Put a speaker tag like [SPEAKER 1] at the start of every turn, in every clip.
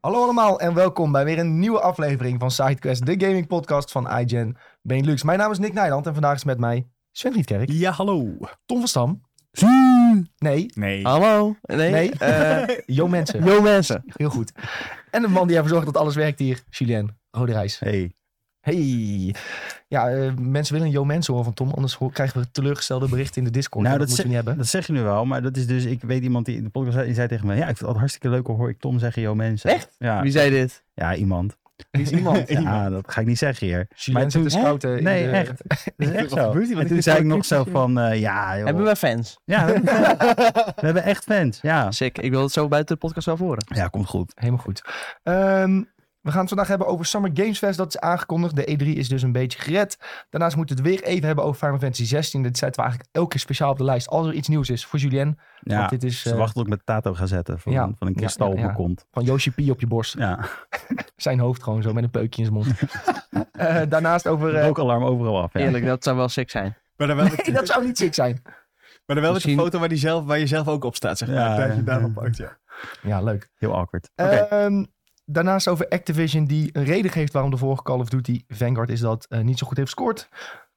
[SPEAKER 1] Hallo allemaal en welkom bij weer een nieuwe aflevering van SideQuest, de gaming podcast van iGen Benelux. Mijn naam is Nick Nijland en vandaag is met mij Sven Rietkerk,
[SPEAKER 2] Ja, hallo.
[SPEAKER 1] Tom van Stam. Nee,
[SPEAKER 2] Nee.
[SPEAKER 3] Hallo? Nee.
[SPEAKER 1] nee, eh Jo Mensen.
[SPEAKER 3] Yo mensen.
[SPEAKER 1] Heel goed. En de man die ervoor zorgt dat alles werkt hier, Julien Roderijs.
[SPEAKER 3] Hey.
[SPEAKER 1] Hey. Ja, eh, mensen willen een Jo Mensen horen van Tom, anders ho- krijgen we teleurgestelde berichten in de Discord.
[SPEAKER 3] Nou,
[SPEAKER 1] En dat, moeten
[SPEAKER 3] dat
[SPEAKER 1] we niet hebben.
[SPEAKER 3] Dat zeg je nu wel, maar dat is dus... Ik weet iemand die in de podcast zei, die zei tegen mij... Ja, ik vind het altijd hartstikke leuk hoor ik Tom zeggen, yo mensen. Echt? Ah, Ja,
[SPEAKER 4] Wie zei dit?
[SPEAKER 3] ja iemand.
[SPEAKER 1] Er is iemand.
[SPEAKER 3] Ja, dat ga ik niet zeggen hier.
[SPEAKER 1] Julien zit te
[SPEAKER 3] toen-
[SPEAKER 1] scouten. in
[SPEAKER 3] Nee,
[SPEAKER 1] de-
[SPEAKER 3] echt. Dat is echt
[SPEAKER 2] Wat
[SPEAKER 3] zo.
[SPEAKER 2] gebeurt hier? Wat
[SPEAKER 3] En
[SPEAKER 2] is
[SPEAKER 3] toen
[SPEAKER 2] dit
[SPEAKER 3] zei ik
[SPEAKER 2] voor
[SPEAKER 3] nog
[SPEAKER 2] een
[SPEAKER 3] zo
[SPEAKER 2] cryptische-
[SPEAKER 3] van... eh, ja, joh.
[SPEAKER 4] Hebben we fans?
[SPEAKER 3] Ja, we hebben fans. we hebben echt fans. Ja.
[SPEAKER 4] Sick. Ik wil het zo buiten de podcast wel horen.
[SPEAKER 3] Ja, komt goed.
[SPEAKER 1] Helemaal goed. Ehm, we gaan het vandaag hebben over Summer Games Fest. Dat is aangekondigd. De E3 is dus een beetje gered. Daarnaast moeten we het weer even hebben over Final Fantasy 16. Dit zetten we eigenlijk elke keer speciaal op de lijst. Als er iets nieuws is voor Julien.
[SPEAKER 3] Ja.
[SPEAKER 1] Want dit is
[SPEAKER 3] Ze
[SPEAKER 1] eh,
[SPEAKER 3] wachten ook met Tato gaan zetten. Van,
[SPEAKER 1] Ja.
[SPEAKER 3] van een
[SPEAKER 1] Ja,
[SPEAKER 3] kristal op
[SPEAKER 1] ja, ja.
[SPEAKER 3] mijn kont.
[SPEAKER 1] van Yoshi P op je borst.
[SPEAKER 3] Ja.
[SPEAKER 1] Zijn hoofd gewoon zo met een peukje in zijn mond. Eh, daarnaast over... eh,
[SPEAKER 3] Rookalarm overal af. Ja.
[SPEAKER 4] Eerlijk, dat zou wel sick zijn.
[SPEAKER 2] Maar dan wel, met-
[SPEAKER 1] Nee, dat zou niet sick zijn.
[SPEAKER 2] maar dan wel met
[SPEAKER 4] Misschien-
[SPEAKER 2] een foto waar, die zelf, waar je zelf ook op staat, zeg maar.
[SPEAKER 3] Ja,
[SPEAKER 2] dat
[SPEAKER 3] ja,
[SPEAKER 2] je
[SPEAKER 3] ja.
[SPEAKER 2] daarvan pakt, ja.
[SPEAKER 1] Ja, leuk.
[SPEAKER 3] Heel awkward.
[SPEAKER 1] Ehm, daarnaast over Activision die een reden geeft waarom de vorige Call of Duty Vanguard is dat eh, niet zo goed heeft gescoord.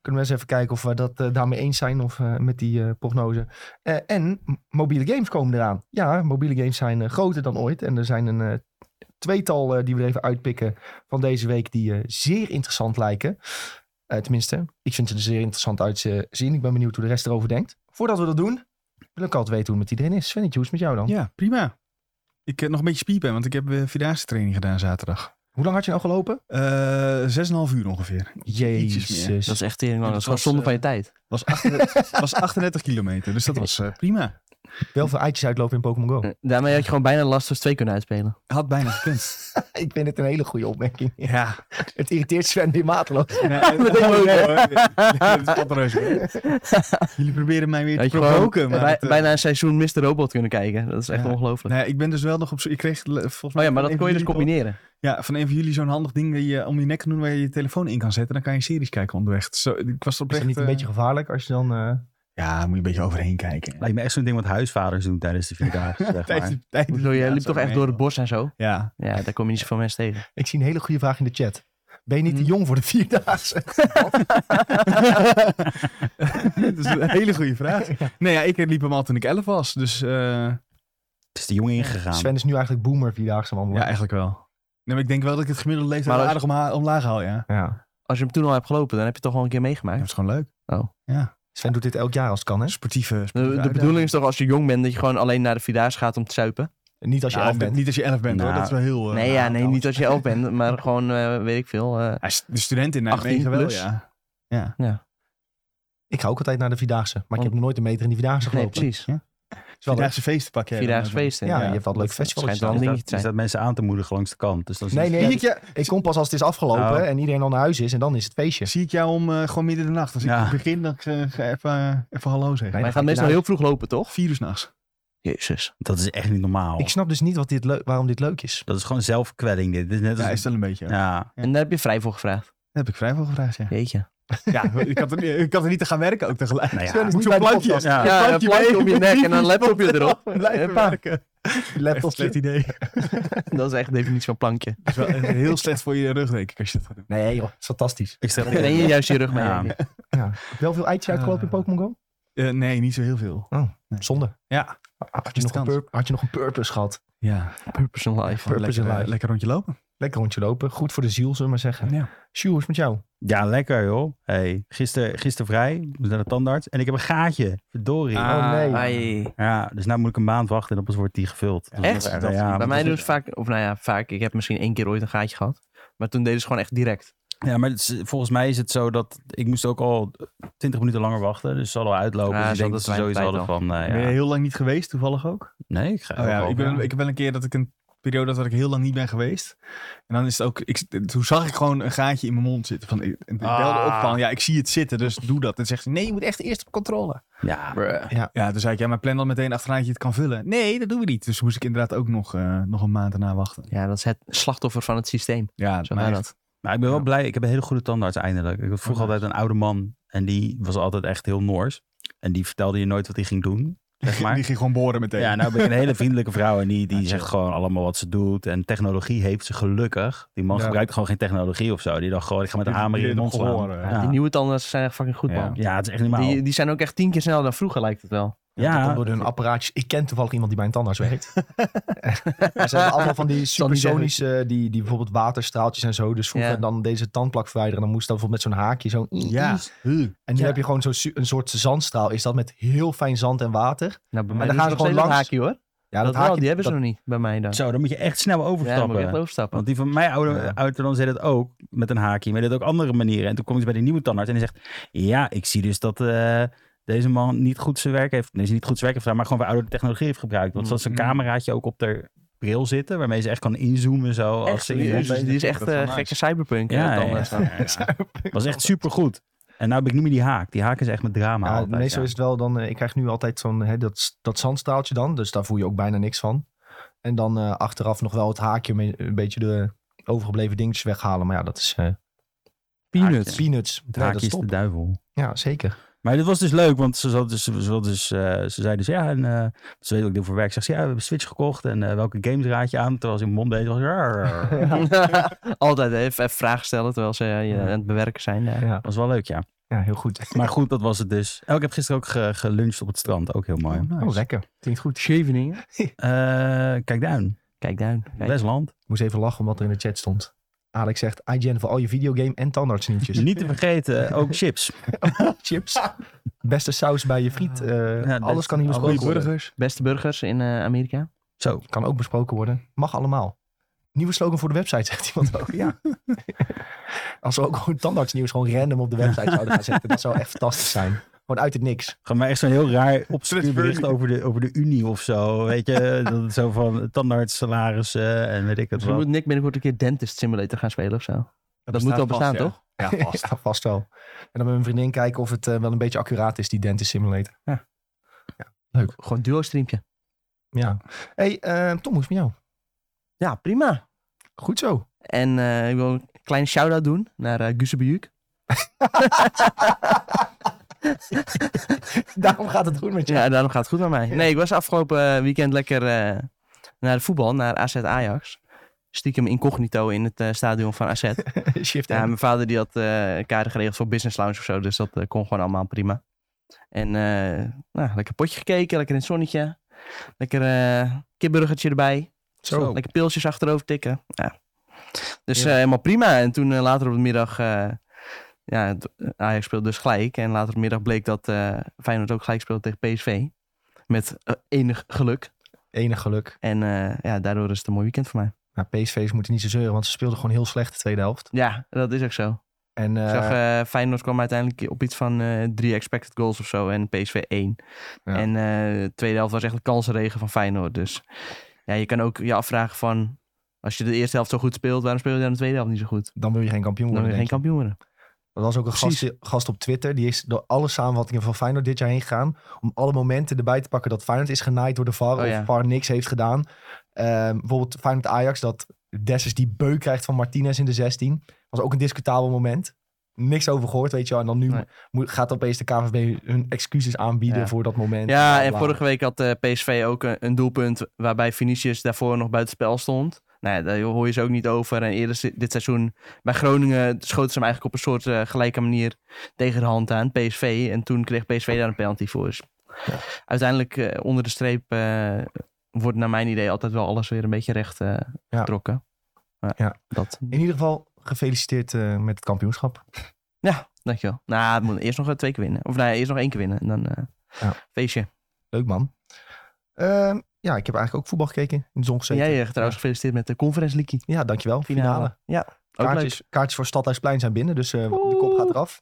[SPEAKER 1] Kunnen we eens even kijken of we dat eh, daarmee eens zijn of eh, met die eh, prognose. Eh, en m- mobiele games komen eraan. Ja, mobiele games zijn eh, groter dan ooit. En er zijn een eh, tweetal eh, die we er even uitpikken van deze week die eh, zeer interessant lijken. Eh, tenminste, ik vind ze er zeer interessant uitzien. Ik ben benieuwd hoe de rest erover denkt. Voordat we dat doen, wil ik altijd weten hoe het met iedereen is. Svennetje, hoe is het met jou dan?
[SPEAKER 2] Ja, prima. Ik heb nog een beetje spiepen, want ik heb eh, vierdaagse training gedaan zaterdag.
[SPEAKER 1] Hoe lang had je nou gelopen?
[SPEAKER 2] Eh, Zes en een half uur ongeveer. Ietsjes meer.
[SPEAKER 1] Jezus.
[SPEAKER 4] Dat is echt tering lang.
[SPEAKER 2] Ja,
[SPEAKER 4] Dat is
[SPEAKER 2] dat
[SPEAKER 4] gewoon zonde van
[SPEAKER 2] was,
[SPEAKER 4] je tijd.
[SPEAKER 2] Was, 38 was 38 kilometer, dus dat was eh, prima.
[SPEAKER 1] Wel veel eitjes uitlopen in Pokémon Go.
[SPEAKER 4] Eh, Daarmee had je gewoon bijna Last of 2 kunnen uitspelen.
[SPEAKER 2] Had bijna gekund.
[SPEAKER 1] Ik vind het een hele goede opmerking.
[SPEAKER 2] Ja.
[SPEAKER 1] Het irriteert Sven weer mateloos.
[SPEAKER 2] Nee, eh,
[SPEAKER 4] Dat denk ik
[SPEAKER 2] oh,
[SPEAKER 4] ook,
[SPEAKER 2] nee,
[SPEAKER 4] hè.
[SPEAKER 2] hoor. Nee, dat valt reuze. Jullie proberen mij weer
[SPEAKER 4] Had
[SPEAKER 2] te
[SPEAKER 4] je gewoon
[SPEAKER 2] provoken. maar
[SPEAKER 4] bij-
[SPEAKER 2] het, eh,
[SPEAKER 4] bijna een seizoen Mr. Robot kunnen kijken. Dat is echt
[SPEAKER 2] Ja.
[SPEAKER 4] ongelooflijk.
[SPEAKER 2] Nee, ik ben dus wel nog op zoek. Ik kreeg le- volgens mij.
[SPEAKER 4] Oh ja,
[SPEAKER 2] van
[SPEAKER 4] maar dat
[SPEAKER 2] een
[SPEAKER 4] kon je dus
[SPEAKER 2] van jullie
[SPEAKER 4] combineren.
[SPEAKER 2] toch- Ja, van een van jullie zo'n handig ding dat je om je nek kan doen waar je je telefoon in kan zetten. Dan kan je series kijken onderweg. Zo, ik was er
[SPEAKER 1] Is
[SPEAKER 2] oprecht.
[SPEAKER 1] het niet een
[SPEAKER 2] eh,
[SPEAKER 1] beetje gevaarlijk als je dan... eh,
[SPEAKER 2] Ja, moet je een beetje overheen kijken.
[SPEAKER 3] Lijkt me echt zo'n ding wat huisvaders doen tijdens de vierdaagse, zeg maar.
[SPEAKER 2] Tijdens- tijdens-
[SPEAKER 4] Zo, je
[SPEAKER 2] ja,
[SPEAKER 4] liep
[SPEAKER 2] zo
[SPEAKER 4] toch echt
[SPEAKER 2] mee.
[SPEAKER 4] door het bos en zo.
[SPEAKER 2] Ja.
[SPEAKER 4] Ja, daar kom je niet zoveel mensen tegen.
[SPEAKER 1] Ik zie een hele goede vraag in de chat. Ben je niet te
[SPEAKER 4] Hmm.
[SPEAKER 2] Hm.
[SPEAKER 1] jong voor de Vierdaagse?
[SPEAKER 2] dat is een hele goede vraag. Nee, ja, ik liep hem al toen ik 11 was. Dus eh,
[SPEAKER 3] Het is de jongen ingegaan.
[SPEAKER 1] Sven is nu eigenlijk boomer Vierdaagse man.
[SPEAKER 2] ja,
[SPEAKER 1] Ja,
[SPEAKER 2] eigenlijk wel. Nee, maar ik denk wel dat ik het gemiddelde leeftijd
[SPEAKER 4] Maar
[SPEAKER 2] wel
[SPEAKER 4] als-
[SPEAKER 2] aardig omha- omlaag haal, ja.
[SPEAKER 1] ja.
[SPEAKER 4] Als je hem toen al hebt gelopen, dan heb je het toch al een keer
[SPEAKER 2] Dat
[SPEAKER 4] meegemaakt.
[SPEAKER 2] is gewoon leuk.
[SPEAKER 1] Sven doet dit elk jaar als het kan, hè?
[SPEAKER 2] Sportieve, sportieve
[SPEAKER 4] De, de bedoeling is toch als je jong bent dat je gewoon alleen naar de Vierdaagse gaat om te zuipen?
[SPEAKER 1] Niet als je elf bent.
[SPEAKER 2] Niet als je 11 bent, hoor.
[SPEAKER 3] Nou,
[SPEAKER 2] Dat is wel heel... eh,
[SPEAKER 4] Nee, ja, nee,
[SPEAKER 2] nou,
[SPEAKER 4] niet als je elf bent, maar gewoon, eh, weet ik veel. eh,
[SPEAKER 2] Ja, De student in
[SPEAKER 4] 18
[SPEAKER 2] Nijmegen wel,
[SPEAKER 4] plus.
[SPEAKER 2] ja.
[SPEAKER 1] Ik ga ook altijd naar de Vierdaagse. Maar ik heb nog nooit een meter in die Vierdaagse
[SPEAKER 4] Oh. nee,
[SPEAKER 1] gelopen.
[SPEAKER 4] precies.
[SPEAKER 1] Het is wel leuk.
[SPEAKER 2] Vierdaagse feesten pak jij.
[SPEAKER 4] Vierdaagse
[SPEAKER 2] dan.
[SPEAKER 4] feesten.
[SPEAKER 1] Ja,
[SPEAKER 2] Ja,
[SPEAKER 1] je hebt wel een leuk festival.
[SPEAKER 4] schijnt wel
[SPEAKER 3] Is
[SPEAKER 4] een
[SPEAKER 3] dat-
[SPEAKER 4] dingetje te
[SPEAKER 3] Is
[SPEAKER 4] zijn.
[SPEAKER 3] dat mensen aan te moedigen langs de kant. Dus dat is
[SPEAKER 1] Nee,
[SPEAKER 3] niet-
[SPEAKER 1] nee.
[SPEAKER 2] Zie ik, je,
[SPEAKER 1] Ik kom pas als het is afgelopen
[SPEAKER 3] Oh.
[SPEAKER 1] en iedereen al naar huis is. En dan is het feestje.
[SPEAKER 2] zie ik jou om eh, gewoon midden in de nacht. Als
[SPEAKER 3] Ja.
[SPEAKER 2] ik begin, dan eh, ga ik even, eh, even
[SPEAKER 1] Nee,
[SPEAKER 2] hallo zeggen.
[SPEAKER 4] Maar je
[SPEAKER 1] dan
[SPEAKER 4] gaat
[SPEAKER 1] ga ik
[SPEAKER 4] meestal
[SPEAKER 1] naar-
[SPEAKER 4] heel vroeg lopen, toch?
[SPEAKER 2] Vier uur 's nachts.
[SPEAKER 4] Jezus.
[SPEAKER 3] Dat is echt niet
[SPEAKER 4] Oh.
[SPEAKER 3] normaal.
[SPEAKER 1] Ik snap dus niet wat dit leu- waarom dit leuk is.
[SPEAKER 3] Dat is gewoon zelfkwelling. Dit. Dit is net als...
[SPEAKER 2] Ja, is dat een beetje. Daar
[SPEAKER 3] Ja.
[SPEAKER 4] En daar heb je vrij voor gevraagd.
[SPEAKER 2] heb ik vrij veel gevraagd, ja.
[SPEAKER 4] Jeetje.
[SPEAKER 2] ja ik, had er, niet- ik had er niet te gaan werken ook tegelijk.
[SPEAKER 3] Nou ja.
[SPEAKER 2] Sven is niet
[SPEAKER 1] Zo'n
[SPEAKER 2] bij de
[SPEAKER 1] plankje.
[SPEAKER 2] podcast.
[SPEAKER 3] Ja.
[SPEAKER 4] Ja, Ah, een plankje om je nek en een laptopje erop.
[SPEAKER 2] Blijven
[SPEAKER 4] Huppa.
[SPEAKER 2] werken.
[SPEAKER 1] Laptop.
[SPEAKER 2] slecht idee.
[SPEAKER 4] Dat is echt de definitie van plankje.
[SPEAKER 2] Dat is wel echt heel slecht voor je rug, denk ik, als je dat gaat doen.
[SPEAKER 1] Nee joh, het is fantastisch.
[SPEAKER 3] Ik stel
[SPEAKER 4] Dan ben je juist je rug mee.
[SPEAKER 3] Ja.
[SPEAKER 4] denk ik.
[SPEAKER 1] Wel veel eitjes uitgelopen in Pokémon Go?
[SPEAKER 2] Eh, nee, niet zo heel veel.
[SPEAKER 1] Zonde.
[SPEAKER 2] Ja.
[SPEAKER 1] Ah, Had je,
[SPEAKER 2] Is
[SPEAKER 1] nog een
[SPEAKER 2] kans.
[SPEAKER 1] pur- had je nog een purpose gehad?
[SPEAKER 2] Ja.
[SPEAKER 4] Purpose in life.
[SPEAKER 1] Purpose
[SPEAKER 2] lekker,
[SPEAKER 1] in
[SPEAKER 2] eh,
[SPEAKER 1] life.
[SPEAKER 2] lekker rondje lopen.
[SPEAKER 1] Lekker rondje lopen. Goed voor de ziel, zullen we maar zeggen.
[SPEAKER 2] Ja.
[SPEAKER 1] Sjoe, hoe is het met jou?
[SPEAKER 3] Ja, lekker joh. Hey, gisteren gister vrij. Moest naar de tandarts. En ik heb een gaatje. Verdorie.
[SPEAKER 2] Ah.
[SPEAKER 1] oh nee.
[SPEAKER 4] Ai.
[SPEAKER 3] Ja, dus nu moet ik een maand wachten en opeens wordt die gevuld. Dat is
[SPEAKER 4] Echt?
[SPEAKER 3] wel erg.
[SPEAKER 2] Dat-
[SPEAKER 3] ja,
[SPEAKER 4] Bij
[SPEAKER 3] maar
[SPEAKER 4] mij
[SPEAKER 3] dat
[SPEAKER 4] doen ze vaak, of nou ja, vaak. Ik heb misschien één keer ooit een gaatje gehad. Maar toen deden ze gewoon echt direct.
[SPEAKER 3] is- ja, maar het is- volgens mij is het zo dat ik moest ook al 20 minuten langer wachten. Dus het zal al uitlopen.
[SPEAKER 4] Ja,
[SPEAKER 3] dus ik
[SPEAKER 4] ze
[SPEAKER 3] denk dat ze
[SPEAKER 4] hadden
[SPEAKER 3] sowieso
[SPEAKER 4] weinig
[SPEAKER 3] hadden van... eh,
[SPEAKER 2] Ben
[SPEAKER 3] ja.
[SPEAKER 2] je heel lang niet geweest, toevallig ook?
[SPEAKER 3] Nee, ik ga
[SPEAKER 2] Oh ja,
[SPEAKER 3] ook al.
[SPEAKER 2] ik, ben, ik heb wel een keer dat ik een periode had dat ik heel lang niet ben geweest. En dan is het ook, ik, toen zag ik gewoon een gaatje in mijn mond zitten. Van, ik, en ik
[SPEAKER 3] Ah.
[SPEAKER 2] belde op van, ja, ik zie het zitten, dus doe dat. En zegt ze, nee, je moet echt eerst op controle.
[SPEAKER 3] Ja,
[SPEAKER 2] Ja, toen zei ik, ja, maar plan dan meteen achteraan dat je het kan vullen. Nee, dat doen we niet. Dus moest ik inderdaad ook nog, eh, nog een maand daarna wachten.
[SPEAKER 4] Ja, dat is het slachtoffer van het systeem.
[SPEAKER 2] Ja,
[SPEAKER 4] Zo
[SPEAKER 2] maar
[SPEAKER 4] gaat
[SPEAKER 2] echt.
[SPEAKER 4] dat.
[SPEAKER 3] Maar ik ben wel
[SPEAKER 2] Ja.
[SPEAKER 3] blij. Ik heb een hele goede tandarts eindelijk. Ik had vroeger
[SPEAKER 2] nice.
[SPEAKER 3] altijd een oude man. En die was altijd echt heel Noors. En die vertelde je nooit wat hij ging doen. zeg maar.
[SPEAKER 2] Die ging gewoon boren meteen.
[SPEAKER 3] Ja, nou ben ik een hele vriendelijke vrouw en die, die zegt gewoon allemaal wat ze doet. En technologie heeft ze gelukkig. Die man
[SPEAKER 1] Ja.
[SPEAKER 3] gebruikt gewoon geen technologie of zo. Die dacht gewoon, ik ga met een
[SPEAKER 2] Die-
[SPEAKER 3] hamer in
[SPEAKER 2] die
[SPEAKER 3] je mond
[SPEAKER 2] deed nog
[SPEAKER 3] slaan.
[SPEAKER 2] gehoor, hè?
[SPEAKER 4] Die
[SPEAKER 3] Ja.
[SPEAKER 4] nieuwe tandartsen zijn echt fucking goed,
[SPEAKER 2] Ja.
[SPEAKER 4] man.
[SPEAKER 3] ja, het is echt niet normaal.
[SPEAKER 4] Die, die zijn ook echt tien keer sneller dan vroeger, lijkt het wel.
[SPEAKER 1] Dat komt
[SPEAKER 3] Ja,
[SPEAKER 1] door hun apparaatjes. Ik ken toevallig iemand die bij een tandarts werkt. En ze hebben allemaal van die
[SPEAKER 4] Zal niet zeggen.
[SPEAKER 1] supersonische, die, die bijvoorbeeld waterstraaltjes en zo. Dus vroeger
[SPEAKER 4] Ja.
[SPEAKER 1] dan deze tandplak verwijderen. Dan moest dat bijvoorbeeld met zo'n haakje zo'n...
[SPEAKER 2] Ja. Huh.
[SPEAKER 1] En nu
[SPEAKER 3] Ja.
[SPEAKER 1] heb je gewoon zo'n su- een soort zandstraal. Is dat met heel fijn zand en water?
[SPEAKER 4] Nou,
[SPEAKER 1] Maar
[SPEAKER 4] bij mij
[SPEAKER 1] dan
[SPEAKER 4] doen
[SPEAKER 1] gaan
[SPEAKER 4] ze
[SPEAKER 1] ze
[SPEAKER 4] nog
[SPEAKER 1] gewoon
[SPEAKER 4] steeds dat
[SPEAKER 1] langs.
[SPEAKER 4] haakje, hoor.
[SPEAKER 1] Ja,
[SPEAKER 4] dat wel,
[SPEAKER 1] haakje-
[SPEAKER 4] die hebben ze
[SPEAKER 1] dat-
[SPEAKER 4] nog niet bij mij dan.
[SPEAKER 3] zo, dan moet je echt snel
[SPEAKER 4] Ja, dan moet
[SPEAKER 3] overstappen.
[SPEAKER 4] ik echt overstappen.
[SPEAKER 3] Want die van mijn oude
[SPEAKER 1] Ja.
[SPEAKER 3] ouder dan zei dat ook met een haakje, maar dit ook andere manieren. En toen kom ik bij die nieuwe tandarts en die zegt: Ja, ik zie dus dat eh, deze man niet goed zijn werk heeft. Nee, ze niet goed zijn werk heeft gedaan, maar gewoon weer oude technologie heeft gebruikt. Want zoals een
[SPEAKER 1] Mm-hmm.
[SPEAKER 2] Mm.
[SPEAKER 3] cameraatje ook op de bril zitten, waarmee ze echt kan inzoomen zo.
[SPEAKER 4] Echt,
[SPEAKER 3] als ze
[SPEAKER 4] die,
[SPEAKER 3] iemand
[SPEAKER 4] is- die is echt
[SPEAKER 2] Dat is wel
[SPEAKER 4] eh,
[SPEAKER 2] nice.
[SPEAKER 4] gekke cyberpunk.
[SPEAKER 3] Ja,
[SPEAKER 4] Ja,
[SPEAKER 3] ja, was echt supergoed. En nou heb ik niet meer die haak. Die haak is echt met drama.
[SPEAKER 1] Ja,
[SPEAKER 3] altijd,
[SPEAKER 1] meestal
[SPEAKER 3] ja.
[SPEAKER 1] is het wel dan, eh, ik krijg nu altijd zo'n, hè, dat, dat zandstraaltje dan. Dus daar voel je ook bijna niks van. En dan eh, achteraf nog wel het haakje, mee- een beetje de overgebleven dingetjes weghalen. Maar ja, dat is eh,
[SPEAKER 3] Peanuts.
[SPEAKER 1] peanuts.
[SPEAKER 3] Het
[SPEAKER 1] Ja, dat
[SPEAKER 3] haakje
[SPEAKER 1] is
[SPEAKER 3] is de
[SPEAKER 1] top.
[SPEAKER 3] duivel.
[SPEAKER 1] Ja, zeker.
[SPEAKER 3] Maar dit was dus leuk, want ze, zat dus, ze, zat dus, eh, ze zei dus ja, en, eh, ze weet ook dit voor werk. Zegt ze ja, we hebben Switch gekocht en eh, welke games raad je aan? Terwijl ze in mond deed, was "Rrr."
[SPEAKER 4] Altijd even, even vragen stellen terwijl ze eh, je aan het bewerken zijn. ja.
[SPEAKER 1] Ja,
[SPEAKER 3] was wel leuk, ja.
[SPEAKER 1] ja heel goed.
[SPEAKER 3] Maar goed, dat was het dus. Oh, ik heb gisteren ook ge- geluncht op het strand, ook heel mooi.
[SPEAKER 1] Oh, lekker. Klinkt goed.
[SPEAKER 4] Scheveningen.
[SPEAKER 3] Eh, kijk duin,
[SPEAKER 4] Kijk daar. Kijk.
[SPEAKER 3] Westland.
[SPEAKER 1] Ik moest even lachen omdat er in de chat stond. Alex zegt, IGN voor al je videogame en tandartsnieuwtjes.
[SPEAKER 3] Niet te vergeten, ook chips.
[SPEAKER 1] Chips. Beste saus bij je friet. eh,
[SPEAKER 3] Ja,
[SPEAKER 1] alles
[SPEAKER 3] best-
[SPEAKER 1] kan hier
[SPEAKER 3] goeie
[SPEAKER 1] besproken worden.
[SPEAKER 3] burgers.
[SPEAKER 4] Beste burgers in eh, Amerika.
[SPEAKER 3] Zo,
[SPEAKER 1] Kan ook besproken worden. Mag allemaal. Nieuwe slogan voor de website, zegt iemand ook. Ja. Als we ook gewoon tandartsnieuws gewoon random op de website zouden gaan zetten. Dat zou echt fantastisch zijn. Gewoon uit het niks.
[SPEAKER 3] gaan wij echt zo'n heel raar obscuur
[SPEAKER 2] Pittsburgh.
[SPEAKER 3] bericht over de, over de Unie of zo. Weet je, dat het zo van tandarts, salarissen en weet ik het
[SPEAKER 4] Dus we
[SPEAKER 3] wat.
[SPEAKER 4] moeten Nick binnenkort een keer Dentist Simulator gaan spelen of zo. Dat, moet wel
[SPEAKER 2] bestaat
[SPEAKER 4] bestaan,
[SPEAKER 2] vast, ja.
[SPEAKER 4] toch?
[SPEAKER 2] Ja, vast.
[SPEAKER 1] Ja, vast wel. En dan met mijn vriendin kijken of het eh, wel een beetje accuraat is, die dentist simulator.
[SPEAKER 4] Gewoon duo streampje.
[SPEAKER 1] Ja. hey, eh, Tom, hoe is het met jou?
[SPEAKER 4] Ja, prima.
[SPEAKER 1] Goed zo.
[SPEAKER 4] En eh, ik wil een kleine shout-out doen naar eh Guzebujuk.
[SPEAKER 1] Daarom gaat het goed met je.
[SPEAKER 4] Ja, daarom gaat het goed met mij. Nee, ik was afgelopen eh, weekend lekker eh, naar de voetbal, naar AZ Ajax. Stiekem incognito in het eh, stadion van AZ.
[SPEAKER 1] Shift
[SPEAKER 4] Ja,
[SPEAKER 1] M.
[SPEAKER 4] mijn vader die had eh kaarten geregeld voor business lounge of zo. Dus dat eh, kon gewoon allemaal prima. En eh, nou, lekker potje gekeken, lekker in het zonnetje. Lekker eh kipburgertje erbij.
[SPEAKER 1] Zo.
[SPEAKER 4] Lekker pilsjes achterover tikken. Ja. Dus eh, helemaal prima. En toen eh, later op de middag... eh, ja, het- Ajax speelde dus gelijk. En later op de middag bleek dat eh Feyenoord ook gelijk speelde tegen PSV. Met eh, enig geluk.
[SPEAKER 1] Enig geluk.
[SPEAKER 4] En eh, ja, daardoor is het een mooi weekend voor mij.
[SPEAKER 1] Nou, PSV's moeten niet zo zeuren, want ze speelden gewoon heel slecht de tweede helft.
[SPEAKER 4] Ja, dat is ook zo.
[SPEAKER 1] En eh,
[SPEAKER 4] Ik zag eh, Feyenoord kwam uiteindelijk op iets van eh, drie expected goals of zo en PSV één.
[SPEAKER 1] Ja.
[SPEAKER 4] En eh, de tweede helft was echt een kansenregen van Feyenoord. Dus ja, je kan ook je afvragen van, als je de eerste helft zo goed speelt, waarom speel je dan de tweede helft niet zo goed?
[SPEAKER 1] dan wil je geen kampioen
[SPEAKER 4] Dan ben
[SPEAKER 1] worden.
[SPEAKER 4] je geen
[SPEAKER 1] denk ik.
[SPEAKER 4] kampioen worden.
[SPEAKER 1] Er was ook een
[SPEAKER 2] Precies.
[SPEAKER 1] gast, gast op Twitter, die is door alle samenvattingen van Feyenoord dit jaar heen gegaan. Om alle momenten erbij te pakken dat Feyenoord is genaaid door de VAR
[SPEAKER 4] Oh,
[SPEAKER 1] of
[SPEAKER 4] ja.
[SPEAKER 1] VAR niks heeft gedaan. Ehm, bijvoorbeeld Feyenoord-Ajax, dat Dessers die beu krijgt van Martinez in de 16. Was ook een discutabel moment. Niks over gehoord, weet je wel. En dan nu
[SPEAKER 4] Nee.
[SPEAKER 1] moet, gaat opeens de KVB hun excuses aanbieden
[SPEAKER 4] Ja.
[SPEAKER 1] voor dat moment.
[SPEAKER 4] Ja,
[SPEAKER 1] Bla,
[SPEAKER 4] en
[SPEAKER 1] bla.
[SPEAKER 4] vorige week had eh, PSV ook een, een doelpunt waarbij Vinicius daarvoor nog buitenspel stond. Nou ja, daar hoor je ze ook niet over. En eerder si- dit seizoen bij Groningen schoten ze hem eigenlijk op een soort eh, gelijke manier tegen de hand aan, PSV. En toen kreeg PSV daar een penalty voor. Dus uiteindelijk eh, onder de streep eh, wordt naar mijn idee altijd wel alles weer een beetje recht eh, getrokken. Maar
[SPEAKER 1] Ja.
[SPEAKER 4] Dat,
[SPEAKER 1] In ieder geval, gefeliciteerd eh, met het kampioenschap.
[SPEAKER 4] dankjewel. Nou, het moet eerst nog eh, twee keer winnen. Of nee, eerst nog één keer winnen. En dan eh,
[SPEAKER 1] Ja.
[SPEAKER 4] feestje.
[SPEAKER 1] Leuk man. Ehm, ja, ik heb eigenlijk ook voetbal gekeken. In de zon
[SPEAKER 4] En
[SPEAKER 1] gezeten.
[SPEAKER 4] jij eh, trouwens gefeliciteerd met de Conference League
[SPEAKER 1] Ja, dankjewel. Finale.
[SPEAKER 4] finale. Ja, ook leuk.
[SPEAKER 1] Kaartjes, kaartjes voor Stadhuisplein zijn binnen, dus eh, de
[SPEAKER 4] Oeh.
[SPEAKER 1] kop gaat eraf.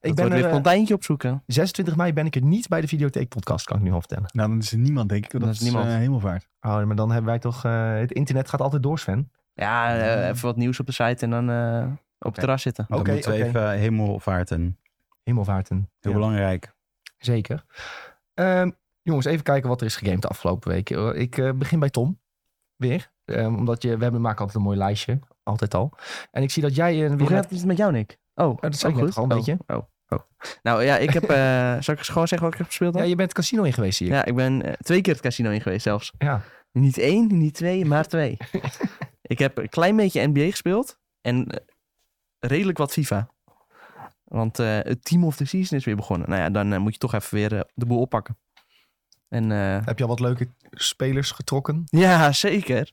[SPEAKER 1] Ik
[SPEAKER 4] Ik
[SPEAKER 1] ben
[SPEAKER 4] ben weer
[SPEAKER 1] er, eh,
[SPEAKER 4] Fontijntje opzoeken.
[SPEAKER 1] 26 mei ben ik er niet bij de Videotheek podcast, kan ik nu al vertellen.
[SPEAKER 2] Nou, dan is er niemand, denk ik. want
[SPEAKER 4] Dan
[SPEAKER 2] Dat
[SPEAKER 4] is
[SPEAKER 2] is niemand.
[SPEAKER 4] niemand.
[SPEAKER 2] helemaal vaart.
[SPEAKER 1] Oh, maar dan hebben wij toch... eh, het internet gaat altijd door, Sven.
[SPEAKER 4] Ja,
[SPEAKER 1] Mm.
[SPEAKER 4] eh, even wat nieuws op de site en dan eh, op het terras zitten.
[SPEAKER 3] dan
[SPEAKER 1] Oké,
[SPEAKER 3] moeten we
[SPEAKER 1] oké.
[SPEAKER 3] even eh, hemelvaarten.
[SPEAKER 1] Hemelvaarten.
[SPEAKER 3] Heel
[SPEAKER 1] Ja,
[SPEAKER 3] belangrijk.
[SPEAKER 1] Zeker. Ehm, jongens, even kijken wat er is gegamed de afgelopen week. Eh, Ik eh, begin bij Tom. Weer. Ehm, omdat je, we hebben, maken altijd een mooi lijstje. Altijd al. En ik zie dat jij... eh, een
[SPEAKER 4] Hoe gaat het met jou, Nick? Oh,
[SPEAKER 1] dat zei
[SPEAKER 4] ook
[SPEAKER 1] ik net
[SPEAKER 4] goed.
[SPEAKER 1] al een
[SPEAKER 4] Oh,
[SPEAKER 1] beetje.
[SPEAKER 4] oh. Nou ja, ik heb... eh zal ik gewoon zeggen wat ik heb gespeeld
[SPEAKER 1] Ja,
[SPEAKER 4] dan? Ja,
[SPEAKER 1] je bent het casino in geweest, zie ik.
[SPEAKER 4] ik ben eh, twee keer het casino in geweest zelfs.
[SPEAKER 1] Ja.
[SPEAKER 4] Niet één, niet twee, maar twee. ik heb een klein beetje NBA gespeeld. En eh, redelijk wat FIFA. Want eh, het team of the season is weer begonnen. Nou ja, dan eh, moet je toch even weer eh, de boel oppakken. En eh,
[SPEAKER 1] Heb je al wat leuke spelers getrokken?
[SPEAKER 4] ja, zeker.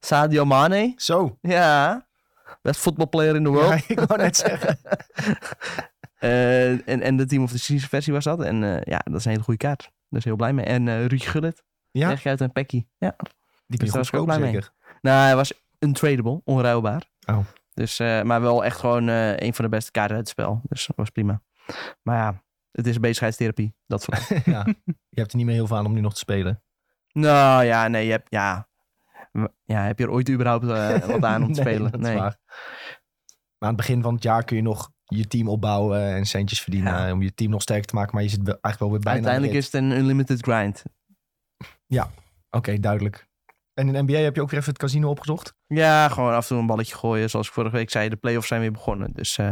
[SPEAKER 4] Sadio Mane.
[SPEAKER 1] Zo.
[SPEAKER 4] Ja. Best football player in the world.
[SPEAKER 1] Ja, ik wou net zeggen.
[SPEAKER 4] Eh, en, en de Team of the Season versie was dat. En eh, ja, dat is een hele goede kaart. Daar is heel blij mee. En eh Ruud Gullit.
[SPEAKER 1] Ja.
[SPEAKER 4] Ja. uit een Pekkie. Ja.
[SPEAKER 1] Die kun je
[SPEAKER 4] Dus daar was
[SPEAKER 1] goed
[SPEAKER 4] ik ook
[SPEAKER 1] kopen,
[SPEAKER 4] blij mee.
[SPEAKER 1] zeker.
[SPEAKER 4] Nou, hij was untradeable, onruilbaar.
[SPEAKER 1] Oh.
[SPEAKER 4] Dus, eh, maar wel echt gewoon eh, een van de beste kaarten uit het spel. Dus dat was prima. Maar ja, het is bezigheidstherapie. Dat soort.
[SPEAKER 1] ja. Je hebt er niet meer heel veel aan om nu nog te spelen.
[SPEAKER 4] nou ja, nee, je hebt, ja. W- ja, heb je er ooit überhaupt eh, wat aan om te
[SPEAKER 1] Nee,
[SPEAKER 4] spelen?
[SPEAKER 1] dat is waar. Maar aan het begin van het jaar kun je nog je team opbouwen en centjes verdienen.
[SPEAKER 4] Ja.
[SPEAKER 1] eh, Om je team nog sterker te maken. Maar je zit wel- eigenlijk wel weer bijna aan de
[SPEAKER 4] Uiteindelijk
[SPEAKER 1] rit.
[SPEAKER 4] is het een unlimited grind.
[SPEAKER 1] Oké, duidelijk. En in de NBA heb je ook weer even het casino opgezocht.
[SPEAKER 4] Ja, gewoon af en toe een balletje gooien. Zoals ik vorige week zei, de playoffs zijn weer begonnen. Dus eh,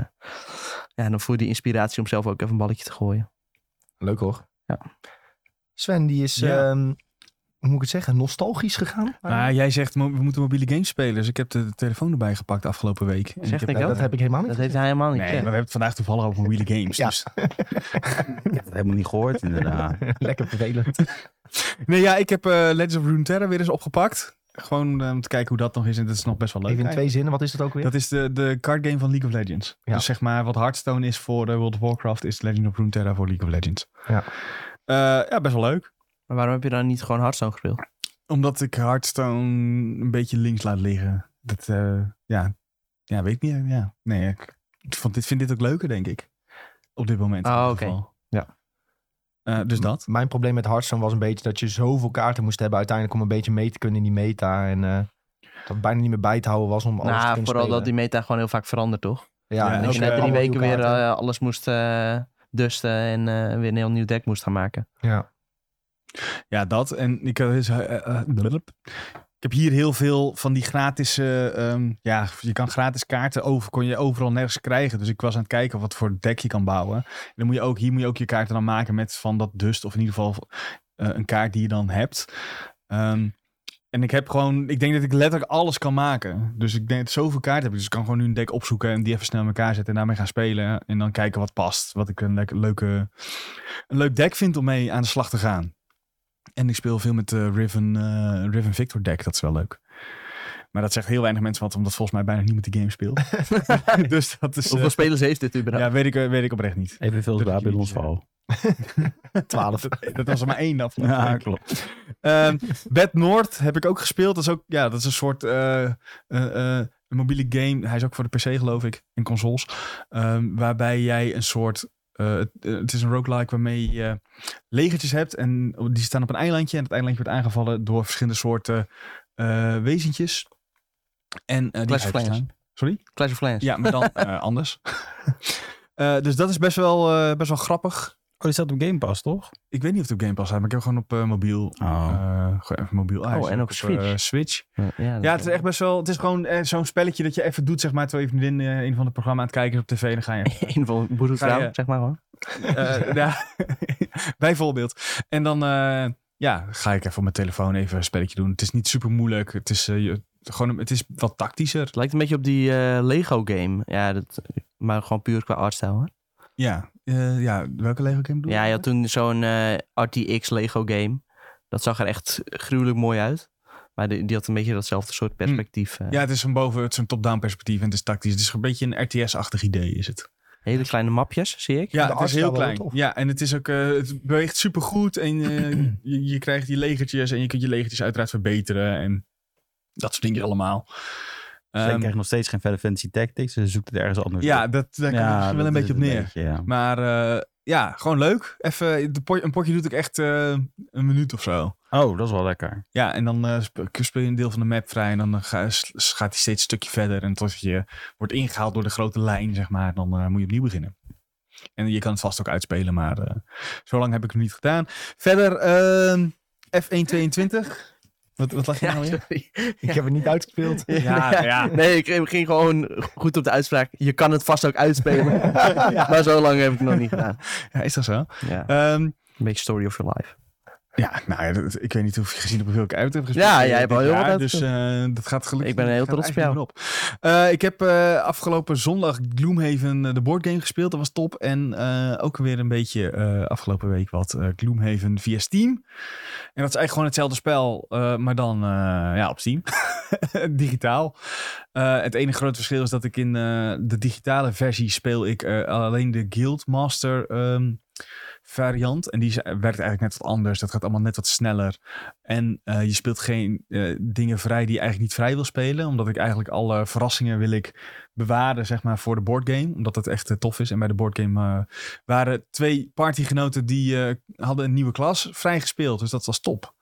[SPEAKER 4] ja, dan voel je die inspiratie om zelf ook even een balletje te gooien.
[SPEAKER 1] Leuk hoor.
[SPEAKER 4] Ja.
[SPEAKER 1] Sven, die is,
[SPEAKER 2] Ja.
[SPEAKER 1] ehm, hoe moet ik het zeggen, nostalgisch gegaan.
[SPEAKER 2] Nou, jij zegt mo- we moeten mobiele games spelen. Dus ik heb de telefoon erbij gepakt afgelopen week. En
[SPEAKER 4] Zeg
[SPEAKER 2] heb-
[SPEAKER 4] ik
[SPEAKER 1] Ja,
[SPEAKER 4] dat?
[SPEAKER 1] dat heb ik helemaal niet.
[SPEAKER 4] Dat heeft hij helemaal niet.
[SPEAKER 2] Nee, maar we
[SPEAKER 4] ja.
[SPEAKER 2] hebben het vandaag toevallig over mobiele games.
[SPEAKER 1] Ja.
[SPEAKER 2] Dus.
[SPEAKER 3] Ik heb het helemaal niet gehoord, inderdaad.
[SPEAKER 1] Lekker vervelend.
[SPEAKER 2] Nee, ja, ik heb eh Legends of Runeterra weer eens opgepakt. Gewoon eh, om te kijken hoe dat nog is. En dat is nog best wel leuk.
[SPEAKER 1] Even in twee
[SPEAKER 2] eigenlijk.
[SPEAKER 1] zinnen, wat is dat ook weer?
[SPEAKER 2] Dat is de, de card game van League of Legends.
[SPEAKER 1] Ja.
[SPEAKER 2] Dus zeg maar wat Hearthstone is voor eh, World of Warcraft... is Legend of Runeterra voor League of Legends.
[SPEAKER 1] Ja.
[SPEAKER 2] Eh, ja, best wel leuk.
[SPEAKER 4] Maar waarom heb je dan niet gewoon Hearthstone gespeeld?
[SPEAKER 2] Omdat ik Hearthstone een beetje links laat liggen. Dat, eh, ja. ja, weet ik niet. eh, Ja. Nee, ik vond dit, vind dit ook leuker, denk ik. Op dit moment. in
[SPEAKER 4] Ah,
[SPEAKER 2] ieder
[SPEAKER 4] oké.
[SPEAKER 2] geval.
[SPEAKER 1] Ja. Mm.
[SPEAKER 2] Eh, dus dat.
[SPEAKER 1] Mijn probleem met Hearthstone was een beetje dat je zoveel kaarten moest hebben uiteindelijk om een beetje mee te kunnen in die meta. En eh, dat het bijna niet meer bij te houden was om alles te
[SPEAKER 4] nou,
[SPEAKER 1] kunnen
[SPEAKER 4] vooral dat
[SPEAKER 1] spelen.
[SPEAKER 4] die meta gewoon heel vaak verandert, toch?
[SPEAKER 2] Ja,
[SPEAKER 1] en
[SPEAKER 2] en
[SPEAKER 4] dat
[SPEAKER 1] ook,
[SPEAKER 4] je
[SPEAKER 2] ook,
[SPEAKER 4] na
[SPEAKER 2] eh,
[SPEAKER 1] eh,
[SPEAKER 4] drie
[SPEAKER 1] allemaal
[SPEAKER 4] weken
[SPEAKER 1] nieuwe
[SPEAKER 4] weer
[SPEAKER 1] kaarten.
[SPEAKER 4] eh, alles moest eh, dusten en eh, weer een heel nieuw deck moest gaan maken.
[SPEAKER 1] ja.
[SPEAKER 2] Ja, dat. En ik, eh, is, eh, eh, blub. ik heb hier heel veel van die gratis... eh, ehm, ja, je kan gratis kaarten over, kon je overal nergens krijgen. Dus ik was aan het kijken wat voor deck je kan bouwen. En dan moet je ook, hier moet je ook je kaarten dan maken met van dat dust. Of in ieder geval eh, een kaart die je dan hebt. Ehm, en ik heb gewoon... Ik denk dat ik letterlijk alles kan maken. Dus ik denk dat zoveel kaarten heb ik. Dus ik kan gewoon nu een deck opzoeken en die even snel in elkaar zetten. En daarmee gaan spelen. En dan kijken wat past. Wat ik een, lekker- leuke, een leuk deck vind om mee aan de slag te gaan. En ik speel veel met de Riven, eh, Riven Victor deck. Dat is wel leuk. Maar dat zegt heel weinig mensen wat, omdat volgens mij bijna niemand die game speelt. dus dat is... eh,
[SPEAKER 4] Hoeveel spelers heeft dit überhaupt?
[SPEAKER 2] ja, weet ik, eh, weet ik oprecht niet.
[SPEAKER 3] Evenveel als
[SPEAKER 2] Dat
[SPEAKER 3] bij
[SPEAKER 2] je niet,
[SPEAKER 3] ons
[SPEAKER 2] eh,
[SPEAKER 3] val.
[SPEAKER 1] Twaalf.
[SPEAKER 2] Dat was er maar één dat.
[SPEAKER 3] Ja, klopt.
[SPEAKER 2] Ehm, Bed Noord heb ik ook gespeeld. Dat is ook, ja, dat is een soort eh, eh, eh, een mobiele game. Hij is ook voor de PC, geloof ik, en consoles. Ehm, waarbij jij een soort. eh, het- eh, het is een roguelike waarmee je eh, legertjes hebt. En die staan op een eilandje. En dat eilandje wordt aangevallen door verschillende soorten eh, wezentjes. En eh, die
[SPEAKER 4] Clash of
[SPEAKER 2] uitstaan.
[SPEAKER 4] Clans.
[SPEAKER 2] Sorry?
[SPEAKER 4] Clash of Clans.
[SPEAKER 2] Ja, maar dan eh, anders. Eh, dus dat is best wel, eh, best wel grappig.
[SPEAKER 3] Oh, die staat op Game Pass, toch?
[SPEAKER 2] Ik weet niet of het op Game Pass staat, maar ik heb hem gewoon op eh, mobiel
[SPEAKER 3] Oh.
[SPEAKER 2] eh, gewoon even mobiel uit.
[SPEAKER 4] Oh, en
[SPEAKER 2] op,
[SPEAKER 4] ook
[SPEAKER 2] eh,
[SPEAKER 4] Switch.
[SPEAKER 2] Switch.
[SPEAKER 4] Ja, dat-
[SPEAKER 2] Ja, het is echt best wel. Het is gewoon eh, zo'n spelletje dat je even doet, zeg maar. Terwijl je vriendin eh, een van de programma aan het kijken is op tv. en Dan ga je.
[SPEAKER 4] Een van
[SPEAKER 2] Ga je-
[SPEAKER 4] boerenvrouw, zeg maar gewoon.
[SPEAKER 2] eh, ja, bijvoorbeeld. En dan eh, ja, ga ik even op mijn telefoon even een spelletje doen. Het is niet super moeilijk. Het is, eh, je- gewoon, een- het is wat tactischer.
[SPEAKER 4] Het lijkt een beetje op die eh, Lego game. Ja, dat, maar gewoon puur qua artstijl, hè?
[SPEAKER 2] Ja. Eh, ja, welke Lego game doe
[SPEAKER 4] Ja, je had toen zo'n eh, RTX Lego game. Dat zag er echt gruwelijk mooi uit. Maar die, die had een beetje datzelfde soort perspectief. eh.
[SPEAKER 2] Hm. Ja, het is van boven, het is een top-down perspectief en het is tactisch. Het is een beetje een RTS-achtig idee, is het.
[SPEAKER 4] Hele kleine mapjes, zie ik.
[SPEAKER 2] Ja,
[SPEAKER 1] de
[SPEAKER 2] het is
[SPEAKER 1] artstijl
[SPEAKER 2] heel
[SPEAKER 1] wel
[SPEAKER 2] klein.
[SPEAKER 1] tof.
[SPEAKER 2] Ja, en het is ook, eh, het beweegt supergoed en eh, je, je krijgt die legertjes en je kunt je legertjes uiteraard verbeteren en dat soort dingen allemaal.
[SPEAKER 3] Ze
[SPEAKER 2] Ehm,
[SPEAKER 3] krijgt nog steeds geen Final Fantasy Tactics. dus Ze zoekt het ergens anders
[SPEAKER 2] ja,
[SPEAKER 3] op.
[SPEAKER 2] dat, daar kan
[SPEAKER 3] Ja,
[SPEAKER 2] ik misschien wel
[SPEAKER 3] dat
[SPEAKER 2] een
[SPEAKER 3] is
[SPEAKER 2] beetje op neer.
[SPEAKER 3] ja.
[SPEAKER 2] Maar eh, ja, gewoon leuk. Even, de pot- een potje doet ik echt eh, een minuut of zo.
[SPEAKER 3] Oh, dat is wel lekker.
[SPEAKER 2] Ja, en dan eh, sp- speel je een deel van de map vrij en dan eh, ga, s- gaat hij steeds een stukje verder. En tot je wordt ingehaald door de grote lijn, zeg maar, dan eh, moet je opnieuw beginnen. En je kan het vast ook uitspelen, maar eh, zo lang heb ik hem niet gedaan. Verder, ehm F122. Wat, wat lag je nou weer?
[SPEAKER 4] sorry.
[SPEAKER 1] Ik heb het niet uitgespeeld.
[SPEAKER 2] Ja, ja.
[SPEAKER 4] Nee, ik ik ging gewoon goed op de uitspraak. Je kan het vast ook uitspelen. Maar zo lang heb ik het nog niet gedaan.
[SPEAKER 2] Ja, is dat zo?
[SPEAKER 4] Ja.
[SPEAKER 2] Ehm,
[SPEAKER 4] Een beetje story of your life.
[SPEAKER 2] ja, nou ja, dat- ik weet niet of je gezien hebt hoeveel ik uit heb gespeeld.
[SPEAKER 4] Ja,
[SPEAKER 2] eh,
[SPEAKER 4] jij hebt
[SPEAKER 2] dit
[SPEAKER 4] al heel
[SPEAKER 2] jaar,
[SPEAKER 4] wat
[SPEAKER 2] Dus eh, dat gaat gelukkig.
[SPEAKER 4] Ik ben een heel
[SPEAKER 2] gaat
[SPEAKER 4] trots op
[SPEAKER 2] eigenlijk niet meer op. Eh, ik heb eh, afgelopen zondag Gloomhaven eh, de boardgame gespeeld. Dat was top. En eh, ook weer een beetje eh, afgelopen week wat eh, Gloomhaven via Steam. En dat is eigenlijk gewoon hetzelfde spel, eh, maar dan eh, ja, op Steam. Digitaal. Eh, het enige grote verschil is dat ik in eh, de digitale versie speel ik eh, alleen de Guildmaster ehm variant. En die is- eh, werkt eigenlijk net wat anders. Dat gaat allemaal net wat sneller. En eh, je speelt geen eh, dingen vrij die je eigenlijk niet vrij wil spelen. Omdat ik eigenlijk alle verrassingen wil ik bewaren, zeg maar, voor de boardgame. Omdat dat echt eh, tof is. En bij de boardgame eh, waren twee partygenoten die eh, hadden een nieuwe klas vrijgespeeld. Dus dat was top.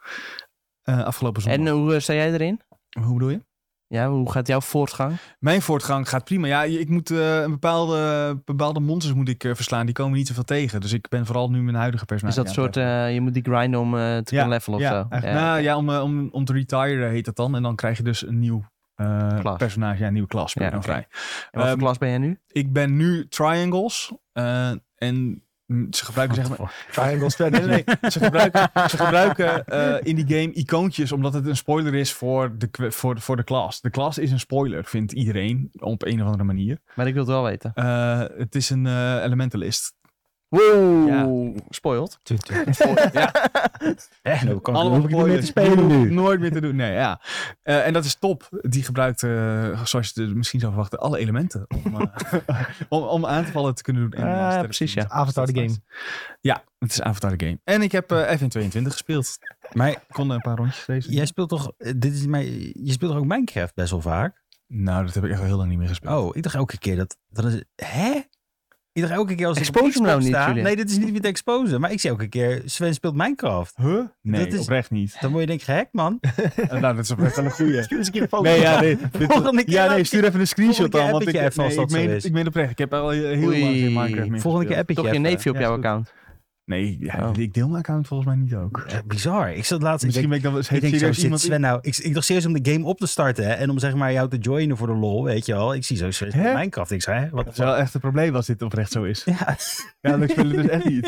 [SPEAKER 2] Eh, afgelopen zondag.
[SPEAKER 4] En eh, hoe eh, sta jij erin?
[SPEAKER 2] Hoe bedoel je?
[SPEAKER 4] Ja, hoe gaat jouw voortgang?
[SPEAKER 2] Mijn voortgang gaat prima. Ja, ik moet eh, een bepaalde, bepaalde monsters moet ik eh, verslaan. Die komen niet zoveel tegen. Dus ik ben vooral nu mijn huidige
[SPEAKER 4] Is
[SPEAKER 2] personage.
[SPEAKER 4] dat
[SPEAKER 2] aan het
[SPEAKER 4] soort, eh, je moet die grinden om eh, te kunnen levelen of
[SPEAKER 2] Nou, ja,
[SPEAKER 4] zo?
[SPEAKER 2] eigenlijk- Nou ja, om, eh, om, om te retiren heet dat dan. En dan krijg je dus een nieuw eh,
[SPEAKER 4] Klas.
[SPEAKER 2] personage, ja, een nieuwe klas. ben
[SPEAKER 4] Ja,
[SPEAKER 2] je dan
[SPEAKER 4] oké.
[SPEAKER 2] vrij.
[SPEAKER 4] En wat voor
[SPEAKER 2] Ehm,
[SPEAKER 4] klas ben jij nu?
[SPEAKER 2] Ik ben nu Triangles. eh, en mm, ze gebruiken, zeg maar,
[SPEAKER 1] Triangle
[SPEAKER 2] Nee,
[SPEAKER 1] Strategy.
[SPEAKER 2] nee, nee. Ze gebruiken, ze gebruiken eh, in die game icoontjes omdat het een spoiler is voor de, kwe- voor, de- voor de klas. De klas is een spoiler, vindt iedereen op een of andere manier.
[SPEAKER 4] Maar ik wil het wel weten.
[SPEAKER 2] Eh, het is een eh, elementalist.
[SPEAKER 4] Wow,
[SPEAKER 2] Ja.
[SPEAKER 4] spoiled.
[SPEAKER 3] Eh, nou, kan ik
[SPEAKER 2] Allemaal
[SPEAKER 3] hoef ik niet meer te
[SPEAKER 2] spoilers.
[SPEAKER 3] spelen nu.
[SPEAKER 2] Nooit meer te doen. Nee, ja. Eh, en dat is top. Die gebruikt, eh, zoals je het misschien zou verwachten, alle elementen om, eh, om, om aanvallen te kunnen doen. En
[SPEAKER 4] Ah,
[SPEAKER 2] sterk te
[SPEAKER 4] precies,
[SPEAKER 2] doen.
[SPEAKER 4] ja.
[SPEAKER 1] Avatar de game.
[SPEAKER 2] Ja, het is Avatar de Game. En ik heb eh FN22 gespeeld.
[SPEAKER 3] Maar
[SPEAKER 2] Ik kon een paar rondjes deze.
[SPEAKER 3] jij speelt toch, eh, dit is mijn, je speelt toch ook Minecraft best wel vaak?
[SPEAKER 2] Nou, dat heb ik echt al heel lang niet meer gespeeld.
[SPEAKER 3] Oh, ik dacht elke keer dat, dat is, hè? Ik dacht elke keer als ik op
[SPEAKER 4] Expose hem
[SPEAKER 3] Xbox
[SPEAKER 4] nou niet,
[SPEAKER 3] sta-
[SPEAKER 4] Julian.
[SPEAKER 3] Nee, dit is niet meer te exposen. Maar ik zie elke keer, Sven speelt Minecraft.
[SPEAKER 2] Huh? Nee,
[SPEAKER 3] Dat is-
[SPEAKER 2] oprecht niet.
[SPEAKER 3] Dan word je denk ik gehackt, man.
[SPEAKER 2] Eh, nou, dat is oprecht wel een goeie.
[SPEAKER 1] Stuur eens een keer een foto.
[SPEAKER 2] Nee, ja, nee.
[SPEAKER 3] Volgende keer
[SPEAKER 2] ja,
[SPEAKER 3] laat
[SPEAKER 2] nee,
[SPEAKER 3] ik-
[SPEAKER 2] stuur even een screenshot
[SPEAKER 3] volgende
[SPEAKER 2] dan.
[SPEAKER 3] keer
[SPEAKER 2] Want
[SPEAKER 3] app
[SPEAKER 2] ik,
[SPEAKER 3] ik je even als
[SPEAKER 2] nee,
[SPEAKER 3] dat
[SPEAKER 2] ik,
[SPEAKER 3] zo
[SPEAKER 2] meen,
[SPEAKER 3] is.
[SPEAKER 2] ik meen oprecht. Ik heb al heel
[SPEAKER 4] Oei.
[SPEAKER 2] lang geen Minecraft meer
[SPEAKER 3] Volgende keer
[SPEAKER 2] gespeeld.
[SPEAKER 3] app ik
[SPEAKER 4] Toch
[SPEAKER 3] je
[SPEAKER 4] je
[SPEAKER 3] even.
[SPEAKER 4] neefje op
[SPEAKER 2] Ja,
[SPEAKER 4] jouw
[SPEAKER 2] is goed.
[SPEAKER 4] account.
[SPEAKER 2] Nee, ja,
[SPEAKER 4] Oh.
[SPEAKER 2] ik deel mijn account volgens mij niet ook.
[SPEAKER 3] Ja, Eh, bizar. Ik zat laatst... ik
[SPEAKER 2] Misschien ben ik dan wel eens
[SPEAKER 3] Ik
[SPEAKER 2] heeft
[SPEAKER 3] denk, zo
[SPEAKER 2] serieus
[SPEAKER 3] zit
[SPEAKER 2] iemand...
[SPEAKER 3] Sven nou. Ik, ik dacht serieus om de game op te starten hè, en om zeg maar jou te joinen voor de lol, weet je wel. Ik zie zo serieus
[SPEAKER 2] Hè?
[SPEAKER 3] Minecraft. Ik zei, hè, wat
[SPEAKER 2] Dat is wel echt een probleem als dit oprecht zo is.
[SPEAKER 3] Ja,
[SPEAKER 2] Ja, dat spelen dus echt niet.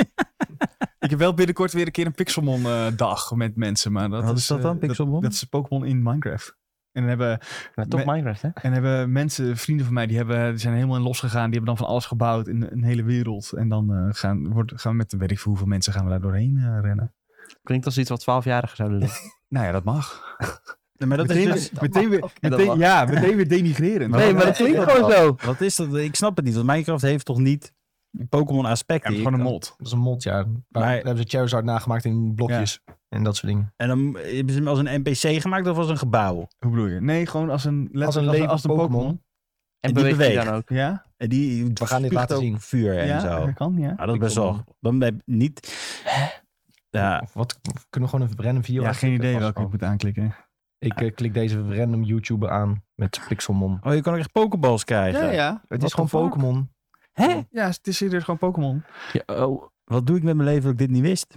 [SPEAKER 2] Ik heb wel binnenkort weer een keer een Pixelmon eh, dag met mensen, maar dat
[SPEAKER 3] Wat
[SPEAKER 2] is...
[SPEAKER 3] is dat
[SPEAKER 2] eh,
[SPEAKER 3] dan, Pixelmon?
[SPEAKER 2] Dat is Pokémon in Minecraft. En dan hebben
[SPEAKER 4] Nou, toch
[SPEAKER 2] Me-
[SPEAKER 4] Minecraft, hè?
[SPEAKER 2] En hebben mensen, vrienden van mij, die, hebben, die zijn helemaal in los gegaan. Die hebben dan van alles gebouwd in een hele wereld. En dan eh, gaan, wordt, gaan we met, weet ik veel hoeveel mensen, gaan we daar doorheen eh, rennen.
[SPEAKER 4] Klinkt als iets wat 12-jarigen zouden doen.
[SPEAKER 2] Nou ja, dat mag.
[SPEAKER 3] maar dat
[SPEAKER 2] meteen,
[SPEAKER 3] is dus,
[SPEAKER 2] meteen weer,
[SPEAKER 4] dat
[SPEAKER 2] meteen-
[SPEAKER 4] mag.
[SPEAKER 2] ja, meteen weer denigrerend.
[SPEAKER 3] Nee, maar dat
[SPEAKER 4] klinkt
[SPEAKER 3] gewoon
[SPEAKER 4] zo.
[SPEAKER 3] wat is dat? Ik snap het niet, want Minecraft heeft toch niet Pokémon aspecten.
[SPEAKER 2] Ja, gewoon een mod.
[SPEAKER 1] Dat is een mod, ja. Daar
[SPEAKER 3] Maar-
[SPEAKER 1] hebben ze Charizard nagemaakt in blokjes. En dat soort dingen.
[SPEAKER 3] En dan hebben ze hem als een NPC gemaakt of als een gebouw.
[SPEAKER 2] Hoe bedoel je? Nee, gewoon als een, letterlijk
[SPEAKER 1] levend
[SPEAKER 2] als een
[SPEAKER 1] Pokémon.
[SPEAKER 2] Pokémon.
[SPEAKER 4] En
[SPEAKER 3] die
[SPEAKER 4] beweegt hij
[SPEAKER 3] beweegt.
[SPEAKER 4] dan ook.
[SPEAKER 2] Ja,
[SPEAKER 3] En die
[SPEAKER 1] We gaan dit
[SPEAKER 3] spuugt
[SPEAKER 1] laten
[SPEAKER 3] ook
[SPEAKER 1] zien.
[SPEAKER 3] vuur en
[SPEAKER 2] ja
[SPEAKER 3] zo.
[SPEAKER 2] dat kan, ja.
[SPEAKER 3] Ja, dat is best
[SPEAKER 1] wil-
[SPEAKER 3] wel. Dan heb je niet. Ja,
[SPEAKER 1] Of wat, kunnen we gewoon een random video
[SPEAKER 2] Ja, geen
[SPEAKER 1] aanklikken?
[SPEAKER 2] idee
[SPEAKER 1] Vast
[SPEAKER 2] welke ik
[SPEAKER 1] wel.
[SPEAKER 2] moet aanklikken.
[SPEAKER 1] Ik eh, klik deze random YouTuber aan met Pixelmon.
[SPEAKER 3] oh, je kan ook echt Pokéballs krijgen.
[SPEAKER 2] ja.
[SPEAKER 1] Het
[SPEAKER 2] What
[SPEAKER 1] is gewoon
[SPEAKER 2] the fuck?
[SPEAKER 1] Pokémon.
[SPEAKER 3] Hè?
[SPEAKER 2] Ja, het is serieus gewoon Pokémon.
[SPEAKER 4] Ja, oh.
[SPEAKER 3] Wat doe ik met mijn leven dat ik dit niet wist?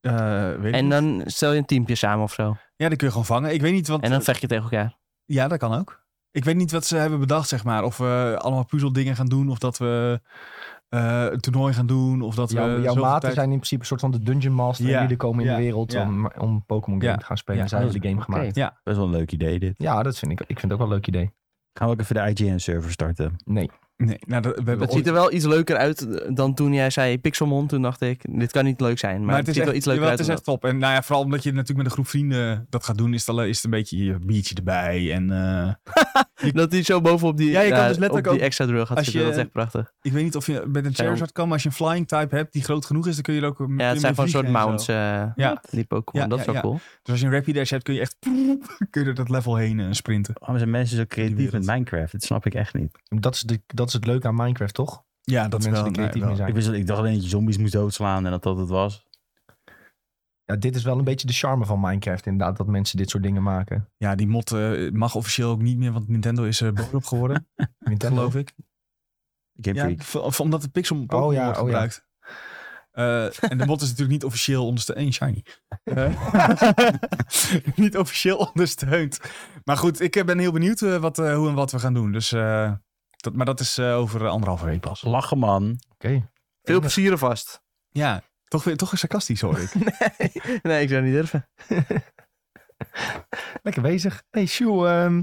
[SPEAKER 2] Eh, weet ik
[SPEAKER 4] En
[SPEAKER 2] niet.
[SPEAKER 4] dan stel je een teampje samen of zo.
[SPEAKER 2] ja, die kun je gewoon vangen. Ik weet niet, want
[SPEAKER 4] En dan vecht je tegen elkaar.
[SPEAKER 2] Ja, dat kan ook. Ik weet niet wat ze hebben bedacht, zeg maar. Of we allemaal puzzeldingen gaan doen, of dat we eh, een toernooi gaan doen, of dat
[SPEAKER 1] Jouw,
[SPEAKER 2] we...
[SPEAKER 1] jouw
[SPEAKER 2] zoveel
[SPEAKER 1] maten
[SPEAKER 2] tijd-
[SPEAKER 1] zijn in principe een soort van de Dungeon Master.
[SPEAKER 2] Ja,
[SPEAKER 1] En die er komen in
[SPEAKER 2] ja,
[SPEAKER 1] de wereld
[SPEAKER 2] ja.
[SPEAKER 1] om, om Pokémon game
[SPEAKER 2] Ja,
[SPEAKER 1] te gaan spelen.
[SPEAKER 2] ja.
[SPEAKER 1] En zij hebben de game
[SPEAKER 4] Oké.
[SPEAKER 1] gemaakt.
[SPEAKER 3] Best wel een leuk idee dit.
[SPEAKER 1] Ja, dat vind ik, ik vind het ook wel een leuk idee.
[SPEAKER 3] Gaan we ook even de IGN-server starten?
[SPEAKER 1] Nee.
[SPEAKER 2] Nee, nou, dat, we hebben
[SPEAKER 4] Het
[SPEAKER 2] ooit-
[SPEAKER 4] ziet er wel iets leuker uit dan toen jij zei Pixelmon. Toen dacht ik, dit kan niet leuk zijn. Maar, het, ziet
[SPEAKER 2] echt,
[SPEAKER 4] wel iets leuker
[SPEAKER 2] jawel, Het
[SPEAKER 4] uit.
[SPEAKER 2] is echt top. En nou ja, vooral omdat je natuurlijk met een groep vrienden dat gaat doen, is het, al- is het een beetje je biertje erbij. En eh,
[SPEAKER 4] dan- dat hij zo bovenop die,
[SPEAKER 2] Ja, je kan dus
[SPEAKER 4] daar-
[SPEAKER 2] letterlijk
[SPEAKER 4] op die
[SPEAKER 2] ook-
[SPEAKER 4] extra drill
[SPEAKER 2] als
[SPEAKER 4] gaat zitten.
[SPEAKER 2] je-
[SPEAKER 4] Dat is echt prachtig.
[SPEAKER 2] ik weet niet of je met een
[SPEAKER 4] Zijn
[SPEAKER 2] Charizard kan, maar als je een flying type hebt die groot genoeg is, dan kun je er ook...
[SPEAKER 4] Ja, het zijn gewoon een soort mounts. eh,
[SPEAKER 2] Ja.
[SPEAKER 4] Die Pokémon,
[SPEAKER 2] Ja,
[SPEAKER 4] dat is
[SPEAKER 2] ja,
[SPEAKER 4] wel
[SPEAKER 2] ja.
[SPEAKER 4] cool.
[SPEAKER 2] Dus als je een Rapidash hebt, kun je echt kun je er dat level heen eh, sprinten.
[SPEAKER 3] Waarom Oh, zijn mensen zo creatief met
[SPEAKER 2] wereld.
[SPEAKER 3] Minecraft? Dat snap ik echt niet.
[SPEAKER 1] Dat is, de, dat is het leuke aan Minecraft, toch? Dat,
[SPEAKER 2] Ja, dat, is
[SPEAKER 1] mensen
[SPEAKER 2] wel...
[SPEAKER 1] er creatief
[SPEAKER 2] nee, wel-
[SPEAKER 1] mee
[SPEAKER 3] Ik,
[SPEAKER 1] zijn.
[SPEAKER 3] wist, dat- ik dacht alleen dat je zombies moest doodslaan en dat dat het was.
[SPEAKER 1] Ja, dit is wel een beetje de charme van Minecraft inderdaad. Dat mensen dit soort dingen maken.
[SPEAKER 2] Ja, die mod eh, mag officieel ook niet meer, want Nintendo is eh boos op geworden,
[SPEAKER 1] Nintendo.
[SPEAKER 2] geloof ik.
[SPEAKER 3] Game
[SPEAKER 2] Ja,
[SPEAKER 3] Freak.
[SPEAKER 2] v- of omdat de Pixel Pokémon
[SPEAKER 1] ja,
[SPEAKER 2] wordt
[SPEAKER 1] oh ja.
[SPEAKER 2] gebruikt. Eh, en de bot is natuurlijk niet officieel ondersteund. Eén shiny. Eh, niet officieel ondersteund. Maar goed, ik eh, ben heel benieuwd eh, wat, eh, hoe en wat we gaan doen. Dus, eh, dat, maar dat is eh, over eh, anderhalve week pas.
[SPEAKER 3] Lachen, man.
[SPEAKER 4] Veel plezier vast.
[SPEAKER 2] Ja, toch, weer- toch weer sarcastisch hoor ik.
[SPEAKER 4] Nee, ik zou niet durven.
[SPEAKER 1] Lekker bezig. Hey, Sjoe, ehm,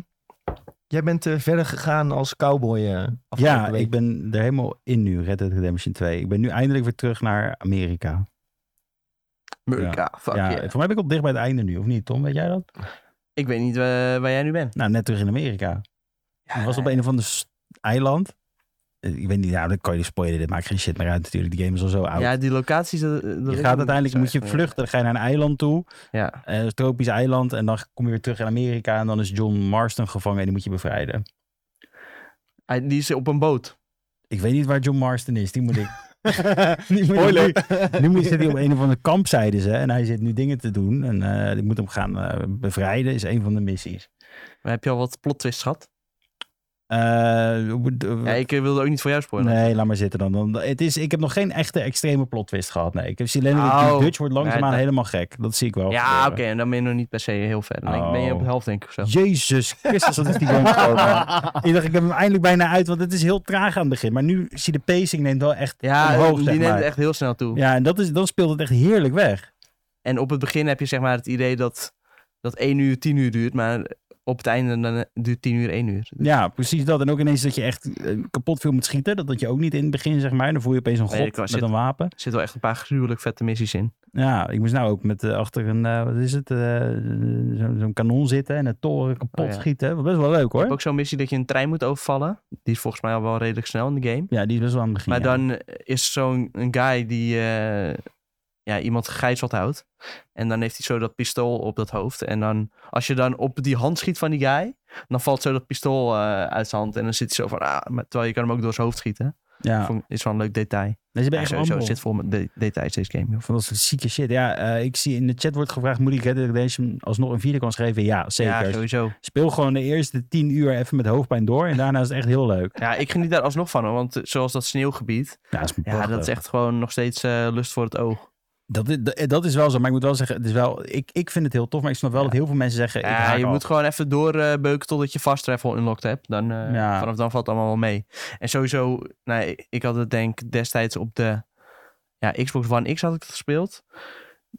[SPEAKER 1] jij bent eh, verder gegaan als cowboy eh afgelopen
[SPEAKER 3] ja,
[SPEAKER 1] week.
[SPEAKER 3] ik ben er helemaal in nu, Red Dead Redemption 2. Ik ben nu eindelijk weer terug naar Amerika.
[SPEAKER 4] Amerika, fuck
[SPEAKER 3] ja,
[SPEAKER 4] yeah.
[SPEAKER 3] Voor mij ben ik al dicht bij het einde nu, of niet Tom? Weet jij dat?
[SPEAKER 4] Ik weet niet eh, waar jij nu bent.
[SPEAKER 3] Nou, net terug in Amerika. Ik was
[SPEAKER 4] Ah,
[SPEAKER 3] op een of ander s- eiland. Eh, Ik weet niet, nou, dat kan je niet spoileren. Dit maakt geen shit meer uit natuurlijk. Die game is al zo oud.
[SPEAKER 4] Ja, die locaties. eh, Dat, dat weet
[SPEAKER 3] je
[SPEAKER 4] ik
[SPEAKER 3] gaat
[SPEAKER 4] niet.
[SPEAKER 3] uiteindelijk,
[SPEAKER 4] Zo
[SPEAKER 3] moet je
[SPEAKER 4] echt,
[SPEAKER 3] vluchten. Dan ga je naar een eiland toe.
[SPEAKER 4] Ja.
[SPEAKER 3] eh, een tropisch eiland. En dan kom je weer terug in Amerika. En dan is John Marston gevangen en die moet je bevrijden.
[SPEAKER 4] Hij- Die is op een boot.
[SPEAKER 3] Ik weet niet waar John Marston is. Die moet ik... die moet ik nu, nu moet- zit hij op een of andere kampzijde. Ze, en hij zit nu dingen te doen. En eh ik moet hem gaan eh, bevrijden. Is een van de missies.
[SPEAKER 4] Maar heb je al wat plot twists gehad?
[SPEAKER 3] Eh, hoe- de-
[SPEAKER 4] Ja, ik eh, wilde ook niet voor jou spoilen.
[SPEAKER 3] Nee, laat maar zitten dan. dan. Het is, ik heb nog geen echte extreme plot twist gehad. Nee, ik heb zie alleen dat
[SPEAKER 4] Oh.
[SPEAKER 3] die Dutch wordt langzaamaan
[SPEAKER 4] Nee, dat-
[SPEAKER 3] helemaal gek. Dat zie ik wel.
[SPEAKER 4] ja,
[SPEAKER 3] gebeuren.
[SPEAKER 4] oké. en dan ben je nog niet per se heel ver. Dan
[SPEAKER 3] Oh.
[SPEAKER 4] denk- ben je op de helft, denk ik. Of zo.
[SPEAKER 3] Jezus Christus, dat is die game gewoon. man. Ik dacht, ik heb hem eindelijk bijna uit, want het is heel traag aan het begin. Maar nu zie je de pacing neemt wel echt
[SPEAKER 4] Ja,
[SPEAKER 3] omhoog,
[SPEAKER 4] die
[SPEAKER 3] zeg
[SPEAKER 4] neemt
[SPEAKER 3] maar.
[SPEAKER 4] echt heel snel toe.
[SPEAKER 3] Ja, en dat, is, dat speelt het echt heerlijk weg.
[SPEAKER 4] En op het begin heb je zeg maar het idee dat, dat 1 uur 10 uur duurt, maar op het einde dan eh, duurt 10 uur 1 uur.
[SPEAKER 3] Ja, precies dat. En ook ineens dat je echt eh, kapot veel moet schieten. Dat dat je ook niet in het begin, zeg maar. Dan voel je opeens een
[SPEAKER 4] Nee,
[SPEAKER 3] god
[SPEAKER 4] ik was
[SPEAKER 3] met
[SPEAKER 4] zit-
[SPEAKER 3] een wapen.
[SPEAKER 4] Er zitten wel echt een paar gruwelijk vette missies in.
[SPEAKER 3] Ja, ik moest nou ook met eh, achter een, eh, wat is het, eh, zo- zo'n kanon zitten en een toren kapot
[SPEAKER 4] Oh, ja.
[SPEAKER 3] schieten. Best wel leuk
[SPEAKER 4] Je hebt
[SPEAKER 3] hoor.
[SPEAKER 4] ook zo'n missie dat je een trein moet overvallen. Die is volgens mij al wel redelijk snel in de game.
[SPEAKER 3] Ja, die is best wel aan het begin.
[SPEAKER 4] Maar
[SPEAKER 3] ja.
[SPEAKER 4] dan eh, is zo'n een guy die eh, ja, iemand gegijzeld houdt. En dan heeft hij zo dat pistool op dat hoofd. En dan, als je dan op die hand schiet van die guy, dan valt zo dat pistool eh, uit zijn hand. En dan zit hij zo van, ah, maar, terwijl je kan hem ook door zijn hoofd schieten.
[SPEAKER 3] ja.
[SPEAKER 4] Vond- Is wel een leuk detail.
[SPEAKER 3] Nee, ze hebben
[SPEAKER 4] Ja,
[SPEAKER 3] echt
[SPEAKER 4] sowieso
[SPEAKER 3] allemaal-
[SPEAKER 4] zit vol met de- details deze game. joh.
[SPEAKER 3] Van dat soort zieke shit. Ja, eh, ik zie in de chat wordt gevraagd: moet ik Red Dead Redemption alsnog een vierde kan schrijven? Ja, zeker.
[SPEAKER 4] Ja, sowieso.
[SPEAKER 3] Speel gewoon de eerste tien uur even met hoofdpijn door. En daarna is het echt heel leuk.
[SPEAKER 4] Ja, ik geniet daar alsnog van, hoor, want eh, zoals dat sneeuwgebied,
[SPEAKER 3] Ja, dat is,
[SPEAKER 4] ja, dat is echt gewoon nog steeds eh, lust voor het oog.
[SPEAKER 3] dat, is, dat, dat is wel zo. Maar ik moet wel zeggen: het is wel, ik, ik vind het heel tof. Maar ik snap wel dat heel veel mensen zeggen: ik
[SPEAKER 4] Ja,
[SPEAKER 3] haak
[SPEAKER 4] je
[SPEAKER 3] af.
[SPEAKER 4] moet gewoon even doorbeuken totdat je fast travel unlocked hebt. Dan, eh,
[SPEAKER 3] Ja.
[SPEAKER 4] Vanaf dan valt het allemaal wel mee. En sowieso, nou, ik had het denk destijds op de ja, Xbox One X had ik het gespeeld.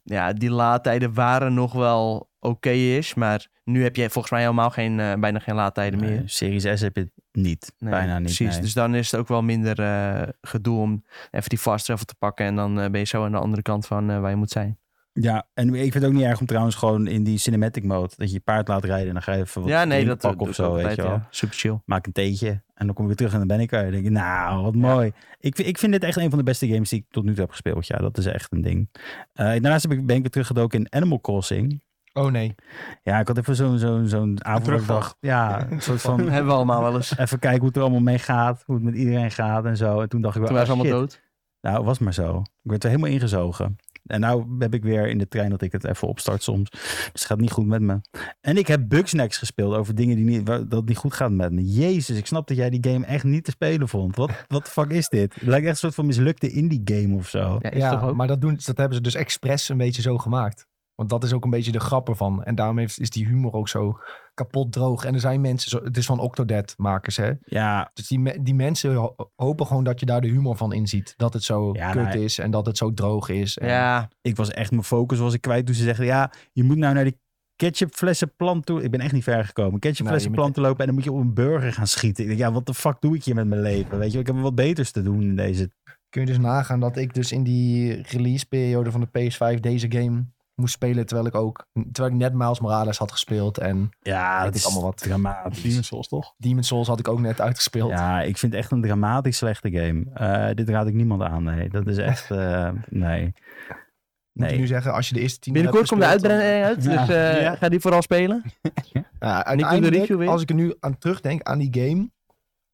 [SPEAKER 4] Ja, die laadtijden waren nog wel oké-ish, maar nu heb je volgens mij helemaal geen, eh, bijna geen laadtijden meer.
[SPEAKER 3] Nee, Series S heb je het niet.
[SPEAKER 4] Nee,
[SPEAKER 3] Bijna niet.
[SPEAKER 4] Precies,
[SPEAKER 3] nee.
[SPEAKER 4] dus dan is het ook wel minder eh, gedoe om even die fast travel te pakken. En dan eh, ben je zo aan de andere kant van eh, waar je moet zijn.
[SPEAKER 3] Ja, en ik vind het ook niet erg om trouwens gewoon in die cinematic mode. Dat je je paard laat rijden en dan ga je even wat
[SPEAKER 4] ja, nee,
[SPEAKER 3] drinken
[SPEAKER 4] dat
[SPEAKER 3] pakken
[SPEAKER 4] doe
[SPEAKER 3] of
[SPEAKER 4] ik
[SPEAKER 3] zo.
[SPEAKER 4] ook
[SPEAKER 3] Weet
[SPEAKER 4] altijd,
[SPEAKER 3] je wel.
[SPEAKER 4] ja. Super chill.
[SPEAKER 3] maak een theetje. En dan kom ik weer terug en dan ben ik er. En dan denk ik, nou, wat mooi. Ik, ik vind dit echt een van de beste games die ik tot nu toe heb gespeeld. Ja, dat is echt een ding. Eh, daarnaast heb ik, ben ik weer teruggedoken in Animal Crossing.
[SPEAKER 1] Oh nee.
[SPEAKER 3] Ja, ik had even zo'n zo'n zo'n avond dat ik
[SPEAKER 2] terugval.
[SPEAKER 3] dacht, ja, een
[SPEAKER 4] Dat
[SPEAKER 3] soort van...
[SPEAKER 4] hebben we allemaal wel eens.
[SPEAKER 3] Even kijken hoe het er allemaal mee gaat. Hoe het met iedereen gaat en zo. En toen dacht ik wel,
[SPEAKER 4] Toen waren ze
[SPEAKER 3] ah,
[SPEAKER 4] allemaal
[SPEAKER 3] shit.
[SPEAKER 4] dood.
[SPEAKER 3] Nou, was maar zo. Ik werd er helemaal ingezogen. En nou heb ik weer in de trein dat ik het even opstart soms. Dus het gaat niet goed met me. En ik heb Bugsnax gespeeld over dingen die niet, waar- dat niet goed gaat met me. Jezus, ik snap dat jij die game echt niet te spelen vond. Wat, wat de fuck is dit? Het lijkt echt een soort van mislukte indie game of zo.
[SPEAKER 4] Ja, is toch
[SPEAKER 1] Ja,
[SPEAKER 4] ook?
[SPEAKER 1] maar dat, doen, dat hebben ze dus expres een beetje zo gemaakt. Want dat is ook een beetje de grap ervan. En daarom heeft, is die humor ook zo kapot droog. En er zijn mensen, zo, het is van Octodad makers hè.
[SPEAKER 3] Ja,
[SPEAKER 1] Dus die, me- die mensen ho- hopen gewoon dat je daar de humor van inziet. Dat het zo
[SPEAKER 3] Ja,
[SPEAKER 1] kut
[SPEAKER 3] nou,
[SPEAKER 1] is en dat het zo droog is. En
[SPEAKER 4] Ja,
[SPEAKER 3] ik was echt mijn focus was ik kwijt toen ze zeiden... Ja, je moet nou naar die ketchupflessenplant toe. Ik ben echt niet ver gekomen.
[SPEAKER 1] Nou,
[SPEAKER 3] Ketchupflessenplant te lopen en dan moet je op een burger gaan schieten. Ik denk, ja, wat de fuck doe ik hier met mijn leven? Weet je, ik heb wat beters te doen in deze
[SPEAKER 1] Kun je dus nagaan dat ik dus in die release periode van de PS5 deze game moest spelen. Terwijl ik ook, terwijl ik net Miles Morales had gespeeld. En
[SPEAKER 3] Ja,
[SPEAKER 1] het
[SPEAKER 3] dat
[SPEAKER 1] is
[SPEAKER 3] is
[SPEAKER 1] allemaal
[SPEAKER 3] allemaal
[SPEAKER 1] wat.
[SPEAKER 3] wat dramatisch.
[SPEAKER 2] Demon's Souls toch?
[SPEAKER 1] Demon's Souls had ik ook net uitgespeeld.
[SPEAKER 3] Ja, ik vind het echt een dramatisch slechte game. Eh, dit raad ik niemand aan, nee. Dat is echt, eh, nee.
[SPEAKER 1] Moet je
[SPEAKER 3] Nee.
[SPEAKER 1] nu zeggen, als je de eerste tien uur
[SPEAKER 4] Binnenkort komt
[SPEAKER 1] hebt
[SPEAKER 4] de
[SPEAKER 1] gespeeld, dan-
[SPEAKER 4] uitbreiding uit, dus eh,
[SPEAKER 2] Ja.
[SPEAKER 4] ga die vooral spelen.
[SPEAKER 1] Ja,
[SPEAKER 4] doe de
[SPEAKER 1] uiteindelijk,
[SPEAKER 4] review weer.
[SPEAKER 1] als ik er nu aan terugdenk aan die game,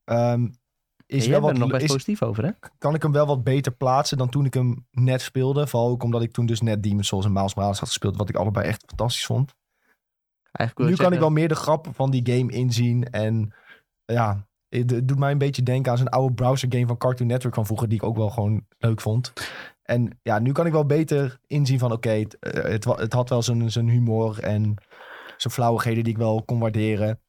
[SPEAKER 1] ehm, is
[SPEAKER 4] Is
[SPEAKER 1] wel
[SPEAKER 4] jij bent er nog
[SPEAKER 1] wat,
[SPEAKER 4] best
[SPEAKER 1] is,
[SPEAKER 4] positief over, hè?
[SPEAKER 1] kan ik hem wel wat beter plaatsen dan toen ik hem net speelde. Vooral ook omdat ik toen dus net Demon's Souls en Miles Morales had gespeeld, wat ik allebei echt fantastisch vond.
[SPEAKER 4] Eigenlijk wil
[SPEAKER 1] Nu kan ik
[SPEAKER 4] zeggen,
[SPEAKER 1] wel meer de grappen van die game inzien en ja... eh, Het doet mij een beetje denken aan zo'n oude browser game van Cartoon Network van vroeger, die ik ook wel gewoon leuk vond. En ja, nu kan ik wel beter inzien van oké, het, eh, het, wa- het had wel zijn, zijn humor en zijn flauwigheden die ik wel kon waarderen.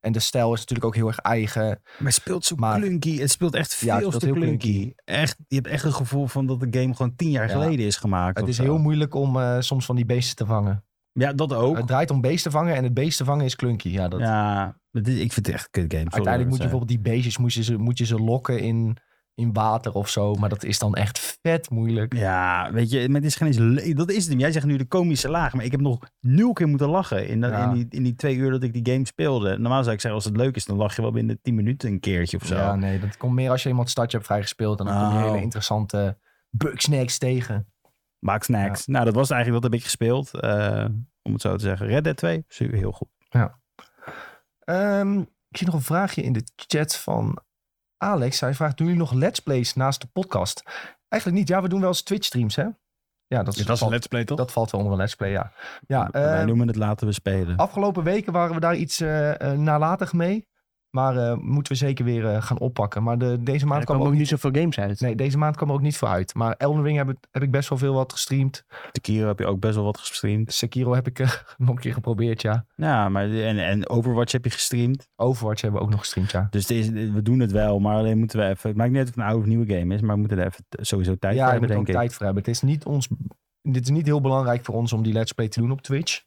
[SPEAKER 1] En de stijl is natuurlijk ook heel erg eigen.
[SPEAKER 3] Maar het speelt zo
[SPEAKER 1] Maar-
[SPEAKER 3] klunky. Het speelt echt
[SPEAKER 1] Ja, het
[SPEAKER 3] veel
[SPEAKER 1] speelt
[SPEAKER 3] te
[SPEAKER 1] heel
[SPEAKER 3] klunky. Echt, je hebt echt een gevoel van dat de game gewoon tien jaar
[SPEAKER 1] Ja.
[SPEAKER 3] geleden is gemaakt.
[SPEAKER 1] Het
[SPEAKER 3] of
[SPEAKER 1] is
[SPEAKER 3] zo.
[SPEAKER 1] heel moeilijk om eh, soms van die beesten te vangen.
[SPEAKER 3] Ja, dat ook.
[SPEAKER 1] Het draait om beesten vangen en het beesten vangen is klunky. Ja, dat,
[SPEAKER 3] Ja, het is- ik vind het echt een kut game. sorry
[SPEAKER 1] Uiteindelijk moet
[SPEAKER 3] dat
[SPEAKER 1] je
[SPEAKER 3] ik
[SPEAKER 1] bijvoorbeeld
[SPEAKER 3] het
[SPEAKER 1] die beestjes moet je ze, moet je ze lokken in, in water of zo. Maar dat is dan echt vet moeilijk.
[SPEAKER 3] zeg. Ja, weet je, maar het is geen eens... le- Dat is het hem. Jij zegt nu de komische laag, maar ik heb nog nul keer moeten lachen in, dat,
[SPEAKER 1] Ja.
[SPEAKER 3] in, die, in die twee uur dat ik die game speelde. Normaal zou ik zeggen, als het leuk is, dan lach je wel binnen tien minuten een keertje of zo.
[SPEAKER 1] Ja, nee, dat komt meer als je iemand stadje hebt vrijgespeeld. En dan kom je
[SPEAKER 3] Oh.
[SPEAKER 1] hele interessante bugsnacks tegen.
[SPEAKER 3] Maak snacks. Nou, dat was het eigenlijk wat heb ik gespeeld. eh, om het zo te zeggen. Red Dead 2, super heel goed.
[SPEAKER 1] Ehm, ik zie nog een vraagje in de chat van Alex. Hij vraagt, doen jullie nog let's plays naast de podcast? Eigenlijk niet. Ja, we doen wel eens Twitch streams, hè? Ja, dat, is,
[SPEAKER 2] Dat is een
[SPEAKER 1] valt,
[SPEAKER 2] let's play, toch?
[SPEAKER 1] dat valt wel onder een let's play, ja. ja
[SPEAKER 3] Wij
[SPEAKER 1] ehm,
[SPEAKER 3] noemen het laten we spelen.
[SPEAKER 1] Afgelopen weken waren we daar iets eh, eh, nalatig mee. Maar eh, moeten we zeker weer eh, gaan oppakken. Maar de, deze maand
[SPEAKER 4] Er
[SPEAKER 1] kwam
[SPEAKER 4] komen
[SPEAKER 1] ook
[SPEAKER 4] ook
[SPEAKER 1] niet...
[SPEAKER 4] niet zoveel games uit.
[SPEAKER 1] Nee, deze maand kwam er ook niet voor uit. Maar Elden Ring heb, ik- heb ik best wel veel wat gestreamd.
[SPEAKER 3] Tekiro heb je ook best wel wat gestreamd.
[SPEAKER 1] Sekiro heb ik eh, nog een keer geprobeerd, ja.
[SPEAKER 3] Ja, maar en, en Overwatch heb je gestreamd.
[SPEAKER 1] Overwatch hebben we ook nog gestreamd, ja.
[SPEAKER 3] Dus het is, we doen het wel, maar alleen moeten we even... Het maakt niet uit of het een oude of nieuwe game is, maar we moeten er even t- sowieso tijd
[SPEAKER 1] ja,
[SPEAKER 3] voor
[SPEAKER 1] daar
[SPEAKER 3] hebben,
[SPEAKER 1] moet
[SPEAKER 3] denk
[SPEAKER 1] ook
[SPEAKER 3] ik.
[SPEAKER 1] tijd voor hebben. Het is niet ons... Dit is niet heel belangrijk voor ons om die let's play te doen op Twitch.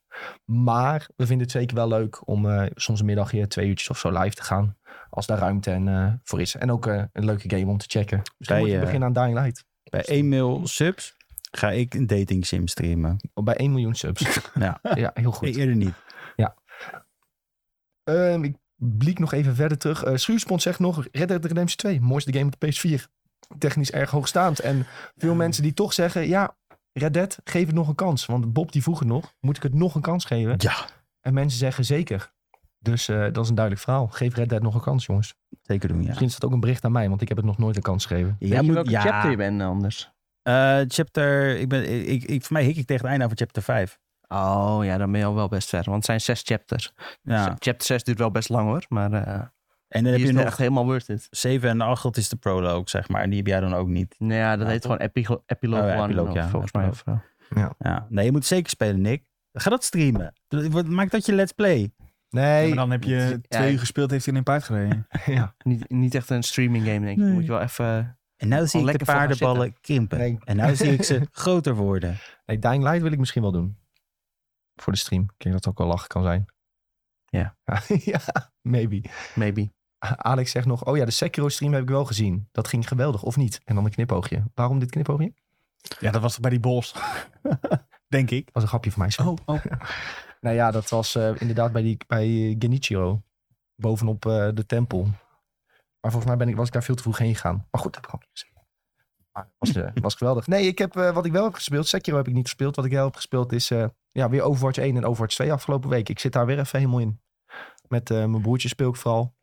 [SPEAKER 1] Maar we vinden het zeker wel leuk om eh, soms een middagje twee uurtjes of zo live te gaan. Als daar ruimte en, eh, voor is. En ook eh, een leuke game om te checken. Misschien
[SPEAKER 3] Bij,
[SPEAKER 1] moet je
[SPEAKER 3] eh,
[SPEAKER 1] beginnen aan Dying Light.
[SPEAKER 3] Bij 1 mil subs ga ik een dating sim streamen.
[SPEAKER 1] Oh, Bij 1 miljoen subs.
[SPEAKER 3] Ja.
[SPEAKER 1] ja, heel goed.
[SPEAKER 4] E-
[SPEAKER 3] Eerder niet.
[SPEAKER 1] Ehm, ik bliek nog even verder terug. Eh Schuurspons zegt nog, Red Dead Redemption 2, mooiste game op de PS4. Technisch erg hoogstaand. En veel mensen die toch zeggen, ja, Red Dead, geef het nog een kans. Want Bob die vroeg het nog, moet ik het nog een kans geven?
[SPEAKER 3] Ja.
[SPEAKER 1] En mensen zeggen zeker. Dus eh, dat is een duidelijk verhaal. Geef Red Dead nog een kans, jongens.
[SPEAKER 3] Zeker doen, ja.
[SPEAKER 1] Misschien is dat ook een bericht aan mij, want ik heb het nog nooit een kans gegeven.
[SPEAKER 4] Weet
[SPEAKER 3] Jij
[SPEAKER 4] je
[SPEAKER 3] moet-
[SPEAKER 4] welke
[SPEAKER 3] ja.
[SPEAKER 4] chapter je bent anders?
[SPEAKER 3] Eh, chapter... Ik ben, ik, ik, ik- voor mij hik ik tegen het einde van chapter 5.
[SPEAKER 4] Oh ja, dan ben je al wel best ver. Want het zijn zes chapters.
[SPEAKER 3] Ja.
[SPEAKER 4] Chapter 6 duurt wel best lang hoor. Maar eh
[SPEAKER 3] En dan
[SPEAKER 4] die
[SPEAKER 3] heb
[SPEAKER 4] is
[SPEAKER 3] je
[SPEAKER 4] het
[SPEAKER 3] nog
[SPEAKER 4] echt helemaal worth it.
[SPEAKER 3] 7 en 8, dat is de prologue, zeg maar. En die heb jij dan ook niet.
[SPEAKER 4] Nou ja, dat
[SPEAKER 3] Ja,
[SPEAKER 4] heet
[SPEAKER 3] toch?
[SPEAKER 4] gewoon Epigo- Epilogue
[SPEAKER 3] Oh ja,
[SPEAKER 4] 1.
[SPEAKER 3] Epilogue,
[SPEAKER 4] of
[SPEAKER 3] ja,
[SPEAKER 4] Volgens mij.
[SPEAKER 3] Epilogue.
[SPEAKER 4] of zo.
[SPEAKER 3] Ja. Nee, je moet zeker spelen, Nick. Ga dat streamen. Dat- wat- Maak dat je let's play.
[SPEAKER 2] Ja,
[SPEAKER 1] Nee.
[SPEAKER 2] maar dan heb je twee
[SPEAKER 4] ik-
[SPEAKER 2] uur gespeeld, heeft hij in een paard gereden.
[SPEAKER 1] ja.
[SPEAKER 4] eh, Niet, niet echt een streaming game denk ik.
[SPEAKER 3] Nee.
[SPEAKER 4] Moet je wel even... eh,
[SPEAKER 3] En nou zie ik de
[SPEAKER 4] lekker voor gaan
[SPEAKER 3] paardenballen krimpen.
[SPEAKER 1] Nee.
[SPEAKER 3] En nou zie ik ze groter worden.
[SPEAKER 1] nee, Dying Light wil ik misschien wel doen. Voor de stream. Ik denk dat het ook wel lachen kan zijn.
[SPEAKER 4] Ja.
[SPEAKER 1] ja, maybe.
[SPEAKER 4] Maybe.
[SPEAKER 1] Alex zegt nog, oh ja, de Sekiro stream heb ik wel gezien. Dat ging geweldig, of niet? En dan een knipoogje. Waarom dit knipoogje?
[SPEAKER 2] Ja, dat was toch bij die bos. Denk ik.
[SPEAKER 1] Dat was een grapje van mij. sorry.
[SPEAKER 2] oh.
[SPEAKER 1] Nou ja, dat was eh, inderdaad bij, die, bij eh, Genichiro. Bovenop eh, de tempel. Maar volgens mij ben ik, was ik daar veel te vroeg heen gegaan. Maar goed, dat heb ik ook niet gezien. Maar het was, eh, was geweldig. Nee, ik heb, eh, wat ik wel heb gespeeld, Sekiro heb ik niet gespeeld. Wat ik wel heb gespeeld is eh, ja, weer Overwatch 1 en Overwatch 2 afgelopen week. Ik zit daar weer even helemaal in. Met eh, mijn broertje speel ik vooral.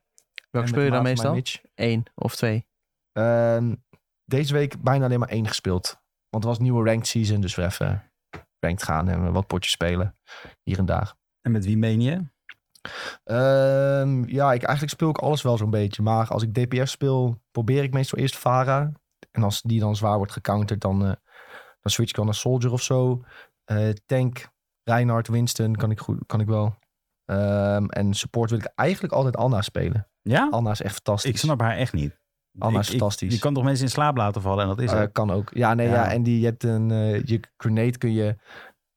[SPEAKER 4] Welke
[SPEAKER 1] En
[SPEAKER 4] speel
[SPEAKER 1] met de
[SPEAKER 4] je dan
[SPEAKER 1] maat van mijn
[SPEAKER 4] meestal?
[SPEAKER 1] Mitch.
[SPEAKER 4] Eén of twee.
[SPEAKER 1] Ehm, deze week bijna alleen maar één gespeeld. Want het was nieuwe ranked season, dus we even ranked gaan en wat potjes spelen. Hier en daar.
[SPEAKER 3] En met wie meen je?
[SPEAKER 1] Ehm, ja, ik, eigenlijk speel ik alles wel zo'n beetje. Maar als ik DPS speel, probeer ik meestal eerst Vara. En als die dan zwaar wordt gecounterd, dan, eh, dan switch ik wel naar Soldier of zo. Eh, tank, Reinhardt, Winston kan ik, goed, kan ik wel. Ehm, en support wil ik eigenlijk altijd Anna spelen.
[SPEAKER 3] Ja?
[SPEAKER 1] Anna is echt fantastisch.
[SPEAKER 3] Ik snap haar echt niet.
[SPEAKER 1] Anna is
[SPEAKER 3] Ik- ik-
[SPEAKER 1] fantastisch.
[SPEAKER 3] Je kan toch mensen in slaap laten vallen en dat is
[SPEAKER 1] Eh,
[SPEAKER 3] het.
[SPEAKER 1] kan ook. Ja, nee, ja.
[SPEAKER 3] Ja.
[SPEAKER 1] en die, je hebt een, eh, je grenade kun je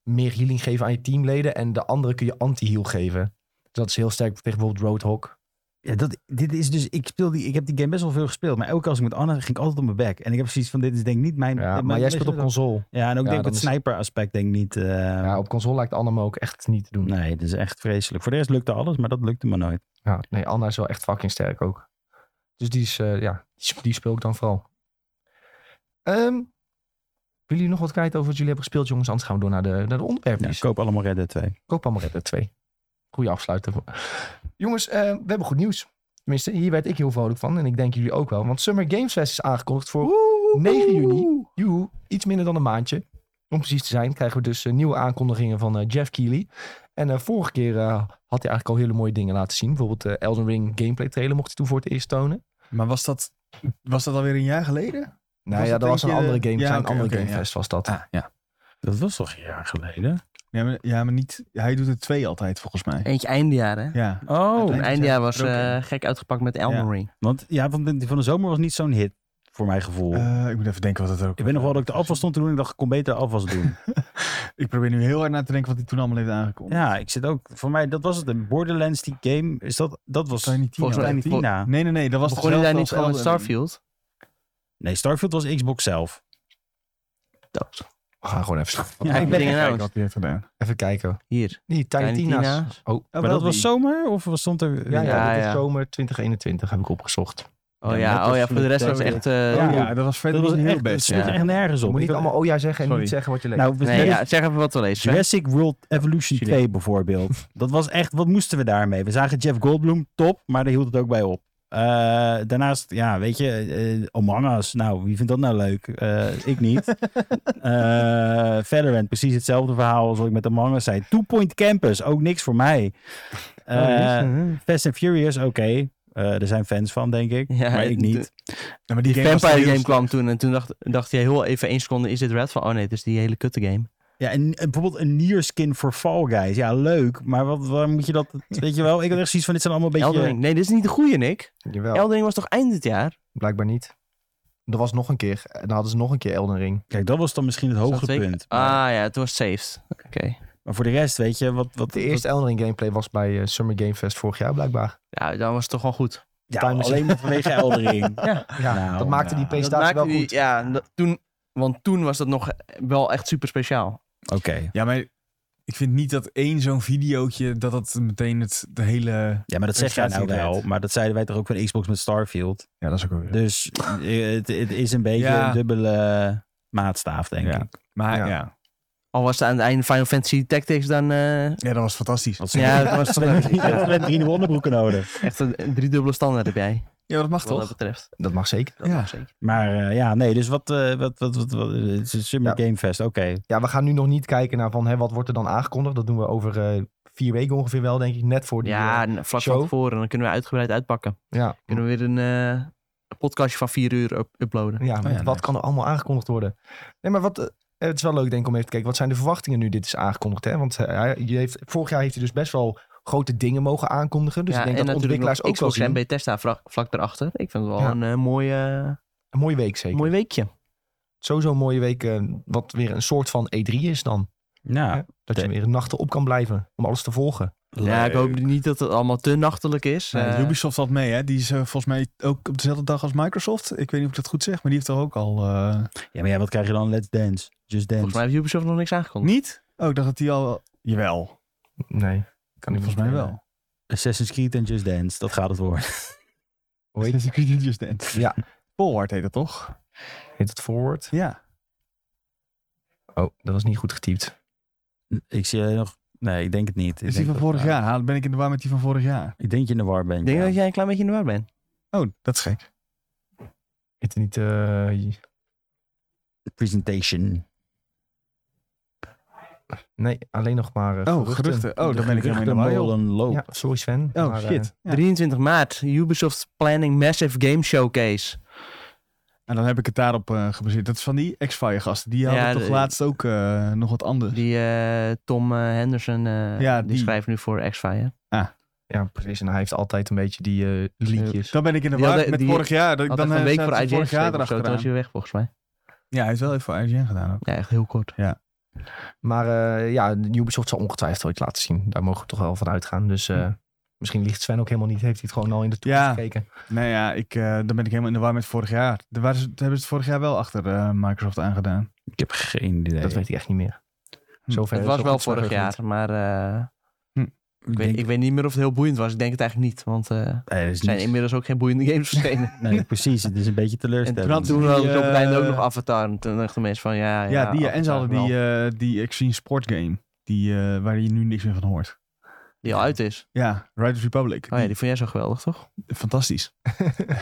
[SPEAKER 1] meer healing geven aan je teamleden. En de andere kun je anti-heal geven. Dus dat is heel sterk tegen bijvoorbeeld Roadhog.
[SPEAKER 3] Ja, dat, dit is dus, ik, speel die, ik heb die game best wel veel gespeeld. Maar elke keer als ik met Anna ging ik altijd op mijn bek. En ik heb precies van, dit is denk ik niet mijn...
[SPEAKER 1] Ja,
[SPEAKER 3] mijn-
[SPEAKER 1] maar jij
[SPEAKER 3] weet
[SPEAKER 1] speelt
[SPEAKER 3] je
[SPEAKER 1] op
[SPEAKER 3] dat?
[SPEAKER 1] console.
[SPEAKER 3] Ja, en ook
[SPEAKER 1] Ja,
[SPEAKER 3] denk ik
[SPEAKER 1] dan
[SPEAKER 3] het
[SPEAKER 1] is-
[SPEAKER 3] sniper aspect denk ik niet... eh,
[SPEAKER 1] Ja, op console lijkt Anna me ook echt niet te doen. Nee.
[SPEAKER 3] Nee, dat is echt vreselijk. Voor de rest lukte alles, maar dat lukte me nooit.
[SPEAKER 1] Ja, nee, Anna is wel echt fucking sterk ook. Dus die, is, eh, ja, die, sp- die speel ik dan vooral. Ehm, willen jullie nog wat kwijt over wat jullie hebben gespeeld, jongens? Anders gaan we door naar de, naar de
[SPEAKER 3] Ja,
[SPEAKER 1] onderwerpjes.
[SPEAKER 3] ik koop allemaal Red Dead 2.
[SPEAKER 1] Koop allemaal Red Dead 2. Goeie afsluiter. Jongens, eh, we hebben goed nieuws. Tenminste, hier werd ik heel vrolijk van. En ik denk jullie ook wel. Want Summer Games Fest is aangekondigd voor 9 juni. Joehoe, iets minder dan een maandje. Om precies te zijn krijgen we dus eh, nieuwe aankondigingen van eh, Jeff Keighley. En eh, vorige keer eh, had hij eigenlijk al hele mooie dingen laten zien. Bijvoorbeeld eh, Elden Ring gameplay trailer mocht hij toen voor het eerst tonen.
[SPEAKER 2] Maar was dat, was dat alweer een jaar geleden?
[SPEAKER 1] Nou
[SPEAKER 2] Was
[SPEAKER 1] ja,
[SPEAKER 2] dat
[SPEAKER 1] dat was een
[SPEAKER 2] eentje-
[SPEAKER 1] andere game,
[SPEAKER 2] Ja,
[SPEAKER 1] zijn
[SPEAKER 2] oké,
[SPEAKER 1] andere
[SPEAKER 2] oké,
[SPEAKER 1] gamefest was dat.
[SPEAKER 2] Ah, ja.
[SPEAKER 3] Dat was toch een jaar geleden?
[SPEAKER 2] Ja, maar, ja, maar niet, hij doet er twee altijd volgens mij.
[SPEAKER 4] Eentje eindjaar, hè?
[SPEAKER 2] Ja.
[SPEAKER 3] Oh,
[SPEAKER 2] Uiteindelijk-
[SPEAKER 4] Eindjaar was
[SPEAKER 2] gesproken.
[SPEAKER 4] eh, gek uitgepakt met Elden
[SPEAKER 2] Ja.
[SPEAKER 4] Ring.
[SPEAKER 3] want ja, van, die van de zomer was niet zo'n hit voor mijn gevoel.
[SPEAKER 2] Eh, ik moet even denken wat het ook
[SPEAKER 3] Oh. ik weet nog wel dat ik de afwas stond te doen en ik dacht, ik kon beter afwas doen.
[SPEAKER 2] Ik probeer nu heel hard na te denken wat hij toen allemaal heeft aangekomen.
[SPEAKER 3] ja, ik zit ook, voor mij, dat was het. Een Borderlands, die game, is dat, dat was...
[SPEAKER 2] Tiny Tina.
[SPEAKER 4] Volgens mij
[SPEAKER 3] Tiny
[SPEAKER 4] niet.
[SPEAKER 3] Tina.
[SPEAKER 2] Nee, nee, nee. Dat was
[SPEAKER 4] Begon je daar
[SPEAKER 2] dezelfde
[SPEAKER 4] niet
[SPEAKER 2] als
[SPEAKER 4] gewoon met
[SPEAKER 2] Elden Ring.
[SPEAKER 4] Starfield?
[SPEAKER 3] Nee, Starfield was Xbox zelf.
[SPEAKER 1] We gaan gewoon even,
[SPEAKER 3] Ja, ik ben,
[SPEAKER 4] Dingen
[SPEAKER 2] Kijk
[SPEAKER 4] nou.
[SPEAKER 2] wat hij heeft gedaan.
[SPEAKER 1] even kijken.
[SPEAKER 4] Hier.
[SPEAKER 1] Die Tiny
[SPEAKER 4] Tiny
[SPEAKER 1] Tina's.
[SPEAKER 4] Tina's.
[SPEAKER 1] Oh,
[SPEAKER 2] Oh,
[SPEAKER 3] maar dat
[SPEAKER 2] wel
[SPEAKER 3] was
[SPEAKER 2] die.
[SPEAKER 3] zomer? Of was- stond er...
[SPEAKER 1] ja, ja,
[SPEAKER 4] Ja,
[SPEAKER 1] dit is
[SPEAKER 4] ja.
[SPEAKER 1] zomer 2021 heb ik opgezocht.
[SPEAKER 4] Oh
[SPEAKER 3] Ja,
[SPEAKER 4] ja,
[SPEAKER 3] net
[SPEAKER 4] oh,
[SPEAKER 3] als
[SPEAKER 4] ja voor de rest was het
[SPEAKER 3] Victoria.
[SPEAKER 4] echt... eh,
[SPEAKER 2] Oh,
[SPEAKER 3] Ja.
[SPEAKER 2] ja, dat was verder
[SPEAKER 3] Dat was
[SPEAKER 2] niet heel
[SPEAKER 3] echt,
[SPEAKER 2] best.
[SPEAKER 3] best, sloeg
[SPEAKER 4] ja.
[SPEAKER 3] echt nergens op.
[SPEAKER 1] Moet niet
[SPEAKER 3] Ik-
[SPEAKER 1] allemaal oh ja zeggen en
[SPEAKER 2] Sorry.
[SPEAKER 1] niet zeggen wat je leest.
[SPEAKER 3] Nou, we-
[SPEAKER 4] Nee,
[SPEAKER 3] Jurassic-
[SPEAKER 4] ja, zeg even wat we lezen.
[SPEAKER 3] Jurassic World Evolution
[SPEAKER 4] Jullie.
[SPEAKER 3] 2 bijvoorbeeld. Dat was echt, wat moesten we daarmee? We zagen Jeff Goldblum, top, maar daar hield het ook bij op. Eh, daarnaast, ja, weet je, eh, Among Us. Nou, wie vindt dat nou leuk? Eh, ik niet. Eh Valorant, precies hetzelfde verhaal als wat ik met Among Us zei. Two Point Campus, ook niks voor mij. Eh,
[SPEAKER 4] Oh,
[SPEAKER 3] Fast and Furious, oké. Eh, er zijn fans van, denk ik.
[SPEAKER 4] Ja,
[SPEAKER 3] maar ik
[SPEAKER 4] de-
[SPEAKER 3] niet.
[SPEAKER 2] Ja, maar die game was
[SPEAKER 4] Vampire
[SPEAKER 2] heel
[SPEAKER 4] game
[SPEAKER 2] slecht.
[SPEAKER 4] kwam toen en toen dacht, dacht je heel even één seconde, is dit Red? Van, oh nee, het is die hele kutte game.
[SPEAKER 3] Ja, en, en bijvoorbeeld een Nierskin voor Fall Guys. Ja, leuk. Maar wat, waar moet je dat... Weet je wel, ik had echt zoiets van, dit zijn allemaal een beetje...
[SPEAKER 4] Elden Ring. Nee, dit is niet de goede, Nick.
[SPEAKER 1] Jawel,
[SPEAKER 4] Elden Ring was toch eind dit jaar?
[SPEAKER 1] blijkbaar niet. Er was nog een keer. En dan hadden ze nog een keer Elden Ring.
[SPEAKER 3] Kijk, dat was dan misschien het
[SPEAKER 4] Is dat zeker?
[SPEAKER 3] hoogtepunt.
[SPEAKER 4] Ah
[SPEAKER 3] Maar,
[SPEAKER 4] ja, toen was het saved. Oké.
[SPEAKER 3] maar voor de rest, weet je, wat... wat
[SPEAKER 1] De eerste Elden Ring gameplay was bij eh, Summer Game Fest vorig jaar blijkbaar.
[SPEAKER 4] Nou, dan was het toch wel goed.
[SPEAKER 3] ja,
[SPEAKER 1] Time is-
[SPEAKER 3] alleen maar vanwege Eldering.
[SPEAKER 4] Ja.
[SPEAKER 1] Ja,
[SPEAKER 3] Nou,
[SPEAKER 1] dat maakte
[SPEAKER 3] nou.
[SPEAKER 1] die presentatie wel
[SPEAKER 4] maakte die-
[SPEAKER 1] goed.
[SPEAKER 4] ja, dat- toen, want toen was dat nog wel echt super speciaal.
[SPEAKER 3] Oké.
[SPEAKER 2] Ja, maar ik vind niet dat één zo'n videootje, dat dat meteen het de hele...
[SPEAKER 3] Ja, maar dat zeg jij nou wel. Maar dat zeiden wij toch ook van Xbox met Starfield.
[SPEAKER 2] Ja, dat is ook wel weer.
[SPEAKER 3] Dus eh, het, het is een beetje
[SPEAKER 2] Ja.
[SPEAKER 3] een dubbele maatstaaf, denk
[SPEAKER 2] Ja.
[SPEAKER 3] ik.
[SPEAKER 2] Maar
[SPEAKER 1] Ja.
[SPEAKER 2] ja. ja.
[SPEAKER 4] Al was het aan het einde Final Fantasy Tactics dan... eh,
[SPEAKER 2] dat was fantastisch.
[SPEAKER 3] Want ze
[SPEAKER 4] ja, dat was toch
[SPEAKER 3] hebben
[SPEAKER 4] echt-
[SPEAKER 3] drie- ze
[SPEAKER 4] ja,
[SPEAKER 3] hebben drie nieuwe onderbroeken nodig.
[SPEAKER 4] echt een een driedubbele standaard heb jij.
[SPEAKER 2] Ja, dat mag
[SPEAKER 4] Wat dat betreft.
[SPEAKER 1] Dat mag zeker.
[SPEAKER 4] Dat
[SPEAKER 2] Ja.
[SPEAKER 4] mag zeker.
[SPEAKER 3] Maar eh, ja, nee, dus wat... eh, wat, wat, wat, wat- het is Summer Game Fest, oké.
[SPEAKER 1] Ja, we gaan nu nog niet kijken naar van, hè, wat wordt er dan aangekondigd. Dat doen we over eh, vier weken ongeveer wel, denk ik. Net voor die...
[SPEAKER 4] Ja,
[SPEAKER 1] eh,
[SPEAKER 4] en vlak
[SPEAKER 1] show.
[SPEAKER 4] van tevoren. Dan kunnen we uitgebreid uitpakken.
[SPEAKER 1] ja.
[SPEAKER 4] Kunnen we weer een eh, podcastje van vier uur up- uploaden.
[SPEAKER 1] Ja, want
[SPEAKER 2] ja,
[SPEAKER 1] wat
[SPEAKER 2] nice.
[SPEAKER 1] kan er allemaal aangekondigd worden? Nee, maar wat, eh, het is wel leuk denk ik om even te kijken. Wat zijn de verwachtingen nu dit is aangekondigd? Hè? Want eh, hij, je heeft, vorig jaar heeft hij dus best wel grote dingen mogen aankondigen. Dus
[SPEAKER 4] ja,
[SPEAKER 1] ik denk
[SPEAKER 4] en
[SPEAKER 1] dat
[SPEAKER 4] natuurlijk
[SPEAKER 1] ontwikkelaars
[SPEAKER 4] nog
[SPEAKER 1] ook wel
[SPEAKER 4] Xbox en
[SPEAKER 1] zien.
[SPEAKER 4] Bethesda vlak, vlak daarachter. Ik vind het wel
[SPEAKER 1] Ja.
[SPEAKER 4] een eh, mooie,
[SPEAKER 1] Een mooie week zeker.
[SPEAKER 4] mooi weekje.
[SPEAKER 1] Sowieso een mooie week, eh, wat weer een soort van E3 is dan.
[SPEAKER 3] Nou,
[SPEAKER 1] Dat je
[SPEAKER 3] Oké.
[SPEAKER 1] weer nachten op kan blijven om alles te volgen.
[SPEAKER 4] Ja, ik hoop niet dat het allemaal te nachtelijk is.
[SPEAKER 2] Nee,
[SPEAKER 4] Eh,
[SPEAKER 2] Ubisoft had mee, hè? Die is eh, volgens mij ook op dezelfde dag als Microsoft. Ik weet niet of ik dat goed zeg, maar die heeft er ook al... eh,
[SPEAKER 3] ja, maar ja, wat krijg je dan? Let's Dance. Just Dance.
[SPEAKER 4] volgens mij heeft Ubisoft nog niks aangekondigd.
[SPEAKER 2] Niet? Oh, ik dacht dat die al... Jawel.
[SPEAKER 1] Nee.
[SPEAKER 2] Kan die volgens mij wel.
[SPEAKER 3] Assassin's Creed en Just Dance, dat gaat het worden.
[SPEAKER 1] Hoe heet,
[SPEAKER 2] Assassin's Creed Just Dance.
[SPEAKER 1] Ja.
[SPEAKER 2] Polwart heet dat toch?
[SPEAKER 1] heet het Forward?
[SPEAKER 2] Ja.
[SPEAKER 1] Oh, dat was niet goed getypt.
[SPEAKER 3] Ik zie eh, nog... Nee, ik denk het niet. Ik
[SPEAKER 2] Is die
[SPEAKER 3] denk
[SPEAKER 2] van
[SPEAKER 3] dat-
[SPEAKER 2] vorig jaar? Ha, Ben ik in de war met die van vorig jaar?
[SPEAKER 3] Ik denk je in de war bent.
[SPEAKER 4] Ik denk
[SPEAKER 3] ja.
[SPEAKER 4] dat jij een klein beetje in de war bent.
[SPEAKER 2] Oh, dat is gek.
[SPEAKER 1] Heet het niet... eh,
[SPEAKER 3] Presentation.
[SPEAKER 1] nee, alleen nog maar eh,
[SPEAKER 2] Oh, geruchten. Oh, dan ben ik helemaal in de war. joh.
[SPEAKER 3] Molen loop.
[SPEAKER 1] Ja, sorry Sven.
[SPEAKER 2] Oh,
[SPEAKER 1] maar, eh,
[SPEAKER 2] shit. Ja.
[SPEAKER 4] 23 maart, Ubisoft planning massive game showcase.
[SPEAKER 2] En dan heb ik het daarop eh, gebaseerd. Dat is van die X-Fire gasten. Die hadden
[SPEAKER 4] Ja,
[SPEAKER 2] toch
[SPEAKER 4] de-
[SPEAKER 2] laatst ook eh, nog wat anders.
[SPEAKER 4] Die eh, Tom eh, Henderson, eh,
[SPEAKER 2] Ja,
[SPEAKER 4] die,
[SPEAKER 2] die.
[SPEAKER 4] schrijft nu voor X-Fire.
[SPEAKER 1] Ja, precies. En hij heeft altijd een beetje die eh, liedjes.
[SPEAKER 2] Dan ben ik in de
[SPEAKER 4] Die
[SPEAKER 2] war
[SPEAKER 4] hadden-
[SPEAKER 2] met
[SPEAKER 4] die
[SPEAKER 2] vorig jaar. Dat ik
[SPEAKER 4] Had
[SPEAKER 2] dan
[SPEAKER 4] echt een
[SPEAKER 2] eh,
[SPEAKER 4] week
[SPEAKER 2] zaten
[SPEAKER 4] voor
[SPEAKER 2] ze
[SPEAKER 4] IGN
[SPEAKER 2] vorig jaar
[SPEAKER 4] geschreven of zo, toen
[SPEAKER 2] erachteraan.
[SPEAKER 4] was hij weg volgens mij.
[SPEAKER 2] Ja, hij is wel even voor IGN gedaan ook.
[SPEAKER 4] Ja, echt heel kort.
[SPEAKER 1] Maar eh, ja, Ubisoft zal ongetwijfeld wel iets laten zien. Daar mogen we toch wel van uitgaan. Dus eh, misschien ligt Sven ook helemaal niet. Heeft hij het gewoon al in de toekomst
[SPEAKER 2] Hm. Ja.
[SPEAKER 1] gekeken.
[SPEAKER 2] Nou ja, ik, eh, dan ben ik helemaal in de war met vorig jaar. Daar waren ze- daar hebben ze het vorig jaar wel achter eh, Microsoft aangedaan.
[SPEAKER 3] Ik heb geen idee.
[SPEAKER 1] Dat weet hij echt niet meer.
[SPEAKER 2] Hm.
[SPEAKER 1] Zover,
[SPEAKER 4] het was
[SPEAKER 1] zo
[SPEAKER 4] wel
[SPEAKER 1] goed is mijn
[SPEAKER 4] vorig
[SPEAKER 1] geheugen niet.
[SPEAKER 4] jaar, maar eh,
[SPEAKER 3] ik.
[SPEAKER 4] ik, weet, ik weet niet meer of het heel boeiend was. Ik denk het eigenlijk niet, want eh, er
[SPEAKER 3] Nee, dat is
[SPEAKER 4] zijn
[SPEAKER 3] niet-
[SPEAKER 4] inmiddels ook geen boeiende games verschenen.
[SPEAKER 3] nee, precies. Het is een beetje
[SPEAKER 4] en toen,
[SPEAKER 3] teleurstellend.
[SPEAKER 4] toen
[SPEAKER 2] die,
[SPEAKER 4] hadden ze op het einde ook
[SPEAKER 2] eh,
[SPEAKER 4] nog Avatar. En toen dachten mensen van ja, ja,
[SPEAKER 2] Ja, die, eh, en ze
[SPEAKER 4] Avatar
[SPEAKER 2] hadden
[SPEAKER 4] wel,
[SPEAKER 2] die, eh, die Extreme Sport Game. Die, eh, waar je nu niks meer van hoort.
[SPEAKER 4] die al uit is.
[SPEAKER 2] Ja, Riders Republic.
[SPEAKER 4] Oh ja, die vond jij zo geweldig, toch?
[SPEAKER 2] Fantastisch.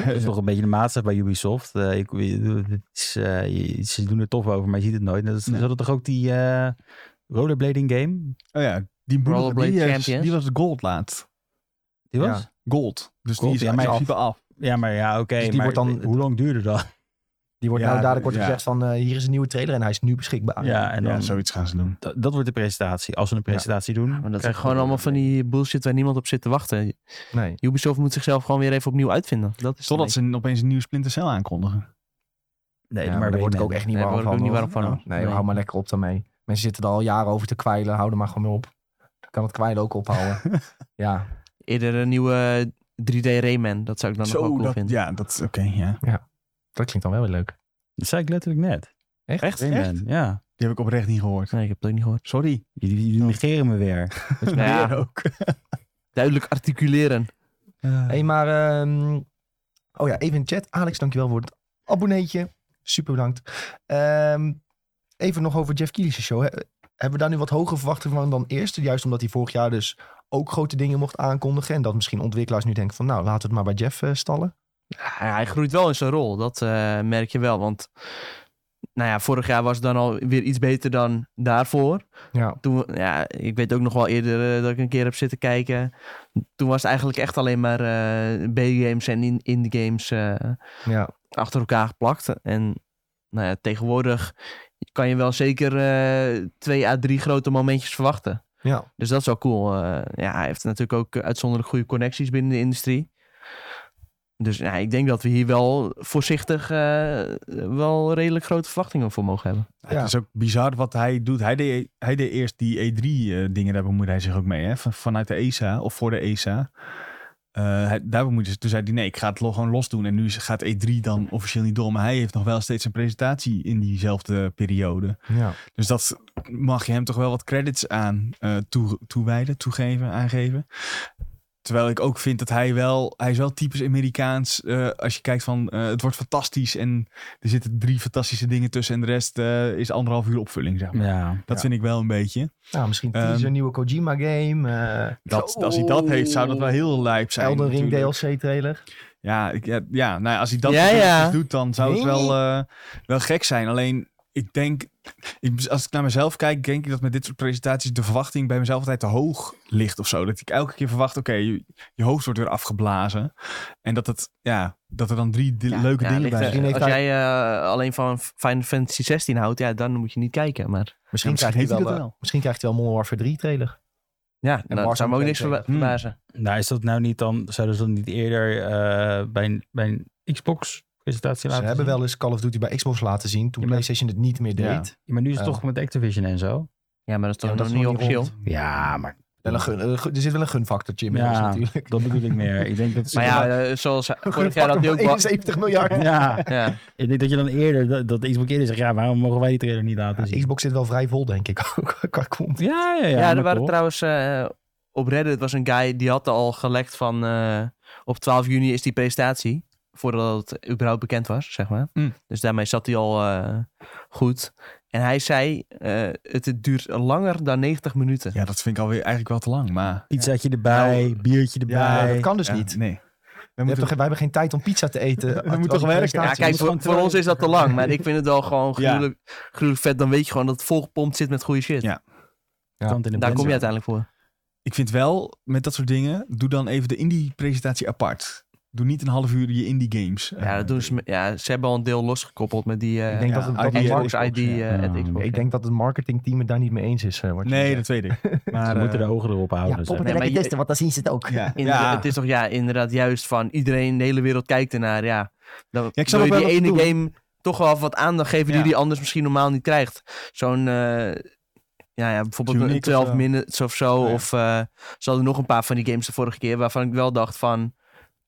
[SPEAKER 3] Dat is toch een beetje de maatstaf bij Ubisoft. Eh, ik, het is, eh, je- ze doen er tof over, maar je ziet het nooit. Net als- Ze
[SPEAKER 2] Nee.
[SPEAKER 3] hadden toch ook die eh rollerblading game?
[SPEAKER 2] Oh ja, Die broer,
[SPEAKER 4] Rollerblade
[SPEAKER 2] die, is-
[SPEAKER 4] Champions.
[SPEAKER 2] die was gold laat.
[SPEAKER 3] Die was?
[SPEAKER 1] Ja.
[SPEAKER 3] Ja,
[SPEAKER 2] Gold. Dus
[SPEAKER 3] Gold,
[SPEAKER 2] die is
[SPEAKER 3] ja,
[SPEAKER 2] in
[SPEAKER 3] maar
[SPEAKER 2] principe af.
[SPEAKER 3] maar ja, oké.
[SPEAKER 1] Dus die
[SPEAKER 3] maar
[SPEAKER 1] wordt dan-
[SPEAKER 3] Hoe lang duurde dat?
[SPEAKER 1] Die wordt
[SPEAKER 2] Ja,
[SPEAKER 1] nou dadelijk wordt
[SPEAKER 2] ja.
[SPEAKER 1] gezegd van eh, hier is een nieuwe trailer en hij is nu beschikbaar.
[SPEAKER 3] Ja, en dan...
[SPEAKER 2] Ja, zoiets gaan ze doen.
[SPEAKER 3] dat, dat wordt de presentatie. Als we een presentatie doen...
[SPEAKER 4] Maar dat
[SPEAKER 3] krijg
[SPEAKER 4] zijn
[SPEAKER 3] je
[SPEAKER 4] gewoon allemaal van die bullshit waar niemand op zit te wachten.
[SPEAKER 1] Nee.
[SPEAKER 4] Ubisoft moet zichzelf gewoon weer even opnieuw uitvinden. Dat Dus is
[SPEAKER 2] Totdat ze opeens een nieuwe Splinter Cell aankondigen.
[SPEAKER 3] Nee,
[SPEAKER 1] Ja,
[SPEAKER 3] maar,
[SPEAKER 1] maar daar word ik ook
[SPEAKER 3] Rayman.
[SPEAKER 1] echt niet
[SPEAKER 4] Nee,
[SPEAKER 1] warm
[SPEAKER 4] word ik
[SPEAKER 1] van.
[SPEAKER 4] ook niet
[SPEAKER 1] hoor.
[SPEAKER 4] warm van, hoor.
[SPEAKER 1] Nee,
[SPEAKER 4] Nee.
[SPEAKER 1] hou maar lekker op daarmee. Mensen zitten er al jaren over te kwijlen. Hou er maar gewoon mee op. Dan kan het kwijlen ook ophouden. ja,
[SPEAKER 4] Eerder een nieuwe 3D Rayman. Dat zou ik dan nog wel cool
[SPEAKER 2] dat,
[SPEAKER 4] vinden.
[SPEAKER 2] ja, dat is oké. ja.
[SPEAKER 1] dat klinkt dan wel weer leuk.
[SPEAKER 3] Dat zei ik letterlijk net.
[SPEAKER 4] Echt?
[SPEAKER 3] Rayman, ja.
[SPEAKER 2] Die heb ik oprecht niet gehoord.
[SPEAKER 4] Nee, ik heb het ook niet gehoord.
[SPEAKER 2] Sorry.
[SPEAKER 3] Jullie, jullie negeren me weer.
[SPEAKER 4] Nou ja,
[SPEAKER 2] Weer ook.
[SPEAKER 4] duidelijk articuleren.
[SPEAKER 1] Hé, hey, maar... ehm, oh ja, even in de chat. Alex, dankjewel voor het abonneetje. Super bedankt. Ehm, even nog over Jeff Keely's show. He- hebben we daar nu wat hogere verwachtingen van dan eerst? Juist omdat hij vorig jaar dus ook grote dingen mocht aankondigen. En dat misschien ontwikkelaars nu denken van... Nou, laten we het maar bij Jeff eh, stallen.
[SPEAKER 4] Ja, hij groeit wel in zijn rol, dat eh, merk je wel. Want nou ja, vorig jaar was het dan alweer iets beter dan daarvoor.
[SPEAKER 1] Ja.
[SPEAKER 4] Toen, we- ja, ik weet ook nog wel eerder eh, dat ik een keer heb zitten kijken. Toen was het eigenlijk echt alleen maar eh B-games en in- indie games eh,
[SPEAKER 1] Ja,
[SPEAKER 4] achter elkaar geplakt. En nou ja, tegenwoordig kan je wel zeker eh, twee à drie grote momentjes verwachten.
[SPEAKER 1] ja.
[SPEAKER 4] Dus dat is wel cool. Eh, ja, hij heeft natuurlijk ook eh, uitzonderlijk goede connecties binnen de industrie. Dus ja, ik denk dat we hier wel voorzichtig eh, wel redelijk grote verwachtingen voor mogen hebben.
[SPEAKER 1] Ja.
[SPEAKER 2] Het is ook bizar wat hij doet. Hij deed, hij deed eerst die E E3-dingen, daar bemoeide hij zich ook mee. Hè? Van, vanuit de ESA, of voor de ESA. Eh, hij, daar bemoeide ze. Toen zei hij, nee, ik ga het lo- gewoon los doen. En nu is- gaat E3 dan officieel niet door. Maar hij heeft nog wel steeds een presentatie in diezelfde periode.
[SPEAKER 1] ja.
[SPEAKER 2] Dus dat mag je hem toch wel wat credits aan eh, toe, toewijden, toegeven, aangeven. Terwijl ik ook vind dat hij wel, hij is wel typisch Amerikaans. eh, als je kijkt van, eh, het wordt fantastisch en er zitten drie fantastische dingen tussen en de rest eh, is anderhalf uur opvulling, zeg maar.
[SPEAKER 3] Ja.
[SPEAKER 2] Dat
[SPEAKER 1] Ja.
[SPEAKER 2] vind ik wel een beetje.
[SPEAKER 1] Nou, misschien
[SPEAKER 2] Ehm,
[SPEAKER 1] teaser, nieuwe Kojima-game. eh
[SPEAKER 2] Dat, als hij dat heeft, zou dat wel heel lijp zijn.
[SPEAKER 1] Elden Ring
[SPEAKER 2] natuurlijk.
[SPEAKER 1] DLC-trailer.
[SPEAKER 2] Ja, ik, ja, ja, nou ja, als hij dat
[SPEAKER 4] Ja,
[SPEAKER 2] natuurlijk
[SPEAKER 4] ja.
[SPEAKER 2] dus doet, dan zou het
[SPEAKER 1] Nee.
[SPEAKER 2] wel, eh, wel gek zijn. Alleen, ik denk, ik- als ik naar mezelf kijk, denk ik dat met dit soort presentaties de verwachting bij mezelf altijd te hoog ligt of zo. Dat ik elke keer verwacht, oké, je, je hoofd wordt weer afgeblazen. En dat, het, ja, dat er dan drie di-
[SPEAKER 4] Ja,
[SPEAKER 2] leuke
[SPEAKER 4] ja,
[SPEAKER 2] dingen
[SPEAKER 4] ligt
[SPEAKER 2] bij
[SPEAKER 4] er-
[SPEAKER 2] zijn.
[SPEAKER 1] Misschien heeft
[SPEAKER 4] Als
[SPEAKER 1] hij-
[SPEAKER 4] jij eh, alleen van Final Fantasy 16 houdt, ja, dan moet je niet kijken. Maar
[SPEAKER 1] Misschien,
[SPEAKER 2] Ja, misschien
[SPEAKER 1] krijgt
[SPEAKER 2] heeft
[SPEAKER 1] hij
[SPEAKER 2] hij
[SPEAKER 1] wel,
[SPEAKER 2] dat
[SPEAKER 1] eh,
[SPEAKER 2] wel.
[SPEAKER 1] misschien krijgt hij wel Modern Warfare 3-trailer.
[SPEAKER 4] ja,
[SPEAKER 1] Warzone
[SPEAKER 4] dan zou me ook niks
[SPEAKER 1] 2
[SPEAKER 4] verba-
[SPEAKER 2] Hmm.
[SPEAKER 4] verbazen.
[SPEAKER 3] Nou, is dat nou niet dan... Zouden ze dat niet eerder eh, bij, een, bij een Xbox-presentatie
[SPEAKER 1] Ze
[SPEAKER 3] laten
[SPEAKER 1] hebben
[SPEAKER 3] zien?
[SPEAKER 1] wel eens Call of Duty bij Xbox laten zien toen
[SPEAKER 3] Ja, maar-
[SPEAKER 1] PlayStation het niet meer deed.
[SPEAKER 2] Ja.
[SPEAKER 3] Ja, maar nu is het
[SPEAKER 1] Ja.
[SPEAKER 3] toch met Activision en zo?
[SPEAKER 4] Ja, maar dat is
[SPEAKER 1] Ja,
[SPEAKER 4] toch
[SPEAKER 1] maar dat
[SPEAKER 4] nog
[SPEAKER 1] is nog
[SPEAKER 4] niet
[SPEAKER 1] niet
[SPEAKER 4] officieel.
[SPEAKER 1] rond.
[SPEAKER 3] Ja, maar...
[SPEAKER 1] Wel een gun- eh, gun- er zit wel een gunfactortje inmiddels
[SPEAKER 3] Ja.
[SPEAKER 1] natuurlijk.
[SPEAKER 3] Dat bedoel ik meer. Ik denk dat ze...
[SPEAKER 4] Maar ja, eh, zoals
[SPEAKER 1] Een
[SPEAKER 4] vorig jaar had hij
[SPEAKER 1] gunfactor
[SPEAKER 4] ook...
[SPEAKER 1] van 71
[SPEAKER 4] wel-
[SPEAKER 1] miljard.
[SPEAKER 3] Ja,
[SPEAKER 4] Ja,
[SPEAKER 3] ik denk dat je dan eerder... Dat, dat Xbox eerder zegt, ja, waarom mogen wij die trailer niet laten zien?
[SPEAKER 1] Xbox zit wel vrij vol, denk ik. ook, qua content.
[SPEAKER 3] Ja, ja, ja.
[SPEAKER 4] Ja, er
[SPEAKER 3] maar
[SPEAKER 4] waren
[SPEAKER 3] toch.
[SPEAKER 4] trouwens eh, op Reddit was een guy die had al gelekt van eh, op 12 juni is die presentatie. Voordat het überhaupt bekend was, zeg maar.
[SPEAKER 2] Mm.
[SPEAKER 4] Dus daarmee zat hij al eh, goed. En hij zei, eh, het duurt langer dan 90
[SPEAKER 1] eh,
[SPEAKER 4] minuten.
[SPEAKER 2] Ja, dat vind ik alweer eigenlijk wel te lang, maar...
[SPEAKER 3] Pizzaatje erbij,
[SPEAKER 2] Nou,
[SPEAKER 3] biertje
[SPEAKER 2] ja,
[SPEAKER 3] erbij.
[SPEAKER 1] dat kan dus
[SPEAKER 2] Ja,
[SPEAKER 1] niet.
[SPEAKER 2] Nee. We
[SPEAKER 1] We hebben,
[SPEAKER 2] moeten
[SPEAKER 1] toch- wij hebben geen tijd om pizza te eten. terwijl
[SPEAKER 2] moeten
[SPEAKER 1] die
[SPEAKER 2] toch werken?
[SPEAKER 4] Ja,
[SPEAKER 1] presentatie
[SPEAKER 4] kijk,
[SPEAKER 1] is.
[SPEAKER 4] voor,
[SPEAKER 3] gewoon
[SPEAKER 4] voor
[SPEAKER 3] twee
[SPEAKER 4] ons is dat te lang. Maar ik vind het wel gewoon
[SPEAKER 2] Ja.
[SPEAKER 4] gruwelijk, gruwelijk vet. Dan weet je gewoon dat het volgepompt zit met goede shit.
[SPEAKER 2] Ja,
[SPEAKER 1] Ja.
[SPEAKER 3] Kant in de
[SPEAKER 4] Daar kom je
[SPEAKER 3] blender.
[SPEAKER 4] uiteindelijk voor.
[SPEAKER 2] Ik vind wel, met dat soort dingen, doe dan even de indie-presentatie apart. Doe niet een half uur je indie-games.
[SPEAKER 4] Ja, dat doen ze, met- ja, ze hebben al een deel losgekoppeld met die eh,
[SPEAKER 1] Ik denk dat het- dat
[SPEAKER 2] ID,
[SPEAKER 1] het
[SPEAKER 4] Xbox
[SPEAKER 1] markt-
[SPEAKER 4] ID. eh
[SPEAKER 3] ja.
[SPEAKER 4] at Xbox,
[SPEAKER 1] Ik denk dat het marketingteam het daar niet mee eens is. eh, wordt
[SPEAKER 2] Nee,
[SPEAKER 1] gezegd.
[SPEAKER 2] dat weet ik. Maar,
[SPEAKER 3] Ze moeten de
[SPEAKER 2] eh,
[SPEAKER 3] ogen erop
[SPEAKER 1] Ja,
[SPEAKER 3] houden.
[SPEAKER 1] pop het
[SPEAKER 3] zeg.
[SPEAKER 4] Nee,
[SPEAKER 1] lekker
[SPEAKER 4] maar je-
[SPEAKER 1] testen, want dan zien ze het ook.
[SPEAKER 2] ja.
[SPEAKER 4] Inderdaad,
[SPEAKER 2] Ja.
[SPEAKER 4] Het is toch ja, inderdaad juist van iedereen, de hele wereld kijkt ernaar. Ja, dan
[SPEAKER 2] Ja, ik snap
[SPEAKER 4] wil je
[SPEAKER 2] ook wel
[SPEAKER 4] die
[SPEAKER 2] wat je
[SPEAKER 4] ene
[SPEAKER 2] bedoelt.
[SPEAKER 4] game toch wel wat aandacht geven
[SPEAKER 2] Ja.
[SPEAKER 4] die die anders misschien normaal niet krijgt. Zo'n, eh, ja, ja, bijvoorbeeld
[SPEAKER 2] Tunic
[SPEAKER 4] een
[SPEAKER 2] of
[SPEAKER 4] 12
[SPEAKER 2] zo.
[SPEAKER 4] minutes of zo.
[SPEAKER 2] Ja.
[SPEAKER 4] Of eh ze hadden nog een paar van die games de vorige keer waarvan ik wel dacht van,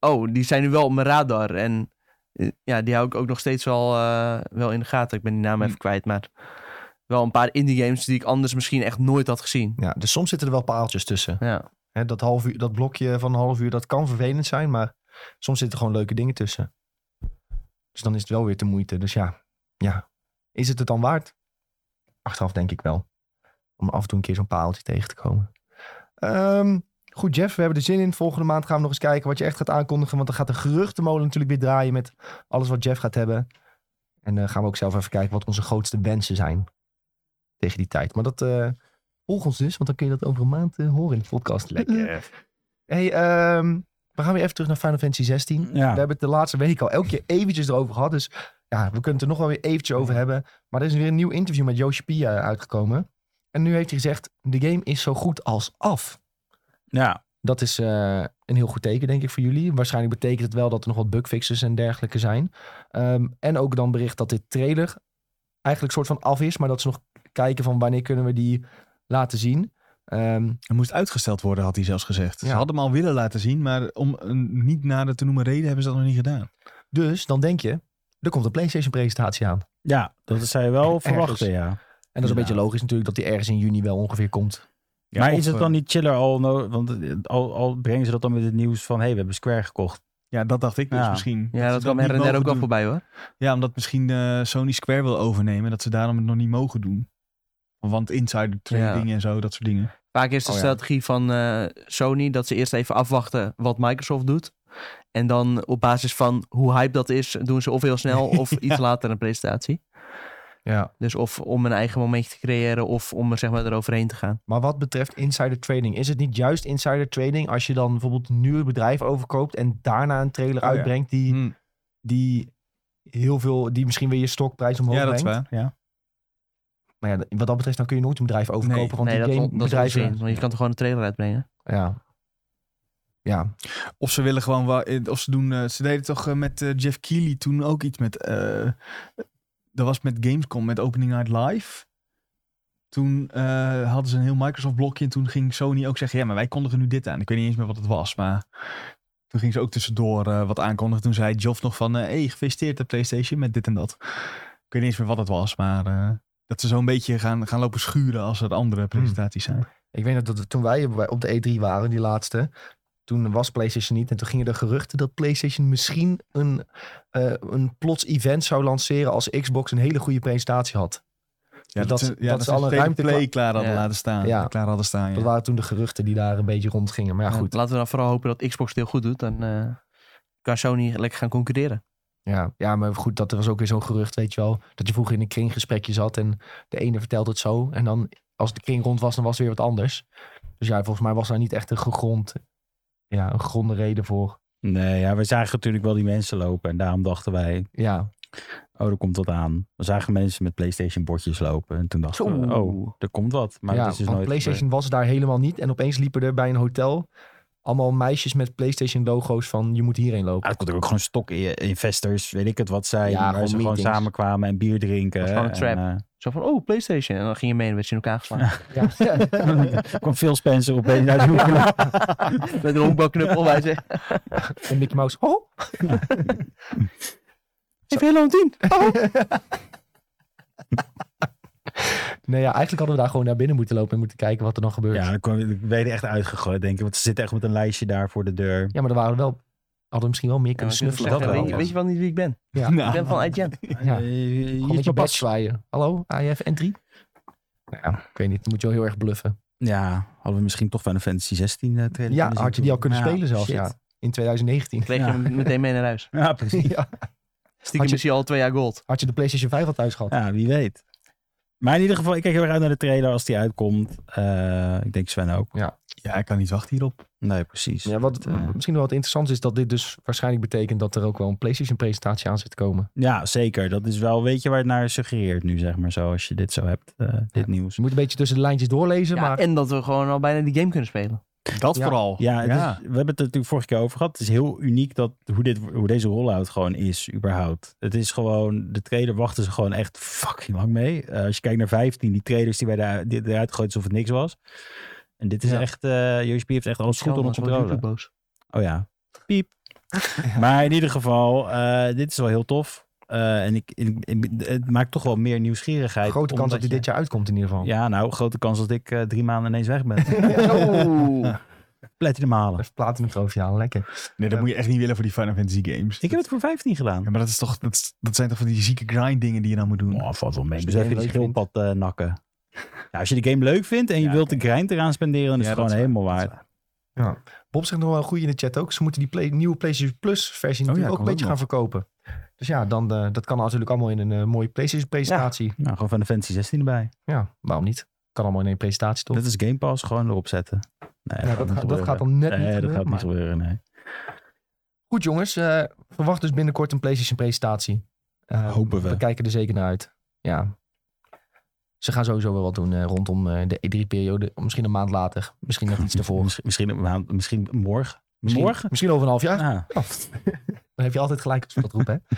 [SPEAKER 4] oh, die zijn nu wel op mijn radar. En eh, ja, die hou ik ook nog steeds wel, eh, wel in de gaten. Ik ben die naam
[SPEAKER 2] Hm.
[SPEAKER 4] even kwijt, maar wel een paar indie games die ik anders misschien echt nooit had gezien.
[SPEAKER 1] Ja, dus soms zitten er wel paaltjes tussen.
[SPEAKER 4] Ja,
[SPEAKER 1] Hè, dat, half uur, dat blokje van een half uur, dat kan vervelend zijn, maar soms zitten gewoon leuke dingen tussen. Dus dan is het wel weer de moeite. Dus ja, ja. is het het dan waard? Achteraf denk ik wel. Om af en toe een keer zo'n paaltje tegen te komen. Ehm, goed, Jeff, we hebben er zin in. Volgende maand gaan we nog eens kijken wat je echt gaat aankondigen. Want dan gaat de geruchtenmolen natuurlijk weer draaien met alles wat Jeff gaat hebben. En dan gaan we ook zelf even kijken wat onze grootste wensen zijn tegen die tijd. Maar dat eh, Volg ons dus, want dan kun je dat over een maand eh, horen in de podcast. Hey, ehm, we gaan weer even terug naar Final Fantasy 16.
[SPEAKER 3] Ja.
[SPEAKER 1] We hebben het de laatste week al elke keer eventjes erover gehad. Dus ja, we kunnen het er nog wel weer eventjes over hebben. Maar er is weer een nieuw interview met Yoshi Pia uitgekomen. En nu heeft hij gezegd, de game is zo goed als af.
[SPEAKER 3] Ja,
[SPEAKER 1] Dat is eh, een heel goed teken, denk ik, voor jullie. Waarschijnlijk betekent het wel dat er nog wat bugfixes en dergelijke zijn. Ehm, en ook dan bericht dat dit trailer eigenlijk soort van af is. Maar dat ze nog kijken van wanneer kunnen we die laten zien. Ehm,
[SPEAKER 2] Hij moest uitgesteld worden, had hij zelfs gezegd. Ze
[SPEAKER 1] Ja.
[SPEAKER 2] hadden hem al willen laten zien, maar om een niet nader te noemen reden hebben ze dat nog niet gedaan.
[SPEAKER 1] dus dan denk je, er komt een PlayStation presentatie aan.
[SPEAKER 3] ja dat zou je wel verwachten, ja.
[SPEAKER 1] En dat is een
[SPEAKER 2] Ja.
[SPEAKER 1] beetje logisch natuurlijk dat die ergens in juni wel ongeveer komt.
[SPEAKER 2] Ja,
[SPEAKER 3] maar
[SPEAKER 2] of,
[SPEAKER 3] is het
[SPEAKER 2] eh,
[SPEAKER 3] dan niet chiller al, no- want eh, al, al brengen ze dat dan met het nieuws van, hé, hey, we hebben Square gekocht.
[SPEAKER 2] Ja, dat dacht ik dus
[SPEAKER 3] Ja.
[SPEAKER 2] misschien.
[SPEAKER 4] Ja,
[SPEAKER 2] ze
[SPEAKER 4] dat kwam her
[SPEAKER 2] niet
[SPEAKER 4] en der
[SPEAKER 2] mogen
[SPEAKER 4] ook wel
[SPEAKER 2] doen.
[SPEAKER 4] voorbij hoor.
[SPEAKER 2] Ja, omdat misschien eh, Sony Square wil overnemen. Dat ze daarom het nog niet mogen doen. Want insider trading en zo, dat soort dingen.
[SPEAKER 4] Vaak is de
[SPEAKER 1] Oh ja.
[SPEAKER 4] strategie van eh, Sony dat ze eerst even afwachten wat Microsoft doet. En dan op basis van hoe hype dat is, doen ze of heel snel of iets later een presentatie.
[SPEAKER 1] Ja.
[SPEAKER 4] Dus of om een eigen momentje te creëren of om er zeg maar eroverheen te gaan.
[SPEAKER 1] Maar wat betreft insider trading, is het niet juist insider trading als je dan bijvoorbeeld nu een bedrijf overkoopt en daarna een trailer
[SPEAKER 2] Oh ja.
[SPEAKER 1] uitbrengt die,
[SPEAKER 2] Hm.
[SPEAKER 1] die heel veel, die misschien weer je stokprijs omhoog
[SPEAKER 2] Ja, dat is
[SPEAKER 1] brengt?
[SPEAKER 2] waar. Ja.
[SPEAKER 1] Maar ja, wat dat betreft, dan kun je nooit een bedrijf overkopen,
[SPEAKER 2] Nee.
[SPEAKER 1] want
[SPEAKER 4] nee, dat
[SPEAKER 1] die
[SPEAKER 4] is, on-
[SPEAKER 1] game
[SPEAKER 4] dat is
[SPEAKER 1] bedrijven.
[SPEAKER 4] onzin, want je kan toch gewoon een trailer uitbrengen.
[SPEAKER 1] ja. Ja.
[SPEAKER 2] Of ze willen gewoon wa- eh, Of ze doen. eh, ze deden toch eh, met eh, Jeff Keighley toen ook iets met. eh, dat was met Gamescom, met Opening Night Live. Toen eh, hadden ze een heel Microsoft blokje. En toen ging Sony ook zeggen: Ja, maar wij kondigen nu dit aan. Ik weet niet eens meer wat het was. Maar toen ging ze ook tussendoor eh, wat aankondigen. Toen zei Geoff nog van: eh Hey, gefeliciteerd de PlayStation met dit en dat. Ik weet niet eens meer wat het was. Maar eh, dat ze zo'n beetje gaan, gaan lopen schuren als er andere
[SPEAKER 1] Hmm.
[SPEAKER 2] presentaties zijn.
[SPEAKER 1] Ik weet nog dat we- toen wij op- op de E3 waren, die laatste, toen was PlayStation niet. En toen gingen er geruchten dat PlayStation misschien een, eh, een plots event zou lanceren als Xbox een hele goede presentatie had.
[SPEAKER 2] Ja,
[SPEAKER 1] dat ze- dat ze al een
[SPEAKER 2] tegen
[SPEAKER 1] ruimte
[SPEAKER 2] play
[SPEAKER 1] kla-
[SPEAKER 2] klaar hadden
[SPEAKER 4] Ja.
[SPEAKER 2] laten staan.
[SPEAKER 1] Ja.
[SPEAKER 2] Klaar hadden staan. Ja.
[SPEAKER 1] Dat waren toen de geruchten die daar een beetje rondgingen. Maar ja, goed.
[SPEAKER 4] Laten we dan vooral hopen dat Xbox het heel goed doet. Dan eh, kan Sony lekker gaan concurreren.
[SPEAKER 1] Ja, ja, maar goed, dat was ook weer zo'n gerucht, weet je wel. Dat je vroeger in een kringgesprekje zat en de ene vertelt het zo. En dan, als de kring rond was, dan was het weer wat anders. Dus ja, volgens mij was daar niet echt een gegrond, ja, een gegronde reden voor.
[SPEAKER 3] Nee, ja, we zagen natuurlijk wel die mensen lopen en daarom dachten wij,
[SPEAKER 1] Ja,
[SPEAKER 3] oh, er komt wat aan. We zagen mensen met PlayStation bordjes lopen en toen dachten we,
[SPEAKER 1] Zo.
[SPEAKER 3] oh, er komt wat. Maar
[SPEAKER 1] ja
[SPEAKER 3] dat is dus
[SPEAKER 1] want
[SPEAKER 3] nooit
[SPEAKER 1] PlayStation was daar helemaal niet. En opeens liepen er bij een hotel allemaal meisjes met PlayStation-logo's van je moet hierheen
[SPEAKER 3] gebeurd. Ah,
[SPEAKER 1] lopen.
[SPEAKER 3] het kon natuurlijk ook gewoon stok investors, weet ik het wat zijn,
[SPEAKER 1] Ja,
[SPEAKER 3] waar
[SPEAKER 1] gewoon
[SPEAKER 3] ze gewoon
[SPEAKER 1] meetings.
[SPEAKER 3] samenkwamen en bier drinken.
[SPEAKER 4] Dat was gewoon een
[SPEAKER 3] en,
[SPEAKER 4] Zo van, oh, PlayStation. En dan ging je mee en werd je in elkaar geslagen.
[SPEAKER 3] Ah.
[SPEAKER 1] Ja.
[SPEAKER 3] eh, kwam Phil Spencer opeens naar de hoek.
[SPEAKER 4] Met een honkbalknuppel. Wij zeggen,
[SPEAKER 1] en Mickey Mouse, oh!
[SPEAKER 4] heeft helemaal een tien.
[SPEAKER 1] Nee, ja, eigenlijk hadden we daar gewoon naar binnen moeten lopen en moeten kijken wat er dan gebeurt.
[SPEAKER 3] Ja, dan kwam ik ben je er echt uitgegooid, denk ik. Want ze zitten echt met een lijstje daar voor de deur.
[SPEAKER 1] Ja, maar er waren wel, hadden we misschien wel meer
[SPEAKER 4] Ja,
[SPEAKER 1] kunnen
[SPEAKER 4] maar ik moet
[SPEAKER 1] snuffelen.
[SPEAKER 3] dat
[SPEAKER 4] zeggen,
[SPEAKER 3] wel.
[SPEAKER 4] weet, je- weet je wel niet wie ik ben?
[SPEAKER 1] Ja.
[SPEAKER 4] Ik
[SPEAKER 2] Nou.
[SPEAKER 4] ben van IGN.
[SPEAKER 1] Ja.
[SPEAKER 3] Eh, hier is
[SPEAKER 1] Gewoon met je
[SPEAKER 3] mijn
[SPEAKER 1] bed
[SPEAKER 3] pas.
[SPEAKER 1] zwaaien. Hallo, AF en 3? Nou ja, ik weet niet. Dan moet je wel heel erg bluffen.
[SPEAKER 3] Ja, hadden we misschien toch Final Fantasy 16 eh, trailer
[SPEAKER 1] Ja,
[SPEAKER 3] kunnen zien
[SPEAKER 1] had je die al
[SPEAKER 3] toen.
[SPEAKER 1] kunnen
[SPEAKER 3] Ja,
[SPEAKER 1] spelen zelfs,
[SPEAKER 3] shit.
[SPEAKER 1] ja. In 2019.
[SPEAKER 4] Kreeg
[SPEAKER 3] Ja.
[SPEAKER 4] je hem meteen mee naar huis.
[SPEAKER 3] Ja, precies.
[SPEAKER 1] ja.
[SPEAKER 4] Stiekem
[SPEAKER 1] Had je-
[SPEAKER 4] is hij al twee jaar gold.
[SPEAKER 1] Had je de PlayStation 5 al thuis gehad?
[SPEAKER 3] Ja, wie weet. Maar in ieder geval, ik kijk heel erg uit naar de trailer als die uitkomt. Eh, ik denk Sven ook.
[SPEAKER 2] Ja, ik kan niet wachten hierop.
[SPEAKER 3] Nee, precies.
[SPEAKER 1] Ja, wat
[SPEAKER 3] eh.
[SPEAKER 1] misschien wel wat interessant is, dat dit dus waarschijnlijk betekent dat er ook wel een PlayStation-presentatie aan zit te komen.
[SPEAKER 3] Ja, zeker. Dat is wel, weet je waar het naar suggereert nu, zeg maar zo. Als je dit zo hebt, eh, dit nieuws.
[SPEAKER 1] Dus je moet een beetje tussen de lijntjes doorlezen,
[SPEAKER 4] Ja,
[SPEAKER 1] maar
[SPEAKER 4] En dat we gewoon al bijna die game kunnen spelen.
[SPEAKER 2] Dat
[SPEAKER 1] Ja.
[SPEAKER 2] vooral.
[SPEAKER 3] Ja, het is- we hebben het er natuurlijk vorige keer over gehad. Het is heel uniek dat, hoe, dit, hoe deze rollout gewoon is, überhaupt. Het is gewoon, de trailer wachten ze gewoon echt fucking lang mee. Eh, als je kijkt naar 15, die trailers die, wij daar, die eruit gooiden alsof het niks was. En dit is
[SPEAKER 1] Ja.
[SPEAKER 3] echt, eh USB heeft echt alles goed onder
[SPEAKER 4] Anders wordt
[SPEAKER 3] controle.
[SPEAKER 4] YouTube boos.
[SPEAKER 3] Oh ja, piep. Maar in ieder geval, eh, dit is wel heel tof. Eh, en ik, ik- ik- het maakt toch wel meer nieuwsgierigheid.
[SPEAKER 1] grote kans dat
[SPEAKER 3] omdat
[SPEAKER 1] die dit jaar uitkomt in ieder geval.
[SPEAKER 3] Ja, nou, grote kans dat ik eh, drie maanden ineens weg ben.
[SPEAKER 4] Oeh.
[SPEAKER 3] Platinum halen.
[SPEAKER 1] Even platinum trofee halen, lekker.
[SPEAKER 2] Nee, dat moet je echt niet willen voor die Final Fantasy games.
[SPEAKER 3] Ik heb het voor 15 gedaan.
[SPEAKER 2] Ja, maar dat, is toch, dat, is- dat zijn toch van die zieke grind dingen die je dan moet doen.
[SPEAKER 3] Oh, valt wel mee.
[SPEAKER 1] Als je
[SPEAKER 3] Dus
[SPEAKER 1] de
[SPEAKER 3] even
[SPEAKER 1] game
[SPEAKER 3] die
[SPEAKER 1] leuk
[SPEAKER 3] schildpad eh, nakken. Ja, als je de game leuk vindt en je
[SPEAKER 2] Ja,
[SPEAKER 3] wilt de
[SPEAKER 2] oké.
[SPEAKER 3] grind eraan spenderen, dan is
[SPEAKER 2] Ja,
[SPEAKER 3] het
[SPEAKER 2] dat
[SPEAKER 3] gewoon
[SPEAKER 2] is
[SPEAKER 3] helemaal
[SPEAKER 2] waar,
[SPEAKER 3] waard.
[SPEAKER 2] dat
[SPEAKER 1] Bob zegt nog wel een goede in de chat ook. Ze moeten die play- nieuwe PlayStation Plus-versie
[SPEAKER 2] ja,
[SPEAKER 1] natuurlijk ook
[SPEAKER 2] komt
[SPEAKER 1] een beetje gaan
[SPEAKER 2] ook
[SPEAKER 1] verkopen. Dus ja, dan, eh, dat kan natuurlijk allemaal in een eh, mooie PlayStation-presentatie.
[SPEAKER 3] Nou, gewoon van de Fantasy 16 erbij.
[SPEAKER 1] Ja, waarom niet? Kan allemaal in één presentatie toch?
[SPEAKER 3] Dat is Game Pass gewoon erop zetten. Nee,
[SPEAKER 1] Ja, dat,
[SPEAKER 3] niet
[SPEAKER 1] gaat- dat
[SPEAKER 3] gebeuren.
[SPEAKER 1] gaat dan net
[SPEAKER 3] Nee,
[SPEAKER 1] niet
[SPEAKER 3] dat
[SPEAKER 1] gebeuren,
[SPEAKER 3] gaat niet
[SPEAKER 1] maar-
[SPEAKER 3] gebeuren, nee.
[SPEAKER 1] Goed jongens, eh, verwacht dus binnenkort een PlayStation presentatie. Eh,
[SPEAKER 3] Hopen we.
[SPEAKER 1] We kijken er zeker naar uit. Ja. Ze gaan sowieso wel wat doen eh, rondom eh, de E3-periode. Misschien een maand later. Misschien nog iets daarvoor.
[SPEAKER 3] Misschien, misschien, een maand- misschien morgen.
[SPEAKER 1] Misschien-
[SPEAKER 3] Morgen?
[SPEAKER 1] Misschien over een half jaar.
[SPEAKER 3] Ah,
[SPEAKER 1] Ja. Dan heb je altijd gelijk als we dat roepen. hè.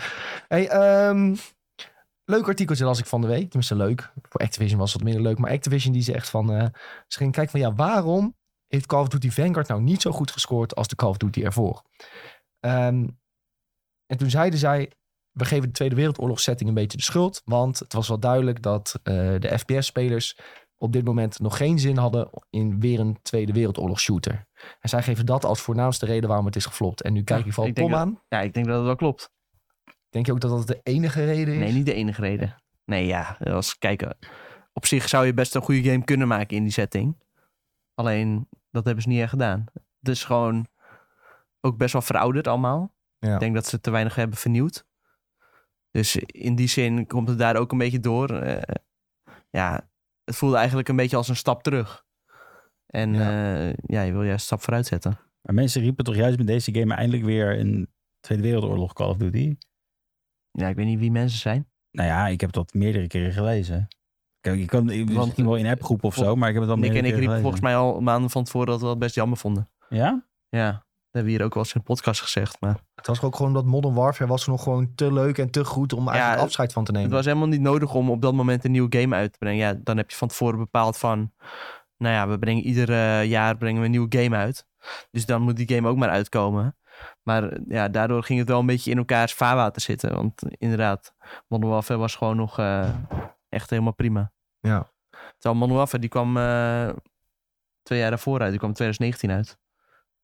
[SPEAKER 1] Hey, ehm, leuk artikeltje las ik van de week. Tenminste, leuk. Voor Activision was het minder leuk. Maar Activision die zegt van... eh ze gingen kijken van ja, waarom heeft Call of Duty Vanguard nou niet zo goed gescoord als de Call of Duty ervoor? Ehm, en toen zeiden zij... We geven de Tweede Wereldoorlogsetting een beetje de schuld. Want het was wel duidelijk dat eh, de FPS-spelers op dit moment nog geen zin hadden in weer een Tweede Wereldoorlog shooter. En zij geven dat als voornaamste reden waarom het is geflopt. En nu kijk
[SPEAKER 4] Ja,
[SPEAKER 1] je van
[SPEAKER 4] ik denk
[SPEAKER 1] Tom
[SPEAKER 4] dat-
[SPEAKER 1] aan.
[SPEAKER 4] Ja, ik denk dat dat wel klopt.
[SPEAKER 1] Denk je ook dat dat de enige reden is?
[SPEAKER 4] Nee, niet de enige reden. Nee, ja. Als, kijk, eh, op zich zou je best een goede game kunnen maken in die setting. Alleen, dat hebben ze niet echt gedaan. Het is gewoon ook best wel verouderd allemaal.
[SPEAKER 1] Ja.
[SPEAKER 4] Ik denk dat ze te weinig hebben vernieuwd. Dus in die zin komt het daar ook een beetje door. Eh, ja, het voelde eigenlijk een beetje als een stap terug. En
[SPEAKER 1] Ja.
[SPEAKER 4] eh, ja je wil juist een stap vooruit zetten.
[SPEAKER 3] maar mensen riepen toch juist met deze game eindelijk weer een Tweede Wereldoorlog Call of Duty?
[SPEAKER 4] Ja, ik weet niet wie mensen zijn.
[SPEAKER 3] Nou ja, ik heb dat meerdere keren gelezen. Kijk, je kan je-
[SPEAKER 4] Want-
[SPEAKER 3] misschien wel in appgroep of zo, maar ik heb het al
[SPEAKER 4] Nick
[SPEAKER 3] meerdere
[SPEAKER 4] en ik
[SPEAKER 3] keren
[SPEAKER 4] riepen
[SPEAKER 3] gelezen.
[SPEAKER 4] volgens mij al maanden van tevoren dat we dat best jammer vonden.
[SPEAKER 3] Ja?
[SPEAKER 4] Ja, dat hebben we hier ook wel eens in de podcast gezegd. Maar
[SPEAKER 1] Het was ook gewoon dat Modern Warfare was nog gewoon te leuk en te goed om eigenlijk
[SPEAKER 4] het-
[SPEAKER 1] afscheid van te nemen.
[SPEAKER 4] het was helemaal niet nodig om op dat moment een nieuwe game uit te brengen. Ja, dan heb je van tevoren bepaald van... Nou ja, we brengen ieder eh, jaar brengen we een nieuwe game uit. Dus dan moet die game ook maar uitkomen. Maar eh, ja, daardoor ging het wel een beetje in elkaars vaarwater zitten. Want inderdaad, Modern Warfare was gewoon nog eh, echt helemaal prima.
[SPEAKER 1] Ja.
[SPEAKER 4] Terwijl Modern Warfare, die kwam eh, twee jaar daarvoor uit. Die kwam in 2019 uit.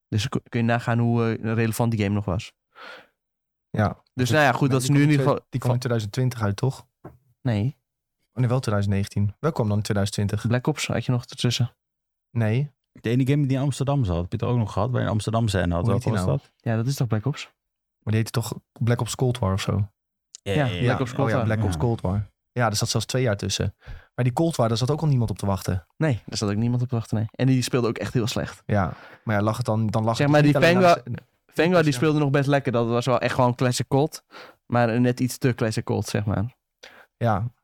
[SPEAKER 4] Dus dan kun je nagaan hoe eh, relevant die game nog was.
[SPEAKER 1] Ja.
[SPEAKER 4] Dus nou ja, goed, dat is nu in ieder geval...
[SPEAKER 1] Die kwam in 2020 uit, toch? Oh,
[SPEAKER 4] Nee,
[SPEAKER 1] nee, wel 2019. Wel kwam dan in 2020?
[SPEAKER 4] Black Ops had je nog ertussen.
[SPEAKER 1] Nee.
[SPEAKER 3] De ene game die in Amsterdam zat, heb je het ook nog gehad, bij een Amsterdam scène had.
[SPEAKER 1] Hoe
[SPEAKER 3] Wat
[SPEAKER 1] heet die
[SPEAKER 3] was
[SPEAKER 1] nou?
[SPEAKER 3] dat?
[SPEAKER 4] Ja, dat is toch Black Ops?
[SPEAKER 1] Maar die heette toch Black Ops Cold War of zo?
[SPEAKER 4] Ja, Black Ops Cold
[SPEAKER 1] oh ja,
[SPEAKER 4] War.
[SPEAKER 1] Black Ops
[SPEAKER 3] Ja.
[SPEAKER 1] Cold War. Ja, er zat zelfs twee jaar tussen. Maar die Cold War, daar zat ook al niemand op te wachten.
[SPEAKER 4] Nee, daar zat ook niemand op te wachten. Nee. En die speelde ook echt heel slecht.
[SPEAKER 1] Ja. Maar ja, lag het dan, dan lag
[SPEAKER 4] Zeg
[SPEAKER 1] het
[SPEAKER 4] maar,
[SPEAKER 1] niet
[SPEAKER 4] die
[SPEAKER 1] alleen
[SPEAKER 4] Vanguard-
[SPEAKER 1] aan de-
[SPEAKER 4] Vanguard die
[SPEAKER 1] Ja.
[SPEAKER 4] speelde nog best lekker. Dat was wel echt gewoon classic cold. Maar net iets te classic cold, zeg maar.
[SPEAKER 1] Ja.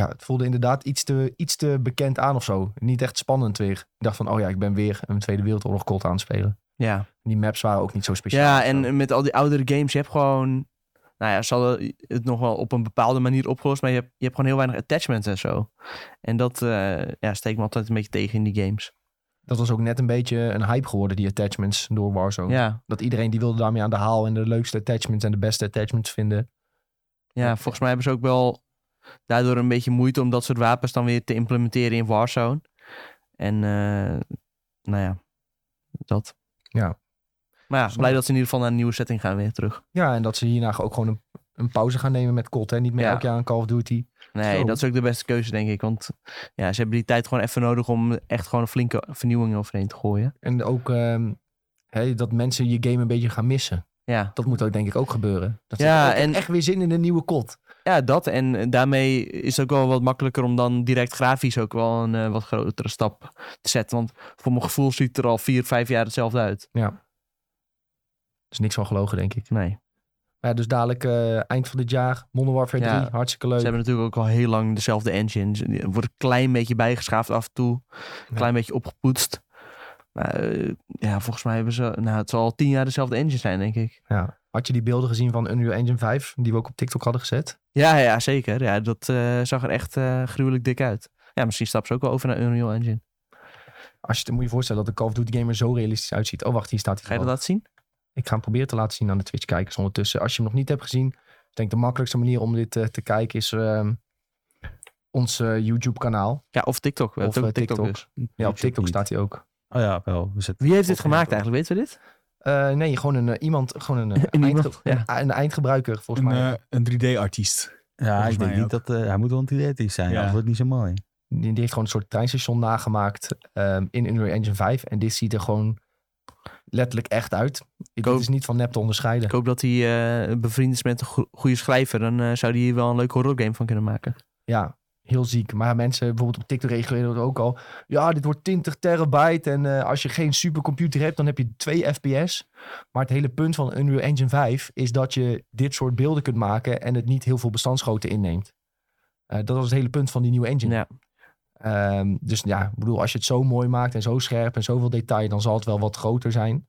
[SPEAKER 1] Ja, het voelde inderdaad iets te, iets te bekend aan of zo. Niet echt spannend weer. Ik dacht van, oh ja, ik ben weer een Tweede Wereldoorlog Cold aan het spelen.
[SPEAKER 4] Ja,
[SPEAKER 1] Die maps waren ook niet zo speciaal.
[SPEAKER 4] ja
[SPEAKER 1] of zo.
[SPEAKER 4] en met al die oudere games, je hebt gewoon... Nou ja, ze hadden het nog wel op een bepaalde manier opgelost. Maar je hebt, je hebt gewoon heel weinig attachments en zo. En dat eh, ja, steekt me altijd een beetje tegen in die games.
[SPEAKER 1] dat was ook net een beetje een hype geworden, die attachments door Warzone.
[SPEAKER 4] Ja,
[SPEAKER 1] Dat iedereen die wilde daarmee aan de haal en de leukste attachments en de beste attachments vinden.
[SPEAKER 4] ja, volgens mij hebben ze ook wel daardoor een beetje moeite... om dat soort wapens dan weer te implementeren in Warzone. En eh, nou ja, dat.
[SPEAKER 1] Ja.
[SPEAKER 4] Maar ja, blij dat ze in ieder geval naar een nieuwe setting gaan weer terug.
[SPEAKER 1] Ja, en dat ze hierna ook gewoon een, een pauze gaan nemen met COD. Hè? Niet meer
[SPEAKER 4] Ja.
[SPEAKER 1] elk jaar een Call of Duty.
[SPEAKER 4] Nee,
[SPEAKER 1] Zo.
[SPEAKER 4] dat is ook de beste keuze, denk ik. Want ja, ze hebben die tijd gewoon even nodig om echt gewoon een flinke vernieuwing overheen te gooien.
[SPEAKER 1] En ook ehm, hè, dat mensen je game een beetje gaan missen.
[SPEAKER 4] Ja,
[SPEAKER 1] Dat moet ook denk ik ook gebeuren. Dat ze
[SPEAKER 4] Ja,
[SPEAKER 1] zeggen, oh, ik heb
[SPEAKER 4] en-
[SPEAKER 1] echt weer zin in een nieuwe COD.
[SPEAKER 4] ja dat. En eh, daarmee is het ook wel wat makkelijker om dan direct grafisch ook wel een eh, wat grotere stap te zetten. Want voor mijn gevoel ziet het er al vier, vijf jaar hetzelfde uit.
[SPEAKER 1] Er is niks van gelogen, denk ik.
[SPEAKER 4] Nee.
[SPEAKER 1] Maar ja, dus dadelijk eh, eind van dit jaar, Modern Warfare
[SPEAKER 4] Ja.
[SPEAKER 1] 3, hartstikke leuk.
[SPEAKER 4] Ze hebben natuurlijk ook al heel lang dezelfde engine. Ze- Er wordt een klein beetje bijgeschaafd af en toe. Een
[SPEAKER 1] Ja.
[SPEAKER 4] klein beetje opgepoetst. Maar eh, ja, volgens mij hebben ze... Nou, het zal al tien jaar dezelfde engine zijn, denk ik.
[SPEAKER 1] Ja. Had je die beelden gezien van Unreal Engine 5, die we ook op TikTok hadden gezet?
[SPEAKER 4] Ja, ja zeker. Ja, dat eh, zag er echt eh, gruwelijk dik uit. Ja, misschien stappen ze ook wel over naar Unreal Engine.
[SPEAKER 1] Als je, moet je voorstellen dat de Call of Duty game er zo realistisch uitziet. Oh, wacht, hier staat hij.
[SPEAKER 4] Ga je dat laten zien?
[SPEAKER 1] Ik ga hem proberen te laten zien aan de Twitch-kijkers ondertussen. Als je hem nog niet hebt gezien, ik denk de makkelijkste manier om dit eh, te kijken is ehm, ons eh, YouTube-kanaal.
[SPEAKER 4] Ja, of TikTok. We hebben
[SPEAKER 1] Of,
[SPEAKER 4] het ook
[SPEAKER 1] eh,
[SPEAKER 4] op TikTok. dus.
[SPEAKER 1] Ja, op
[SPEAKER 3] YouTube
[SPEAKER 1] TikTok
[SPEAKER 3] niet.
[SPEAKER 1] staat hij ook.
[SPEAKER 3] Oh ja, wel. We zitten
[SPEAKER 4] Wie heeft dit
[SPEAKER 3] Of-
[SPEAKER 4] gemaakt eigenlijk? Weten we dit?
[SPEAKER 1] Eh, nee, gewoon een eh, iemand, gewoon een, eh,
[SPEAKER 4] Een
[SPEAKER 1] eindge-
[SPEAKER 4] iemand, ja.
[SPEAKER 1] een, een eindgebruiker volgens
[SPEAKER 2] Een,
[SPEAKER 1] mij.
[SPEAKER 2] eh, een 3D-artiest.
[SPEAKER 3] Ja,
[SPEAKER 2] Volgens
[SPEAKER 3] ik denk
[SPEAKER 2] mij
[SPEAKER 3] niet dat... eh, hij moet wel antidetisch zijn,
[SPEAKER 2] Ja.
[SPEAKER 3] anders wordt het niet zo mooi.
[SPEAKER 1] Die, die heeft gewoon een soort treinstation nagemaakt ehm, in Unreal Engine 5. En dit ziet er gewoon letterlijk echt uit.
[SPEAKER 4] hoop-
[SPEAKER 1] Dit is niet van nep te onderscheiden.
[SPEAKER 4] Ik hoop dat hij eh, bevriend is met een go- goede schrijver. Dan eh, zou hij hier wel een leuke horrorgame van kunnen maken.
[SPEAKER 1] Ja, heel ziek. Maar mensen, bijvoorbeeld op TikTok reageren dat ook al. Ja, dit wordt 20 terabyte. En eh, als je geen supercomputer hebt, dan heb je 2 fps. Maar het hele punt van Unreal Engine 5 is dat je dit soort beelden kunt maken en het niet heel veel bestandsgrootte inneemt. Eh, dat was het hele punt van die nieuwe engine.
[SPEAKER 4] Ja.
[SPEAKER 1] Ehm, dus ja, ik bedoel, als je het zo mooi maakt en zo scherp en zoveel detail, dan zal het wel wat groter zijn.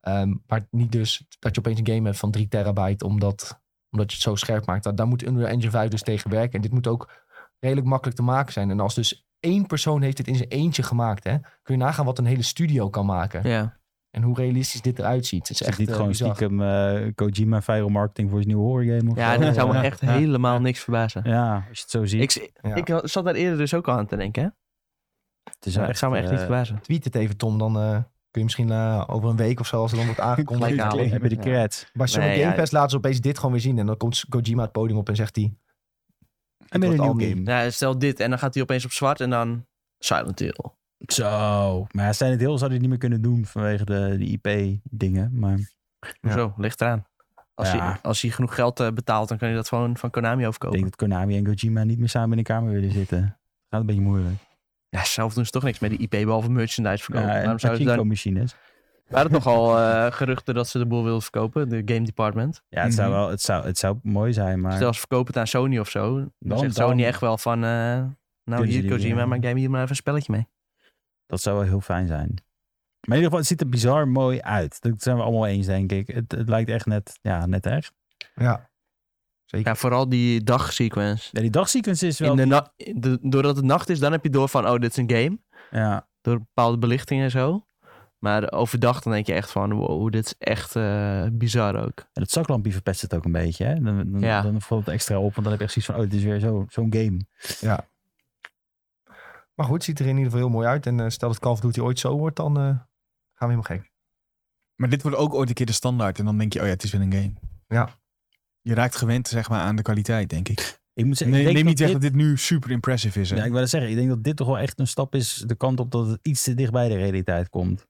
[SPEAKER 1] Ehm, maar niet dus dat je opeens een game hebt van 3 terabyte, omdat, omdat je het zo scherp maakt. Daar, daar moet Unreal Engine 5 dus tegen werken. En dit moet ook redelijk makkelijk te maken zijn. En als dus één persoon heeft dit in zijn eentje gemaakt, hè, kun je nagaan wat een hele studio kan maken.
[SPEAKER 4] ja.
[SPEAKER 1] En hoe realistisch dit eruit ziet. Het is
[SPEAKER 3] Dus Is
[SPEAKER 1] echt
[SPEAKER 3] dit
[SPEAKER 1] eh,
[SPEAKER 3] gewoon
[SPEAKER 1] bizar.
[SPEAKER 3] stiekem eh, Kojima viral marketing voor zijn nieuwe horror game of
[SPEAKER 4] ja
[SPEAKER 3] zo?
[SPEAKER 4] dat zou me
[SPEAKER 3] Ja.
[SPEAKER 4] echt
[SPEAKER 3] Ja.
[SPEAKER 4] helemaal niks verbazen.
[SPEAKER 3] Ja, als je het zo ziet.
[SPEAKER 4] Ik, ik zat daar eerder dus ook al aan te denken. Hè?
[SPEAKER 3] het is
[SPEAKER 4] Ja, ik zou me echt niet
[SPEAKER 3] eh,
[SPEAKER 4] verbazen.
[SPEAKER 1] Tweet het even, Tom. Dan eh, kun je misschien eh, over een week of zo, als er dan wordt aangekondigd.
[SPEAKER 4] Gelijk
[SPEAKER 1] Ja.
[SPEAKER 4] halen.
[SPEAKER 3] Heb je de
[SPEAKER 4] Ja.
[SPEAKER 3] credits?
[SPEAKER 1] Maar zo'n
[SPEAKER 4] Nee, ja.
[SPEAKER 1] Game Pass laten ze opeens dit gewoon weer zien. En dan komt Kojima het podium op en zegt hij... met
[SPEAKER 3] En met
[SPEAKER 1] een
[SPEAKER 3] een
[SPEAKER 1] nieuw
[SPEAKER 3] nieuwe
[SPEAKER 1] game.
[SPEAKER 3] game.
[SPEAKER 4] Ja, stel dit en dan gaat hij opeens op zwart en dan Silent Hill.
[SPEAKER 3] Zo. Maar ja, Silent Hill zou dit niet meer kunnen doen vanwege de, de IP-dingen. Maar
[SPEAKER 4] Hoezo? Ligt eraan. Als,
[SPEAKER 3] Ja.
[SPEAKER 4] hij, als hij genoeg geld eh, betaalt, dan kan hij dat gewoon van Konami
[SPEAKER 3] ik
[SPEAKER 4] overkopen.
[SPEAKER 3] denk dat Konami en Kojima niet meer samen in de kamer willen zitten. Gaat een beetje moeilijk.
[SPEAKER 4] Ja, zelf doen ze toch niks met die IP, behalve merchandise verkopen.
[SPEAKER 3] Ja, en
[SPEAKER 4] Waarom zouden ze dan...
[SPEAKER 3] machines.
[SPEAKER 4] Waren het nogal eh, geruchten dat ze de boel wilden verkopen, de game department? Dus
[SPEAKER 3] Ja, het zou wel, het zou, het zou mooi zijn, maar
[SPEAKER 4] Stel, ze verkopen het aan Sony of zo. Dan,
[SPEAKER 3] Dan-
[SPEAKER 4] zegt
[SPEAKER 3] dan-
[SPEAKER 4] Sony echt wel van... eh, nou,
[SPEAKER 3] Kunnen ze
[SPEAKER 4] hier
[SPEAKER 3] die,
[SPEAKER 4] Kojima,
[SPEAKER 3] eh,
[SPEAKER 4] maar game hier maar even een spelletje mee.
[SPEAKER 3] dat zou wel heel fijn zijn. Maar in ieder geval, het ziet er bizar mooi uit. Dat zijn we allemaal eens, denk ik. Het, het lijkt echt net, ja, net echt.
[SPEAKER 1] Ja, zeker.
[SPEAKER 4] Ja, vooral die dagsequence.
[SPEAKER 3] Ja, die dagsequence is wel...
[SPEAKER 4] In de na- de- doordat het nacht is, dan heb je door van, oh, dit is een game.
[SPEAKER 3] Ja,
[SPEAKER 4] Door bepaalde belichting en zo. Maar overdag dan denk je echt van, wow, dit is echt eh, bizar ook.
[SPEAKER 3] en het zaklampje verpest het ook een beetje, hè? Dan, dan,
[SPEAKER 4] Ja.
[SPEAKER 3] dan valt het extra op, want dan heb je echt zoiets van... Oh, dit is weer zo- zo'n game.
[SPEAKER 1] Maar goed, ziet er in ieder geval heel mooi uit. En eh, stel dat Call of Duty ooit zo wordt, dan eh, gaan we helemaal gek.
[SPEAKER 2] Maar dit wordt ook ooit een keer de standaard. En dan denk je, oh ja, het is weer een game.
[SPEAKER 1] Ja.
[SPEAKER 2] Je raakt gewend zeg maar, aan de kwaliteit, denk ik.
[SPEAKER 3] Ik moet zeggen,
[SPEAKER 2] Nee,
[SPEAKER 3] ik denk
[SPEAKER 2] neem niet
[SPEAKER 3] dat
[SPEAKER 2] weg
[SPEAKER 3] dit-
[SPEAKER 2] dat dit nu super impressive is. Hè?
[SPEAKER 3] Ja, ik wil het zeggen. Ik denk dat dit toch wel echt een stap is de kant op dat het iets te dicht bij de realiteit komt.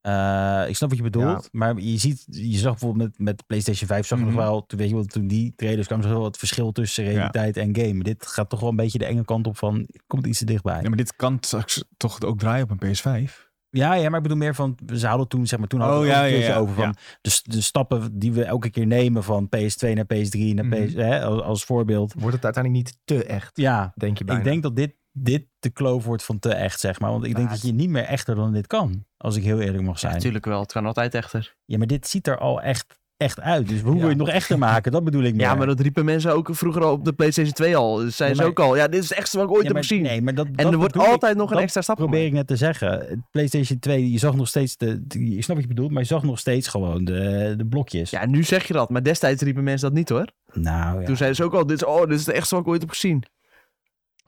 [SPEAKER 3] Eh, ik snap wat je bedoelt, maar je ziet, je zag bijvoorbeeld met, met de PlayStation 5 zag je
[SPEAKER 2] Mhm.
[SPEAKER 3] nog wel, toen, weet je wel, toen die trailers kwamen, zag je wel het verschil tussen realiteit en game. Dit gaat toch wel een beetje de enge kant op van, het komt iets te dichtbij.
[SPEAKER 2] Ja, maar dit kan straks toch ook draaien op een PS5.
[SPEAKER 3] Ja, ja, maar ik bedoel meer van, ze hadden toen, zeg maar, toen hadden
[SPEAKER 2] Oh,
[SPEAKER 3] we het ook
[SPEAKER 2] ja,
[SPEAKER 3] een
[SPEAKER 2] ja,
[SPEAKER 3] keertje
[SPEAKER 2] ja,
[SPEAKER 3] over van
[SPEAKER 2] ja.
[SPEAKER 3] de, de stappen die we elke keer nemen van PS2 naar PS3 naar
[SPEAKER 2] Mhm.
[SPEAKER 3] PS, hè, als, als voorbeeld.
[SPEAKER 1] Wordt het uiteindelijk niet te echt,
[SPEAKER 3] Ja,
[SPEAKER 1] denk je bijna.
[SPEAKER 3] Ik denk dat dit, dit de kloof wordt van te echt, zeg maar. Want ik denk
[SPEAKER 1] Maar
[SPEAKER 3] dat je niet meer echter dan dit kan. Als ik heel eerlijk mag
[SPEAKER 4] Ja,
[SPEAKER 3] zijn. Ja,
[SPEAKER 4] natuurlijk wel. Het kan altijd echter.
[SPEAKER 3] maar dit ziet er al echt, echt uit. Dus hoe wil
[SPEAKER 1] Ja.
[SPEAKER 3] je het nog echter maken? Dat bedoel ik meer.
[SPEAKER 4] Ja, maar dat riepen mensen ook vroeger al op de PlayStation 2 al. Dus Zijn
[SPEAKER 3] Ja,
[SPEAKER 4] ze
[SPEAKER 3] maar-
[SPEAKER 4] ook al. Ja, dit is het echtste wat ik ooit
[SPEAKER 3] Ja,
[SPEAKER 4] heb
[SPEAKER 3] maar-
[SPEAKER 4] gezien.
[SPEAKER 3] Nee, maar dat,
[SPEAKER 4] en
[SPEAKER 3] dat
[SPEAKER 4] er wordt
[SPEAKER 3] bedoel ik.
[SPEAKER 4] altijd nog een
[SPEAKER 3] dat
[SPEAKER 4] extra stap
[SPEAKER 3] probeer
[SPEAKER 4] gemaakt.
[SPEAKER 3] ik net te zeggen. Het PlayStation 2, je zag nog steeds de, de- Je snapt wat je bedoelt, maar je zag nog steeds gewoon de, de blokjes.
[SPEAKER 4] Ja, nu zeg je dat. Maar destijds riepen mensen dat niet hoor.
[SPEAKER 3] Nou ja.
[SPEAKER 4] Toen zeiden ze ook al, dit is, oh, dit is het echtste wat ik ooit heb gezien.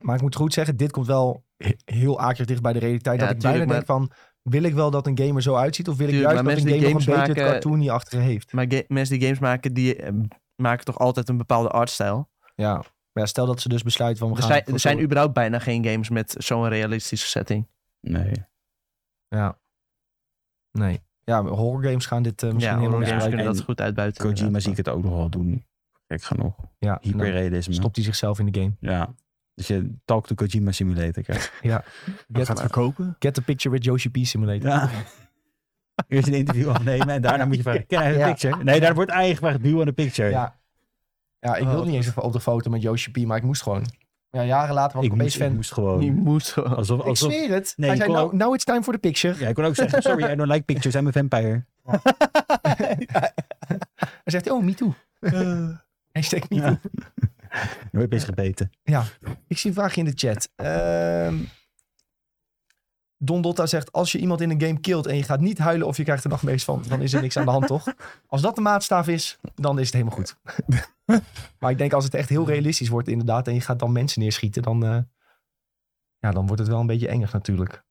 [SPEAKER 1] Maar ik moet goed zeggen, dit komt wel he- heel akelig dicht bij de realiteit.
[SPEAKER 4] Ja,
[SPEAKER 1] dat ik bijna
[SPEAKER 4] tuurlijk,
[SPEAKER 1] denk van, wil ik wel dat een game er zo uitziet? Of wil ik
[SPEAKER 4] Tuurlijk,
[SPEAKER 1] juist
[SPEAKER 4] maar
[SPEAKER 1] dat een game
[SPEAKER 4] mensen die
[SPEAKER 1] nog een
[SPEAKER 4] games
[SPEAKER 1] beetje het
[SPEAKER 4] maken-
[SPEAKER 1] cartoon niet achter heeft?
[SPEAKER 4] Maar ga- mensen die games maken, die eh, maken toch altijd een bepaalde artstijl.
[SPEAKER 1] Ja. Maar ja, stel dat ze dus besluiten van, we
[SPEAKER 4] Er
[SPEAKER 1] gaan...
[SPEAKER 4] zijn,
[SPEAKER 1] voor
[SPEAKER 4] er zijn
[SPEAKER 1] zo-
[SPEAKER 4] überhaupt bijna geen games met zo'n realistische setting.
[SPEAKER 3] Nee.
[SPEAKER 1] Ja. Nee. Ja, horror games gaan dit eh, misschien
[SPEAKER 4] Ja,
[SPEAKER 1] helemaal
[SPEAKER 4] horror
[SPEAKER 1] niet
[SPEAKER 4] games
[SPEAKER 3] misbruikt.
[SPEAKER 4] kunnen
[SPEAKER 1] gebruiken.
[SPEAKER 4] dat Nou,
[SPEAKER 3] En
[SPEAKER 4] goed uitbuiten.
[SPEAKER 3] Kojima
[SPEAKER 4] inderdaad.
[SPEAKER 3] zie ik het ook nog wel doen. Gek genoeg.
[SPEAKER 1] Ja, en dan
[SPEAKER 3] Hyperrealisme.
[SPEAKER 1] stopt hij zichzelf in de game.
[SPEAKER 3] Ja. Dus je talk to Kojima simulator krijgt.
[SPEAKER 2] Dat gaat
[SPEAKER 1] Get,
[SPEAKER 2] verkopen.
[SPEAKER 1] get the picture with Yoshi P Simulator.
[SPEAKER 3] Ja. Eerst een interview afnemen en daarna moet je vragen, can I have a
[SPEAKER 1] Ja.
[SPEAKER 3] picture? Nee, daar wordt eigenlijk gevraagd, do you want a picture?
[SPEAKER 1] Ja. Ja, ik
[SPEAKER 4] Oh,
[SPEAKER 1] wilde
[SPEAKER 4] wat
[SPEAKER 1] niet eens op de foto met Yoshi P, maar ik moest gewoon. Ja, jaren later was ik
[SPEAKER 3] ik,
[SPEAKER 1] opeens
[SPEAKER 3] moest, ik
[SPEAKER 1] fan.
[SPEAKER 3] moest gewoon.
[SPEAKER 4] Je moet wel.
[SPEAKER 3] Alsof,
[SPEAKER 1] Ik
[SPEAKER 3] alsof,
[SPEAKER 1] zweer het.
[SPEAKER 3] Nee,
[SPEAKER 1] Hij
[SPEAKER 3] ik
[SPEAKER 1] zei,
[SPEAKER 3] kon
[SPEAKER 1] nou,
[SPEAKER 3] ook-
[SPEAKER 1] now it's time for the picture.
[SPEAKER 3] ja, ik kon ook zeggen, sorry, I don't like pictures, I'm a vampire.
[SPEAKER 1] Hij zegt, oh, me too. Hij zegt, me
[SPEAKER 3] Ja.
[SPEAKER 1] too.
[SPEAKER 3] Nooit bezig gebeten.
[SPEAKER 1] Ik zie een vraagje in de chat. Ehm, Don Dotta zegt, als je iemand in een game kilt en je gaat niet huilen of je krijgt er nog meest van, dan is er niks aan de hand, toch? Als dat de maatstaaf is, dan is het helemaal goed. maar ik denk als het echt heel realistisch wordt inderdaad en je gaat dan mensen neerschieten, dan, eh, ja, dan wordt het wel een beetje engig natuurlijk.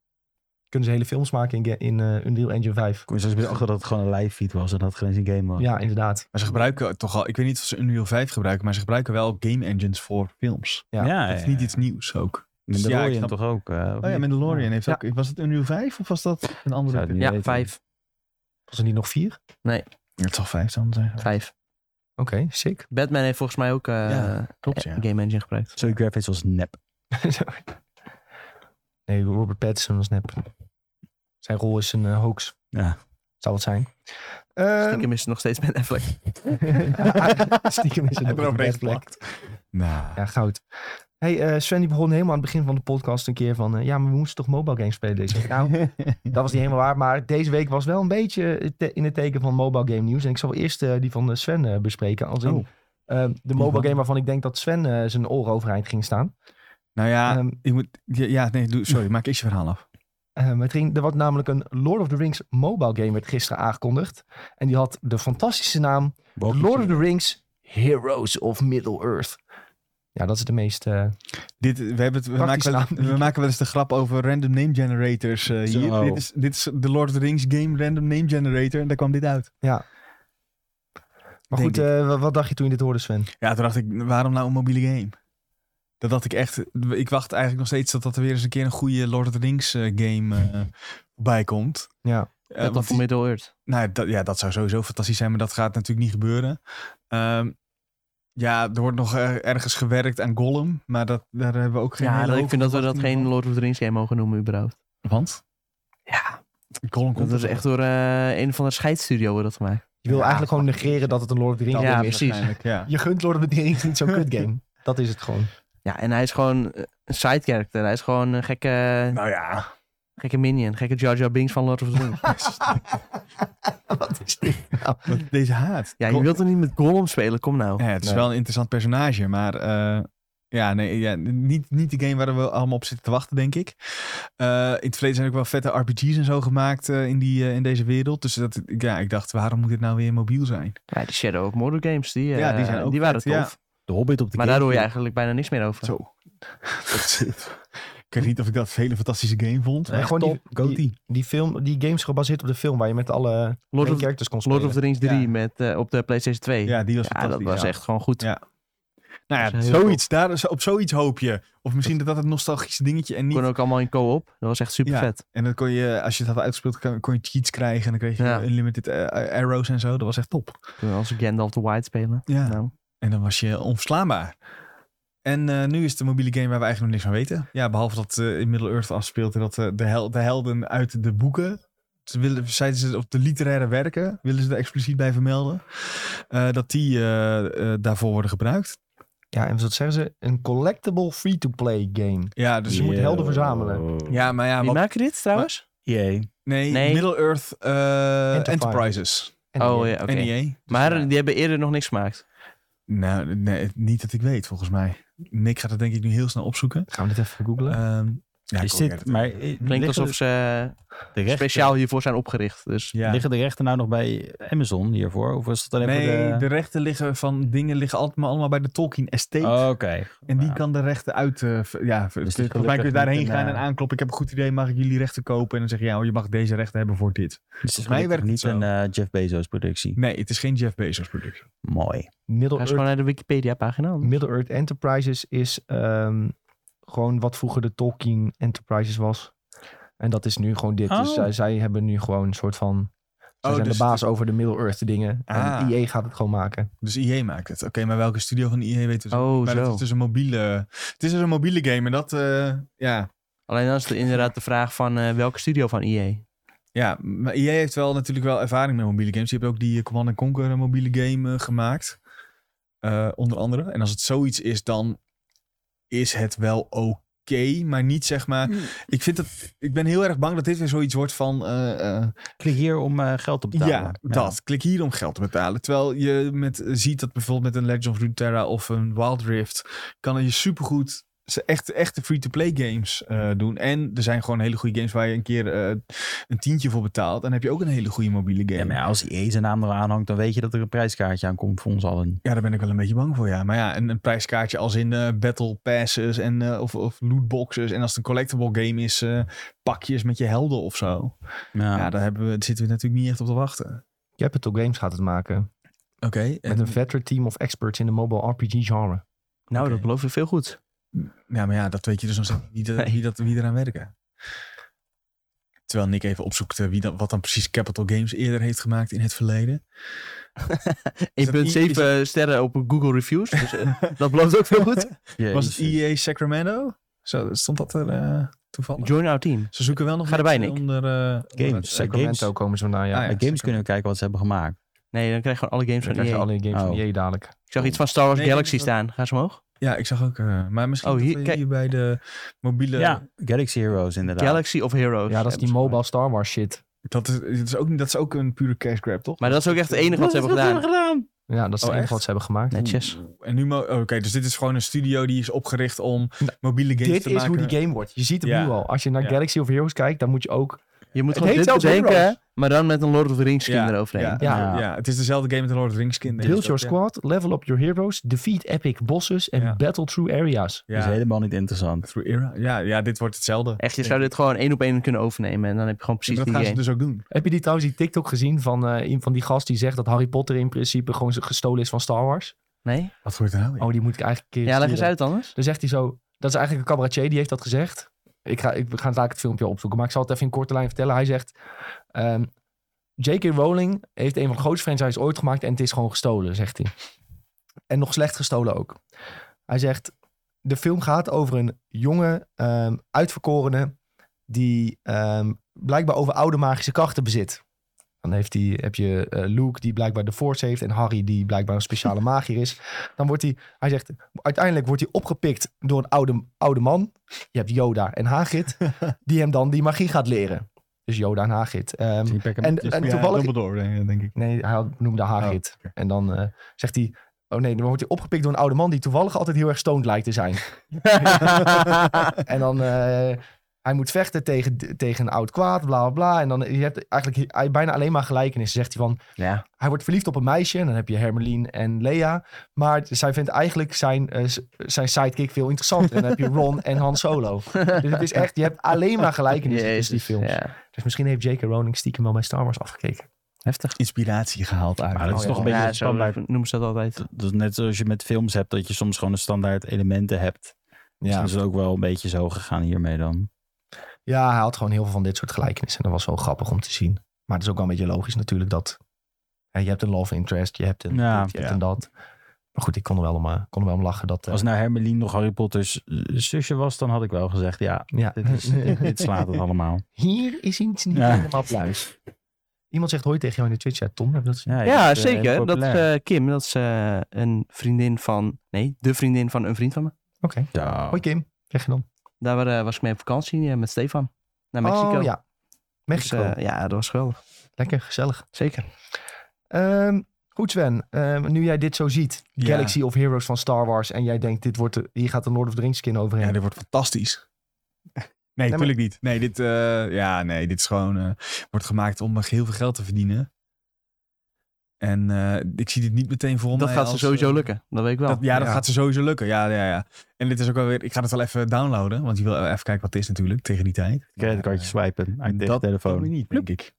[SPEAKER 1] Kunnen ze hele films maken in, ga- in eh, Unreal Engine 5.
[SPEAKER 3] Ik kom zoals achter dat het gewoon een live feed was en dat het geen eens een game was.
[SPEAKER 1] Ja, inderdaad.
[SPEAKER 2] Maar ze gebruiken toch al, ik weet niet of ze Unreal 5 gebruiken, maar ze gebruiken wel game engines voor films.
[SPEAKER 1] ja.
[SPEAKER 3] ja,
[SPEAKER 2] Dat is niet iets nieuws ook.
[SPEAKER 3] Mandalorian
[SPEAKER 2] Ja, ik snap-
[SPEAKER 3] toch ook? eh, of
[SPEAKER 2] Oh ja,
[SPEAKER 3] niet?
[SPEAKER 2] Mandalorian heeft
[SPEAKER 1] Ja.
[SPEAKER 2] ook. Was het Unreal 5 of was dat een andere?
[SPEAKER 3] Zou het
[SPEAKER 2] film?
[SPEAKER 3] niet
[SPEAKER 4] Ja,
[SPEAKER 3] weten.
[SPEAKER 4] vijf.
[SPEAKER 1] Was er niet nog vier?
[SPEAKER 2] eh, Het zal 5 dan zijn.
[SPEAKER 4] Vijf.
[SPEAKER 1] sick.
[SPEAKER 4] Batman heeft volgens mij ook eh,
[SPEAKER 2] Ja, klopt, ja.
[SPEAKER 4] Game Engine gebruikt.
[SPEAKER 3] Zoe Gravitz was nep.
[SPEAKER 1] nee, Robert Pattinson was nep. Zijn rol is een eh, hoax.
[SPEAKER 3] Ja.
[SPEAKER 1] Zou het zijn. Ehm,
[SPEAKER 4] Stiekem is het nog steeds Ben Affleck.
[SPEAKER 1] Stiekem is het
[SPEAKER 2] Hebben we
[SPEAKER 1] nog een
[SPEAKER 2] overheen
[SPEAKER 1] bad plek.
[SPEAKER 2] Nou,
[SPEAKER 1] Ja, goud. Hey, eh, Sven die begon helemaal aan het begin van de podcast een keer van... eh, ja, maar we moesten toch mobile games spelen deze week? Nou, dat was niet helemaal waar. Maar deze week was wel een beetje eh, te- in het teken van mobile game nieuws. En ik zal eerst eh, die van eh, Sven eh, bespreken. Als in,
[SPEAKER 2] Oh.
[SPEAKER 1] eh, de mobile game waarvan ik denk dat Sven eh, zijn oren overeind ging staan.
[SPEAKER 2] nou ja,
[SPEAKER 1] Ehm,
[SPEAKER 2] je moet, ja, ja, nee, doe, sorry, maak eerst je verhaal af.
[SPEAKER 1] Ehm, het ging, er was namelijk een Lord of the Rings mobile game werd gisteren aangekondigd. En die had de fantastische naam Lord of the Rings Heroes of Middle Earth. Ja, dat is de meest... eh,
[SPEAKER 2] Dit, we, hebben het, we, maken,
[SPEAKER 1] Praktische
[SPEAKER 2] wel-
[SPEAKER 1] naam.
[SPEAKER 2] we maken wel eens de grap over random name generators. eh, hier.
[SPEAKER 3] Zo.
[SPEAKER 2] Dit, is, dit is de Lord of the Rings game random name generator. En daar kwam dit uit.
[SPEAKER 1] Maar
[SPEAKER 2] Denk
[SPEAKER 1] goed, eh, wa- wat dacht je toen je dit hoorde, Sven?
[SPEAKER 2] Ja, toen dacht ik, waarom nou een mobiele game? Dat dacht ik echt. Ik wacht eigenlijk nog steeds dat, dat er weer eens een keer een goede Lord of the Rings eh, game eh bij komt.
[SPEAKER 1] Ja,
[SPEAKER 2] Eh,
[SPEAKER 4] Dat
[SPEAKER 2] want
[SPEAKER 4] of
[SPEAKER 2] die-
[SPEAKER 4] Middle Earth.
[SPEAKER 2] Nou, ja, dat, ja, dat zou sowieso fantastisch zijn, maar dat gaat natuurlijk niet gebeuren. Ehm, ja, er wordt nog eh, ergens gewerkt aan Gollum, maar dat, daar hebben we ook geen
[SPEAKER 4] Ja,
[SPEAKER 2] hele
[SPEAKER 4] dat- ik
[SPEAKER 2] hoge
[SPEAKER 4] vind dat we dat geen
[SPEAKER 2] verwachtingen
[SPEAKER 4] Lord of the Rings game mogen noemen überhaupt.
[SPEAKER 2] van. Want?
[SPEAKER 4] Ja,
[SPEAKER 2] Gollum
[SPEAKER 4] dat
[SPEAKER 2] komt
[SPEAKER 4] is
[SPEAKER 2] er
[SPEAKER 4] echt door eh, een van de scheidsstudio wordt dat gemaakt.
[SPEAKER 1] je wil
[SPEAKER 2] Ja,
[SPEAKER 1] eigenlijk gewoon negeren dat het een Lord of the Rings
[SPEAKER 4] Ja,
[SPEAKER 1] game is.
[SPEAKER 4] precies.
[SPEAKER 2] waarschijnlijk, Ja.
[SPEAKER 1] Je gunt Lord of the Rings niet zo'n kut game. Dat is het gewoon.
[SPEAKER 4] Ja, en hij is gewoon eh, een side character. Hij is gewoon een gekke,
[SPEAKER 2] Nou ja.
[SPEAKER 4] gekke minion. Gekke Jar Jar Binks van Lord of the Rings.
[SPEAKER 1] wat is dit?
[SPEAKER 2] Wat Deze haat.
[SPEAKER 4] Ja, je
[SPEAKER 2] Gollum-
[SPEAKER 4] wilt er niet met Gollum spelen? Kom nou.
[SPEAKER 2] Ja, het is
[SPEAKER 1] Nee.
[SPEAKER 2] wel een interessant personage, maar eh, ja, nee, ja, niet, niet de game waar we allemaal op zitten te wachten, denk ik. Eh, in het verleden zijn ook wel vette RPG's en zo gemaakt eh, in, die, eh, in deze wereld. Dus dat, ja, ik dacht, waarom moet dit nou weer mobiel zijn?
[SPEAKER 4] Ja, die Shadow of Mordor games, die, eh,
[SPEAKER 2] Ja, die
[SPEAKER 4] die,
[SPEAKER 2] zijn ook
[SPEAKER 4] waren
[SPEAKER 2] vet, ja.
[SPEAKER 4] tof.
[SPEAKER 3] De Hobbit op de
[SPEAKER 4] Maar daar hoor je
[SPEAKER 3] Gamecube.
[SPEAKER 4] eigenlijk bijna niks meer over.
[SPEAKER 2] Zo. ik weet niet of ik dat een hele fantastische game vond.
[SPEAKER 1] Nee, gewoon die-
[SPEAKER 2] top. Goatee.
[SPEAKER 1] Die, film, die game is gebaseerd op de film waar je met alle
[SPEAKER 4] Lord
[SPEAKER 1] main
[SPEAKER 4] of,
[SPEAKER 1] characters kon spelen.
[SPEAKER 4] Lord of the Rings 3
[SPEAKER 2] Ja.
[SPEAKER 4] met, eh, op de PlayStation 2. Ja,
[SPEAKER 2] Ja, die was fantastisch.
[SPEAKER 4] dat was
[SPEAKER 2] ja.
[SPEAKER 4] echt gewoon goed.
[SPEAKER 2] Ja. Nou ja,
[SPEAKER 4] Dat is heel
[SPEAKER 2] zoiets, daar, zo- op zoiets hoop je. Of misschien dat dat het nostalgische dingetje en niet...
[SPEAKER 4] Kon ook allemaal in co-op. Dat was echt super
[SPEAKER 2] Ja.
[SPEAKER 4] vet.
[SPEAKER 2] En dan kon je, als je het had uitgespeeld, kon kon je cheats krijgen. En dan kreeg je
[SPEAKER 4] Ja.
[SPEAKER 2] unlimited eh, arrows en zo. Dat was echt top.
[SPEAKER 4] Toen als Gandalf the White spelen.
[SPEAKER 2] Ja.
[SPEAKER 4] Nou,
[SPEAKER 2] En dan was je onverslaanbaar. En eh, nu is het een mobiele game waar we eigenlijk nog niks van weten. Ja, behalve dat eh, in Middle-earth afspeelt en dat eh, de, hel- de helden uit de boeken... Ze willen, zeiden ze, of de literaire werken, willen ze er expliciet bij vermelden. eh, dat die eh, eh, daarvoor worden gebruikt.
[SPEAKER 1] Ja, en wat zeggen ze? Een collectible free-to-play game.
[SPEAKER 2] Ja, dus...
[SPEAKER 1] je moet helden verzamelen.
[SPEAKER 3] Ja.
[SPEAKER 2] Ja, maar ja,
[SPEAKER 4] wie
[SPEAKER 2] wat-
[SPEAKER 4] maken dit trouwens?
[SPEAKER 3] Jee.
[SPEAKER 2] nee,
[SPEAKER 4] Nee.
[SPEAKER 2] Middle-earth eh,
[SPEAKER 1] Enterprise.
[SPEAKER 2] Enterprises.
[SPEAKER 1] En
[SPEAKER 4] oh
[SPEAKER 1] die-
[SPEAKER 4] ja, oké.
[SPEAKER 2] NEA. Dus
[SPEAKER 4] Maar
[SPEAKER 2] ja.
[SPEAKER 4] die hebben eerder nog niks gemaakt.
[SPEAKER 2] Nou, nee, niet dat ik weet, volgens mij. Nick gaat het denk ik nu heel snel opzoeken.
[SPEAKER 1] Gaan we dit even googlen?
[SPEAKER 2] Ehm, ja, ik
[SPEAKER 3] is
[SPEAKER 2] ook
[SPEAKER 3] dit,
[SPEAKER 2] echt-
[SPEAKER 3] maar eh,
[SPEAKER 4] Klinkt
[SPEAKER 3] liggen
[SPEAKER 4] alsof
[SPEAKER 3] de-
[SPEAKER 4] ze eh,
[SPEAKER 3] de rechten,
[SPEAKER 4] speciaal hiervoor zijn opgericht. Dus
[SPEAKER 2] Ja.
[SPEAKER 3] liggen de rechten nou nog bij Amazon hiervoor? Of was dat alleen
[SPEAKER 2] Nee,
[SPEAKER 3] voor
[SPEAKER 2] de
[SPEAKER 3] de...
[SPEAKER 2] rechten liggen van dingen liggen altijd maar allemaal bij de Tolkien Estate.
[SPEAKER 3] Oké.
[SPEAKER 2] en die
[SPEAKER 3] Nou,
[SPEAKER 2] kan de rechten uit. eh, ver- ja, ver-
[SPEAKER 3] Dus het
[SPEAKER 2] volgens mij
[SPEAKER 3] is
[SPEAKER 2] kun je
[SPEAKER 3] gelukkig
[SPEAKER 2] daarheen
[SPEAKER 3] niet een,
[SPEAKER 2] gaan en
[SPEAKER 3] eh,
[SPEAKER 2] aankloppen. Ik heb een goed idee, mag ik jullie rechten kopen? En dan zeg je, ja, oh, je mag deze rechten hebben voor dit.
[SPEAKER 3] dus het is
[SPEAKER 2] mij
[SPEAKER 3] gelukkig
[SPEAKER 2] werkt het
[SPEAKER 3] niet
[SPEAKER 2] zo.
[SPEAKER 3] een eh, Jeff Bezos productie.
[SPEAKER 2] Nee, het is geen Jeff Bezos productie.
[SPEAKER 3] Mooi.
[SPEAKER 4] ga eens
[SPEAKER 1] Middle-earth
[SPEAKER 4] gewoon naar de Wikipedia-pagina.
[SPEAKER 1] Middle-earth Enterprises is ehm, gewoon wat vroeger de Tolkien Enterprises was. En dat is nu gewoon dit. Dus
[SPEAKER 3] Oh.
[SPEAKER 1] zij, zij hebben nu gewoon een soort van... Zij
[SPEAKER 2] Oh,
[SPEAKER 1] zijn
[SPEAKER 2] dus
[SPEAKER 1] de baas over de Middle-earth dingen.
[SPEAKER 2] Ah.
[SPEAKER 1] En IE gaat het gewoon maken.
[SPEAKER 2] Dus IE maakt het. Oké, maar welke studio van IE weten we?
[SPEAKER 4] Oh,
[SPEAKER 2] maar
[SPEAKER 4] zo.
[SPEAKER 2] het is dus een mobiele. Het is dus een mobiele game en dat. eh, ja,
[SPEAKER 4] Alleen dan is het inderdaad de vraag van eh, welke studio van EA.
[SPEAKER 2] ja, maar IE heeft wel natuurlijk wel ervaring met mobiele games. Je hebt ook die eh, Command Conquer eh, mobiele game eh, gemaakt. Eh, onder andere. En als het zoiets is, dan is het wel oké. maar niet zeg maar. Ik, vind dat, ik ben heel erg bang dat dit weer zoiets wordt van. eh, eh,
[SPEAKER 3] Klik hier om eh, geld te
[SPEAKER 2] ja,
[SPEAKER 3] betalen.
[SPEAKER 2] dat. Klik hier om geld te betalen. Terwijl je met, ziet dat bijvoorbeeld met een Legend of Runeterra of een Wild Rift. kan je supergoed ze echt, echte free-to-play games eh, doen. En er zijn gewoon hele goede games waar je een keer eh, een tientje voor betaalt. En dan heb je ook een hele goede mobiele game.
[SPEAKER 3] Ja, maar ja, als IE zijn naam er aanhangt, dan weet je dat er een prijskaartje aan komt voor ons allen.
[SPEAKER 2] Ja, daar ben ik wel een beetje bang voor, ja. Maar ja, een, een prijskaartje als in eh, battle passes en, eh, of, of lootboxes. En als het een collectible game is, eh, pakjes met je helden of zo.
[SPEAKER 3] Ja.
[SPEAKER 2] Ja, daar hebben we, zitten we natuurlijk niet echt op te wachten.
[SPEAKER 1] Capital Games gaat het maken.
[SPEAKER 2] Oké.
[SPEAKER 1] Met een veteran team of experts in de mobile RPG genre.
[SPEAKER 4] Nou,
[SPEAKER 2] Oké.
[SPEAKER 4] dat belooft weer veel goed.
[SPEAKER 2] Ja, maar ja, dat weet je dus nog steeds niet eh,
[SPEAKER 4] Nee.
[SPEAKER 2] wie, dat, wie eraan werken. Terwijl Nick even opzoekt eh, wie dan, wat dan precies Capital Games eerder heeft gemaakt in het verleden. E
[SPEAKER 4] 1.7 sterren op Google Reviews. Dus eh, dat belooft ook veel goed.
[SPEAKER 2] Was het E EA Sacramento? Zo, stond dat er eh, toevallig?
[SPEAKER 4] Join our team.
[SPEAKER 2] Ze zoeken wel nog
[SPEAKER 4] Ga erbij,
[SPEAKER 2] mensen
[SPEAKER 4] Nick.
[SPEAKER 2] onder... eh,
[SPEAKER 3] Games.
[SPEAKER 2] onder-
[SPEAKER 1] Sacramento komen ze vandaan, ja.
[SPEAKER 2] Ah, ja.
[SPEAKER 3] Bij games kunnen we kijken wat ze hebben gemaakt.
[SPEAKER 4] Nee, dan krijg je gewoon alle games
[SPEAKER 1] Dan
[SPEAKER 4] van
[SPEAKER 2] E
[SPEAKER 1] krijg je
[SPEAKER 4] EA.
[SPEAKER 1] alleen games van
[SPEAKER 3] Oh.
[SPEAKER 1] EA dadelijk.
[SPEAKER 4] Ik zag iets van Star Wars
[SPEAKER 2] Nee,
[SPEAKER 4] Galaxy
[SPEAKER 2] dat-
[SPEAKER 4] staan. Ga ze omhoog?
[SPEAKER 2] Ja, ik zag ook. eh, maar misschien
[SPEAKER 4] Oh,
[SPEAKER 2] dat
[SPEAKER 4] hier-
[SPEAKER 2] we
[SPEAKER 4] kijk.
[SPEAKER 2] hier bij de mobiele...
[SPEAKER 3] Ja, Galaxy Heroes inderdaad.
[SPEAKER 4] Galaxy of Heroes.
[SPEAKER 1] Ja, dat is die
[SPEAKER 4] hebben ze
[SPEAKER 1] mobile Star Wars shit.
[SPEAKER 2] Dat is, dat, is ook, dat is ook een pure cash grab, toch?
[SPEAKER 4] Maar dat is ook echt het enige wat ze hebben gedaan.
[SPEAKER 1] Ja, dat is het
[SPEAKER 2] Oh,
[SPEAKER 1] enige
[SPEAKER 2] echt?
[SPEAKER 1] wat ze hebben gemaakt.
[SPEAKER 4] Netjes.
[SPEAKER 2] En nu... mo- oh, Oké, dus dit is gewoon een studio die is opgericht om
[SPEAKER 1] Nou,
[SPEAKER 2] mobiele games
[SPEAKER 1] Dit
[SPEAKER 2] te
[SPEAKER 1] is
[SPEAKER 2] maken.
[SPEAKER 1] hoe die game wordt. Je ziet hem
[SPEAKER 2] Ja.
[SPEAKER 1] nu al. Als je naar
[SPEAKER 2] Ja.
[SPEAKER 1] Galaxy of Heroes kijkt, dan moet je ook...
[SPEAKER 4] Je moet
[SPEAKER 1] Het
[SPEAKER 4] gewoon
[SPEAKER 1] heet
[SPEAKER 4] dit
[SPEAKER 1] zelfs
[SPEAKER 4] bedenken,
[SPEAKER 1] Heroes.
[SPEAKER 4] maar dan met een Lord of the Rings skin
[SPEAKER 2] Ja,
[SPEAKER 4] eroverheen.
[SPEAKER 2] Ja,
[SPEAKER 1] Ja.
[SPEAKER 2] ja. het is dezelfde game met de Lord of the Rings kinderen.
[SPEAKER 1] Build your squad, level up your heroes, defeat epic bosses en
[SPEAKER 2] Ja.
[SPEAKER 1] battle through areas.
[SPEAKER 2] Ja.
[SPEAKER 3] Dat is helemaal niet interessant.
[SPEAKER 2] Through era. Ja, ja, dit wordt hetzelfde.
[SPEAKER 4] Echt, je
[SPEAKER 2] Ja.
[SPEAKER 4] zou dit gewoon één op één kunnen overnemen. En dan heb je gewoon
[SPEAKER 2] En
[SPEAKER 4] precies
[SPEAKER 2] dat
[SPEAKER 4] die
[SPEAKER 2] gaan
[SPEAKER 4] game.
[SPEAKER 2] ze dus ook doen.
[SPEAKER 1] Heb je die trouwens die TikTok gezien van, eh, een van die gast die zegt dat Harry Potter in principe gewoon gestolen is van Star Wars?
[SPEAKER 4] Nee?
[SPEAKER 2] Wat wordt er nou? in?
[SPEAKER 1] Oh, die moet ik eigenlijk een keer
[SPEAKER 4] Ja, leg eens
[SPEAKER 1] sturen.
[SPEAKER 4] uit anders.
[SPEAKER 1] Dan zegt hij zo, dat is eigenlijk een cabaretier, die heeft dat gezegd. Ik ga, ik, we gaan laat het filmpje opzoeken, maar ik zal het even in korte lijn vertellen. Hij zegt, ehm, J.K. Rowling heeft een van de grootste franchises ooit gemaakt en het is gewoon gestolen, zegt hij. En nog slecht gestolen ook. Hij zegt, de film gaat over een jonge ehm, uitverkorene die ehm, blijkbaar over oude magische krachten bezit. Dan heeft hij, heb je eh, Luke die blijkbaar de Force heeft en Harry die blijkbaar een speciale magier is. Dan wordt hij, hij zegt, uiteindelijk wordt hij opgepikt door een oude, oude man. Je hebt Yoda en Hagrid, die hem dan die magie gaat leren. Dus Yoda en Hagrid. Ehm, en, en
[SPEAKER 2] Dus ja,
[SPEAKER 1] toevallig...
[SPEAKER 2] Dumbledore, denk- denk ik.
[SPEAKER 1] Nee, hij had- noemde Hagrid. En dan eh, zegt hij... Oh nee, dan wordt hij opgepikt door een oude man... die toevallig altijd heel erg stoned lijkt te zijn. en dan... eh, hij moet vechten tegen, tegen een oud kwaad, bla bla bla. En dan je hebt eigenlijk hij- bijna alleen maar gelijkenissen. Zegt hij van,
[SPEAKER 4] Ja.
[SPEAKER 1] hij wordt verliefd op een meisje. En dan heb je Hermeline en Lea. Maar zij vindt eigenlijk zijn, eh, s- zijn sidekick veel interessanter. En dan heb je Ron en Han Solo. Dus het is echt, je hebt alleen maar gelijkenissen tussen die films.
[SPEAKER 4] Ja.
[SPEAKER 1] Dus misschien heeft J.K. Rowling stiekem wel bij Star Wars afgekeken.
[SPEAKER 4] Heftig.
[SPEAKER 2] Inspiratie gehaald uit.
[SPEAKER 3] Maar dat is
[SPEAKER 1] Oh, ja.
[SPEAKER 3] toch een beetje
[SPEAKER 4] Ja,
[SPEAKER 3] een
[SPEAKER 4] zo
[SPEAKER 3] standaard.
[SPEAKER 4] noemen ze dat altijd.
[SPEAKER 3] Dat is net zoals je met films hebt, dat je soms gewoon een standaard elementen hebt. Ja. Dus is het ook wel een beetje zo gegaan hiermee dan.
[SPEAKER 1] Ja, hij had gewoon heel veel van dit soort gelijkenissen. En dat was wel grappig om te zien. Maar het is ook wel een beetje logisch natuurlijk dat... hè, je hebt een love interest, je hebt een
[SPEAKER 3] Ja,
[SPEAKER 1] dit, je hebt
[SPEAKER 2] ja.
[SPEAKER 1] een dat. Maar goed, ik kon er wel om, eh, kon er wel om lachen. Dat, eh,
[SPEAKER 3] Als nou Hermeline nog Harry Potter's eh, zusje was, dan had ik wel gezegd, ja,
[SPEAKER 1] ja.
[SPEAKER 3] dit, is, dit, dit slaat het allemaal.
[SPEAKER 1] Hier is iets niet
[SPEAKER 3] Ja.
[SPEAKER 1] helemaal pluis. Iemand zegt hoi tegen jou in de Twitch. Ja, Tom, heb je dat gezien?
[SPEAKER 3] je
[SPEAKER 4] Ja,
[SPEAKER 3] bent, eh,
[SPEAKER 4] zeker. Dat is
[SPEAKER 3] populair.
[SPEAKER 4] eh, Kim, dat is eh, een vriendin van... Nee, de vriendin van een vriend van me.
[SPEAKER 1] Oké.
[SPEAKER 3] Zo.
[SPEAKER 1] Hoi Kim, zeg je dan.
[SPEAKER 4] Daar eh, was ik mee op vakantie eh, met Stefan. Naar Mexico.
[SPEAKER 1] Oh ja,
[SPEAKER 4] Dus,
[SPEAKER 1] Mexico.
[SPEAKER 4] eh, ja, dat was geweldig.
[SPEAKER 1] Lekker, gezellig.
[SPEAKER 4] Zeker.
[SPEAKER 1] Ehm, goed Sven, Ehm, nu jij dit zo ziet.
[SPEAKER 2] Ja.
[SPEAKER 1] Galaxy of Heroes van Star Wars. En jij denkt, dit wordt, de- hier gaat de Lord of the Rings skin overheen.
[SPEAKER 2] Ja, dit wordt fantastisch.
[SPEAKER 1] maar-
[SPEAKER 2] Nee, natuurlijk niet. Nee, dit, eh, ja, nee, dit is gewoon, eh, wordt gemaakt om eh, heel veel geld te verdienen. En eh, ik zie dit niet meteen voor
[SPEAKER 4] Dat
[SPEAKER 2] mij
[SPEAKER 4] gaat ze
[SPEAKER 2] als,
[SPEAKER 4] sowieso
[SPEAKER 2] eh,
[SPEAKER 4] lukken. Dat weet ik wel.
[SPEAKER 2] dat- ja, dat
[SPEAKER 1] Ja.
[SPEAKER 2] gaat ze sowieso lukken. Ja, ja, ja. En dit is ook wel weer, ik ga het wel even downloaden, want je wil even kijken wat het is natuurlijk tegen die tijd.
[SPEAKER 3] Creditcardje swipen uit de
[SPEAKER 2] dat
[SPEAKER 3] Nou, telefoon.
[SPEAKER 2] kan ik niet, denk ik.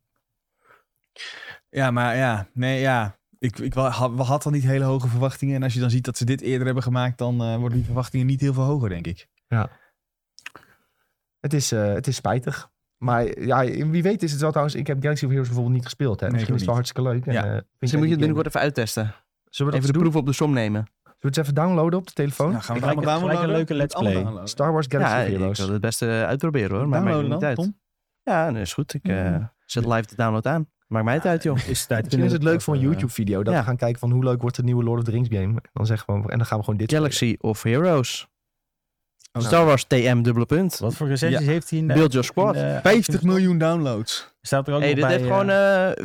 [SPEAKER 2] Ja, maar ja, nee, ja. Ik, ik wa- had, we hadden al niet hele hoge verwachtingen. En als je dan ziet dat ze dit eerder hebben gemaakt, dan eh, worden die verwachtingen niet heel veel hoger, denk ik.
[SPEAKER 1] Het is, eh, het is spijtig. Maar ja, wie weet is het wel trouwens... Ik heb Galaxy of Heroes bijvoorbeeld niet gespeeld. Hè?
[SPEAKER 2] Nee,
[SPEAKER 1] Misschien
[SPEAKER 2] ik
[SPEAKER 1] is het
[SPEAKER 2] ook
[SPEAKER 1] wel hartstikke leuk. En, eh,
[SPEAKER 2] Ja.
[SPEAKER 1] vind
[SPEAKER 4] Misschien
[SPEAKER 1] jij
[SPEAKER 4] moet je
[SPEAKER 1] die
[SPEAKER 4] het binnenkort
[SPEAKER 1] game-
[SPEAKER 4] even uittesten.
[SPEAKER 1] Zullen we, dat
[SPEAKER 4] Even de
[SPEAKER 1] doen?
[SPEAKER 4] proef op de som nemen.
[SPEAKER 1] Zullen we het even downloaden op de telefoon?
[SPEAKER 2] Nou, gaan we
[SPEAKER 3] Gelijk-
[SPEAKER 2] het allemaal
[SPEAKER 3] gelijk
[SPEAKER 2] downloaden?
[SPEAKER 3] een leuke let's
[SPEAKER 2] Allemaal
[SPEAKER 3] play.
[SPEAKER 2] downloaden.
[SPEAKER 1] Star Wars Galaxy
[SPEAKER 4] ja,
[SPEAKER 1] of
[SPEAKER 4] ik
[SPEAKER 1] Heroes.
[SPEAKER 4] wil het beste eh, uitproberen hoor. Maar maakt me
[SPEAKER 2] Downloaden
[SPEAKER 4] niet
[SPEAKER 2] dan,
[SPEAKER 4] uit.
[SPEAKER 2] Tom?
[SPEAKER 4] Ja, nee, is goed. Ik eh, zet live de download aan. Maakt mij het uit, joh.
[SPEAKER 3] Is het tijd Eh,
[SPEAKER 1] Misschien is het leuk
[SPEAKER 4] eh,
[SPEAKER 1] voor een YouTube-video. Dat
[SPEAKER 4] Ja.
[SPEAKER 1] we gaan kijken van hoe leuk wordt de nieuwe Lord of the Rings game. En dan, zeggen we, en dan gaan we gewoon dit
[SPEAKER 4] Galaxy of Heroes.
[SPEAKER 2] Oh,
[SPEAKER 4] Star Wars TM dubbele punt.
[SPEAKER 3] nou. Wat voor recensies heeft hij in de...
[SPEAKER 4] Build your squad.
[SPEAKER 3] in de-
[SPEAKER 2] 50 miljoen downloads.
[SPEAKER 3] Staat er ook
[SPEAKER 4] hey,
[SPEAKER 3] nog
[SPEAKER 4] dit
[SPEAKER 3] bij...
[SPEAKER 4] heeft gewoon
[SPEAKER 3] eh,
[SPEAKER 4] eh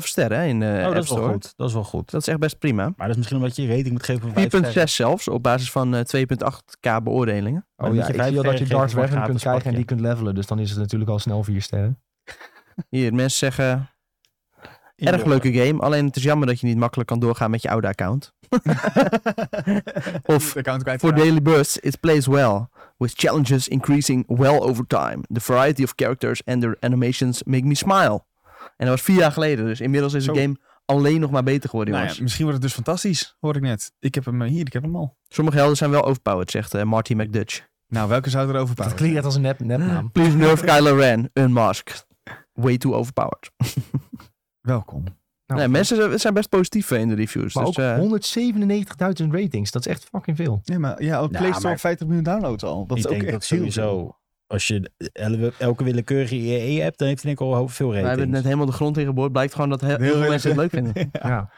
[SPEAKER 4] 4,5 sterren hè, in de
[SPEAKER 3] oh, dat
[SPEAKER 4] App
[SPEAKER 3] is wel
[SPEAKER 4] Store.
[SPEAKER 3] goed. Dat is wel goed.
[SPEAKER 4] Dat is echt best prima.
[SPEAKER 3] Maar dat is misschien omdat je je rating moet geven van 5
[SPEAKER 4] 4,6
[SPEAKER 3] sterren.
[SPEAKER 4] zelfs, op basis van eh, 2,8k beoordelingen.
[SPEAKER 1] Oh
[SPEAKER 3] Maar
[SPEAKER 1] ja,
[SPEAKER 3] moet je
[SPEAKER 1] ik
[SPEAKER 3] vijf
[SPEAKER 1] zie al dat je
[SPEAKER 3] sterren
[SPEAKER 1] Darth
[SPEAKER 3] geven voor een
[SPEAKER 1] Revan kunt
[SPEAKER 3] gratis
[SPEAKER 1] krijgen en die
[SPEAKER 3] pakje.
[SPEAKER 1] kunt levelen. Dus dan is het natuurlijk al snel vier sterren.
[SPEAKER 4] Hier, mensen zeggen, erg
[SPEAKER 3] Inloggen.
[SPEAKER 4] leuke game. Alleen het is jammer dat je niet makkelijk kan doorgaan met je oude account. Of
[SPEAKER 2] account kwijt.
[SPEAKER 4] For Daily Bursts, it plays well, with challenges increasing well over time. The variety of characters and their animations make me smile. En dat was vier jaar geleden, dus inmiddels is de
[SPEAKER 2] Zo.
[SPEAKER 4] game alleen nog maar beter geworden,
[SPEAKER 2] Nou ja,
[SPEAKER 4] jongens.
[SPEAKER 2] misschien wordt het dus fantastisch, hoor ik net. Ik heb hem eh, hier, ik heb hem al.
[SPEAKER 4] Sommige helden zijn wel overpowered, zegt eh, Marty McDutch.
[SPEAKER 2] Nou, welke zou er
[SPEAKER 1] Dat
[SPEAKER 2] overpakken?
[SPEAKER 1] klinkt net als een nep, nepnaam.
[SPEAKER 4] Please nerf Kylo Ren, unmasked. way too overpowered.
[SPEAKER 2] Welkom.
[SPEAKER 1] Nou,
[SPEAKER 4] nee, mensen zijn- zijn best positief in de reviews.
[SPEAKER 1] Maar
[SPEAKER 4] dus, eh,
[SPEAKER 1] ook 197.000 ratings. Dat is echt fucking veel.
[SPEAKER 2] Ja, maar ja, op
[SPEAKER 3] Nou,
[SPEAKER 2] Play Store
[SPEAKER 3] maar-
[SPEAKER 2] 50 miljoen downloads al. Dat
[SPEAKER 3] ik
[SPEAKER 2] is ook
[SPEAKER 3] denk
[SPEAKER 2] echt
[SPEAKER 3] dat
[SPEAKER 2] heel veel.
[SPEAKER 3] sowieso, als je elke, elke willekeurige EA hebt, dan heeft hij denk ik al veel
[SPEAKER 4] we hebben
[SPEAKER 3] ratings.
[SPEAKER 4] net helemaal de grond ingeboord. Blijkt gewoon dat he- heel veel
[SPEAKER 2] erg.
[SPEAKER 4] mensen het leuk vinden.
[SPEAKER 1] Ja.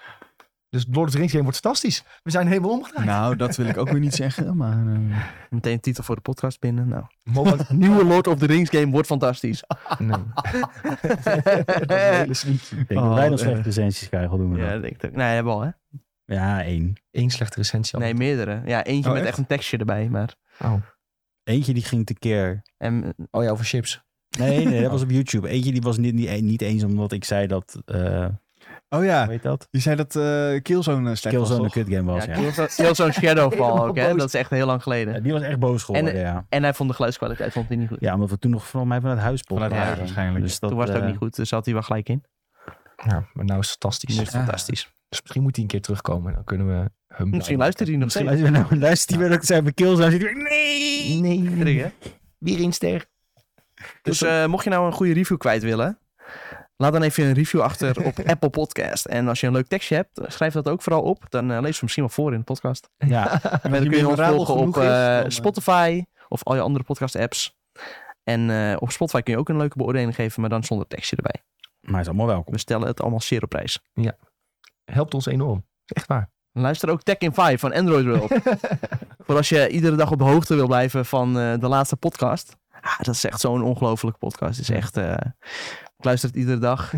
[SPEAKER 1] Dus Lord of the Rings game wordt fantastisch. We zijn helemaal omgedraaid.
[SPEAKER 2] Nou, dat wil ik ook weer niet zeggen, maar... eh,
[SPEAKER 4] Meteen een titel voor de podcast binnen. Nou.
[SPEAKER 1] Mobile-
[SPEAKER 4] Nieuwe Lord of the Rings game wordt fantastisch.
[SPEAKER 1] nee. Dat is
[SPEAKER 4] Eh.
[SPEAKER 1] een hele sneaky.
[SPEAKER 3] Ik denk dat wij
[SPEAKER 2] Oh,
[SPEAKER 3] nog
[SPEAKER 2] eh.
[SPEAKER 3] slechte recensies krijgen, al doen we
[SPEAKER 4] Ja,
[SPEAKER 3] dat.
[SPEAKER 4] dat denk ik ook. Nee, hebben we al, hè?
[SPEAKER 3] Ja, één.
[SPEAKER 1] Eén slechte recensie. al.
[SPEAKER 4] Nee, meerdere. Ja, eentje
[SPEAKER 2] Oh,
[SPEAKER 4] met
[SPEAKER 2] echt?
[SPEAKER 4] echt een tekstje erbij. Maar...
[SPEAKER 1] Oh.
[SPEAKER 3] Eentje die ging tekeer.
[SPEAKER 4] En,
[SPEAKER 1] oh ja, over chips.
[SPEAKER 3] Nee,
[SPEAKER 4] Oh.
[SPEAKER 3] nee, dat was op YouTube. Eentje die was niet, niet, niet eens omdat ik zei dat, eh
[SPEAKER 2] Oh ja,
[SPEAKER 4] Ah,
[SPEAKER 3] hoe heet dat?
[SPEAKER 2] je zei dat eh Killzone eh, slecht
[SPEAKER 3] Killzone een
[SPEAKER 2] was, toch?
[SPEAKER 3] kutgame was,
[SPEAKER 4] ja,
[SPEAKER 3] ja.
[SPEAKER 4] Killzone- Killzone Shadowfall
[SPEAKER 1] Helemaal
[SPEAKER 4] ook, hè?
[SPEAKER 1] boos.
[SPEAKER 4] Dat is echt heel lang
[SPEAKER 3] Ja,
[SPEAKER 4] geleden.
[SPEAKER 3] Die was echt boos geworden,
[SPEAKER 4] En,
[SPEAKER 3] ja.
[SPEAKER 4] En hij vond de geluidskwaliteit vond hij niet goed.
[SPEAKER 3] Ja, omdat we toen nog vooral mij vanuit huis
[SPEAKER 2] Vanuit
[SPEAKER 3] podcasten.
[SPEAKER 2] huis waarschijnlijk.
[SPEAKER 3] Dus dat,
[SPEAKER 4] Toen was het ook
[SPEAKER 3] eh,
[SPEAKER 4] niet goed, dus zat hij wel gelijk in.
[SPEAKER 1] Ja, maar nou is het fantastisch.
[SPEAKER 4] Nu is het
[SPEAKER 2] Ja.
[SPEAKER 4] fantastisch.
[SPEAKER 1] Dus misschien moet hij een keer terugkomen. Dan kunnen we hem...
[SPEAKER 4] Misschien luistert hij nog
[SPEAKER 3] Misschien
[SPEAKER 4] steeds.
[SPEAKER 3] luister je nou, luistert die weer dat ik zei bij Killzone. zit hij weer, Nee!
[SPEAKER 1] Nee.
[SPEAKER 4] Drie, hè?
[SPEAKER 1] Weer een ster.
[SPEAKER 4] Dus eh, mocht je nou een goede review kwijt willen, laat dan even een review achter op Apple Podcast. En als je een leuk tekstje hebt, schrijf dat ook vooral op. Dan eh, lezen we misschien wel voor in de podcast.
[SPEAKER 3] Ja,
[SPEAKER 2] En
[SPEAKER 4] En
[SPEAKER 2] als
[SPEAKER 4] dan kun je ons
[SPEAKER 2] memorabel
[SPEAKER 4] volgen op
[SPEAKER 2] genoeg is,
[SPEAKER 4] eh,
[SPEAKER 2] dan, eh,
[SPEAKER 4] Spotify of al je andere podcast apps. En eh, op Spotify kun je ook een leuke beoordeling geven, maar dan zonder tekstje erbij.
[SPEAKER 3] maar hij is allemaal welkom.
[SPEAKER 4] We stellen het allemaal zeer op prijs.
[SPEAKER 1] Helpt ons enorm. Echt waar.
[SPEAKER 4] Luister ook Tech in 5 van Android World. Voor als je iedere dag op de hoogte wil blijven van eh, de laatste podcast. Ah, dat is echt zo'n ongelofelijke podcast. Het is echt... eh, ik luister het iedere dag.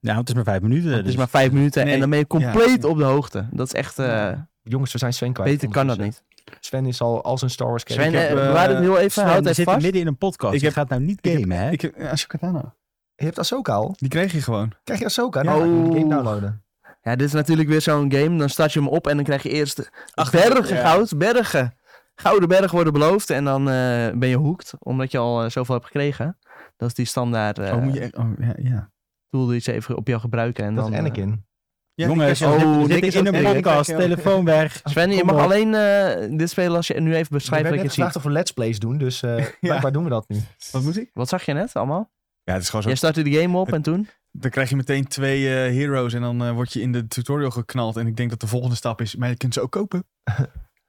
[SPEAKER 3] Nou, het is maar vijf minuten.
[SPEAKER 4] Het
[SPEAKER 3] dus-
[SPEAKER 4] is maar vijf minuten
[SPEAKER 2] Nee,
[SPEAKER 4] en dan ben je
[SPEAKER 2] ja.
[SPEAKER 4] compleet op de hoogte. Dat is echt... eh,
[SPEAKER 1] Jongens, we zijn Sven kwijt. Dus, eh,
[SPEAKER 4] beter kan dat niet.
[SPEAKER 1] Sven is al als een Star Wars
[SPEAKER 4] Sven,
[SPEAKER 1] character.
[SPEAKER 2] heb,
[SPEAKER 4] eh,
[SPEAKER 2] eh,
[SPEAKER 4] bewaar het heel even.
[SPEAKER 3] Sven,
[SPEAKER 4] houd
[SPEAKER 3] we
[SPEAKER 4] even
[SPEAKER 3] zitten
[SPEAKER 4] vast.
[SPEAKER 3] midden in een podcast.
[SPEAKER 2] Ik
[SPEAKER 3] Ik
[SPEAKER 2] heb-
[SPEAKER 3] gaat nou niet
[SPEAKER 2] ik heb-
[SPEAKER 3] gamen, hè?
[SPEAKER 2] Ik heb Ashokatana.
[SPEAKER 1] Je hebt Ahsoka al.
[SPEAKER 2] Die kreeg je gewoon.
[SPEAKER 1] Krijg je Ahsoka?
[SPEAKER 4] Ja.
[SPEAKER 1] Nou, dan moet je die game
[SPEAKER 4] Oh.
[SPEAKER 1] downloaden.
[SPEAKER 4] Ja, dit is natuurlijk weer zo'n game. Dan start je hem op en dan krijg je eerst bergen
[SPEAKER 2] ja.
[SPEAKER 4] goud. Bergen. Gouden bergen worden beloofd en dan eh, ben je hoekt. Omdat je al eh, zoveel hebt gekregen. Dat is die standaard eh
[SPEAKER 2] oh, moet je echt... Oh, ja, ja.
[SPEAKER 4] tool die ze even op jou gebruiken. En
[SPEAKER 1] Dat
[SPEAKER 4] dan,
[SPEAKER 1] is
[SPEAKER 4] eh,
[SPEAKER 1] Anakin.
[SPEAKER 2] Ja,
[SPEAKER 3] Jongens,
[SPEAKER 2] die
[SPEAKER 4] oh,
[SPEAKER 2] kreeg je ook.
[SPEAKER 3] we
[SPEAKER 4] Nick
[SPEAKER 3] zitten
[SPEAKER 4] is
[SPEAKER 3] in
[SPEAKER 4] ook-
[SPEAKER 3] een
[SPEAKER 2] Nick,
[SPEAKER 3] podcast.
[SPEAKER 2] Nick, Nick,
[SPEAKER 3] Telefoon weg.
[SPEAKER 4] Sven, je
[SPEAKER 3] Kom
[SPEAKER 4] mag
[SPEAKER 3] op.
[SPEAKER 4] alleen eh, dit spelen als je nu even
[SPEAKER 1] Ik
[SPEAKER 4] beschrijft
[SPEAKER 1] werd
[SPEAKER 4] wat je
[SPEAKER 1] net gevraagd
[SPEAKER 4] ziet.
[SPEAKER 1] of we let's plays doen, dus eh blijkbaar doen we dat nu.
[SPEAKER 2] Wat moet ik?
[SPEAKER 4] Wat zag je net allemaal?
[SPEAKER 2] Ja, het is gewoon zo.
[SPEAKER 4] Jij startte de game op en toen?
[SPEAKER 2] Dan krijg je meteen twee eh, heroes en dan eh, word je in de tutorial geknald. En ik denk dat de volgende stap is, maar je kunt ze ook kopen.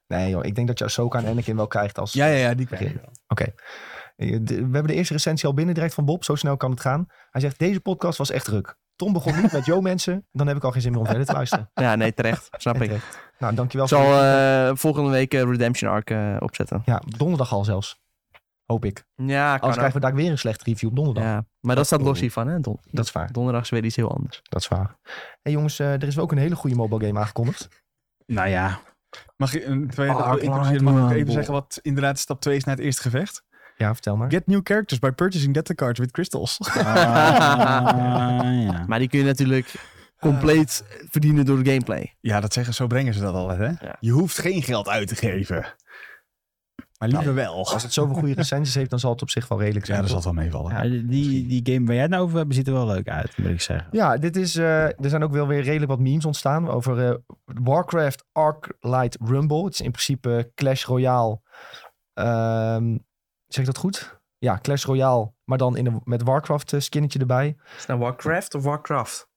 [SPEAKER 1] Nee joh, ik denk dat je Ahsoka en Anakin wel krijgt als...
[SPEAKER 2] Ja, ja, ja, die
[SPEAKER 1] Oké.
[SPEAKER 2] krijg je.
[SPEAKER 1] Eh, de- We hebben de eerste recensie al binnen direct van Bob. Zo snel kan het gaan. Hij zegt, deze podcast was echt druk. Tom begon niet met yo mensen. Dan heb ik al geen zin meer om verder te luisteren.
[SPEAKER 4] Ja, nee, terecht. Snap ik. Ik
[SPEAKER 1] Nou, dankjewel.
[SPEAKER 4] zal
[SPEAKER 1] voor-
[SPEAKER 4] eh, volgende week eh, Redemption Arc eh, opzetten.
[SPEAKER 1] Ja, donderdag al zelfs. Hoop ik.
[SPEAKER 4] Ja, kan
[SPEAKER 1] Anders krijgen we daar weer een slechte review op donderdag.
[SPEAKER 4] Ja, maar dat staat los hiervan, hè? Don-
[SPEAKER 1] Dat is waar.
[SPEAKER 4] Donderdag is weer iets heel anders.
[SPEAKER 1] Dat is waar. hey, jongens, eh, er is ook een hele goede mobile game aangekondigd.
[SPEAKER 3] Nou ja,
[SPEAKER 2] Mag ik, een tweede,
[SPEAKER 4] Oh,
[SPEAKER 2] ik- ik-
[SPEAKER 4] Clyde
[SPEAKER 2] mag ik ook
[SPEAKER 4] Rumble.
[SPEAKER 2] even zeggen wat inderdaad stap 2 is na het eerste gevecht?
[SPEAKER 1] Ja, vertel maar.
[SPEAKER 2] Get new characters by purchasing data cards with crystals.
[SPEAKER 3] Ah, ja.
[SPEAKER 4] Maar die kun je natuurlijk compleet verdienen door de gameplay.
[SPEAKER 2] Ja, dat zeggen, zo brengen ze dat altijd, hè?
[SPEAKER 4] Ja.
[SPEAKER 2] Je hoeft geen geld uit te geven. Maar liever wel.
[SPEAKER 1] Als het zoveel goede recensies heeft, dan zal het op zich wel redelijk
[SPEAKER 2] Ja,
[SPEAKER 1] zijn.
[SPEAKER 2] dat zal
[SPEAKER 1] toch?
[SPEAKER 2] het wel meevallen.
[SPEAKER 1] Ja.
[SPEAKER 3] Maar die, die game waar jij het nou over hebt, ziet er wel leuk uit, moet ik zeggen.
[SPEAKER 1] Ja, dit is, eh, er zijn ook wel weer redelijk wat memes ontstaan over eh, Warcraft Arclight Rumble. Het is in principe Clash Royale. Ehm, zeg ik dat goed? Ja, Clash Royale, maar dan in een, met Warcraft eh, skinnetje erbij.
[SPEAKER 4] Is het nou Warcraft of Warcraft?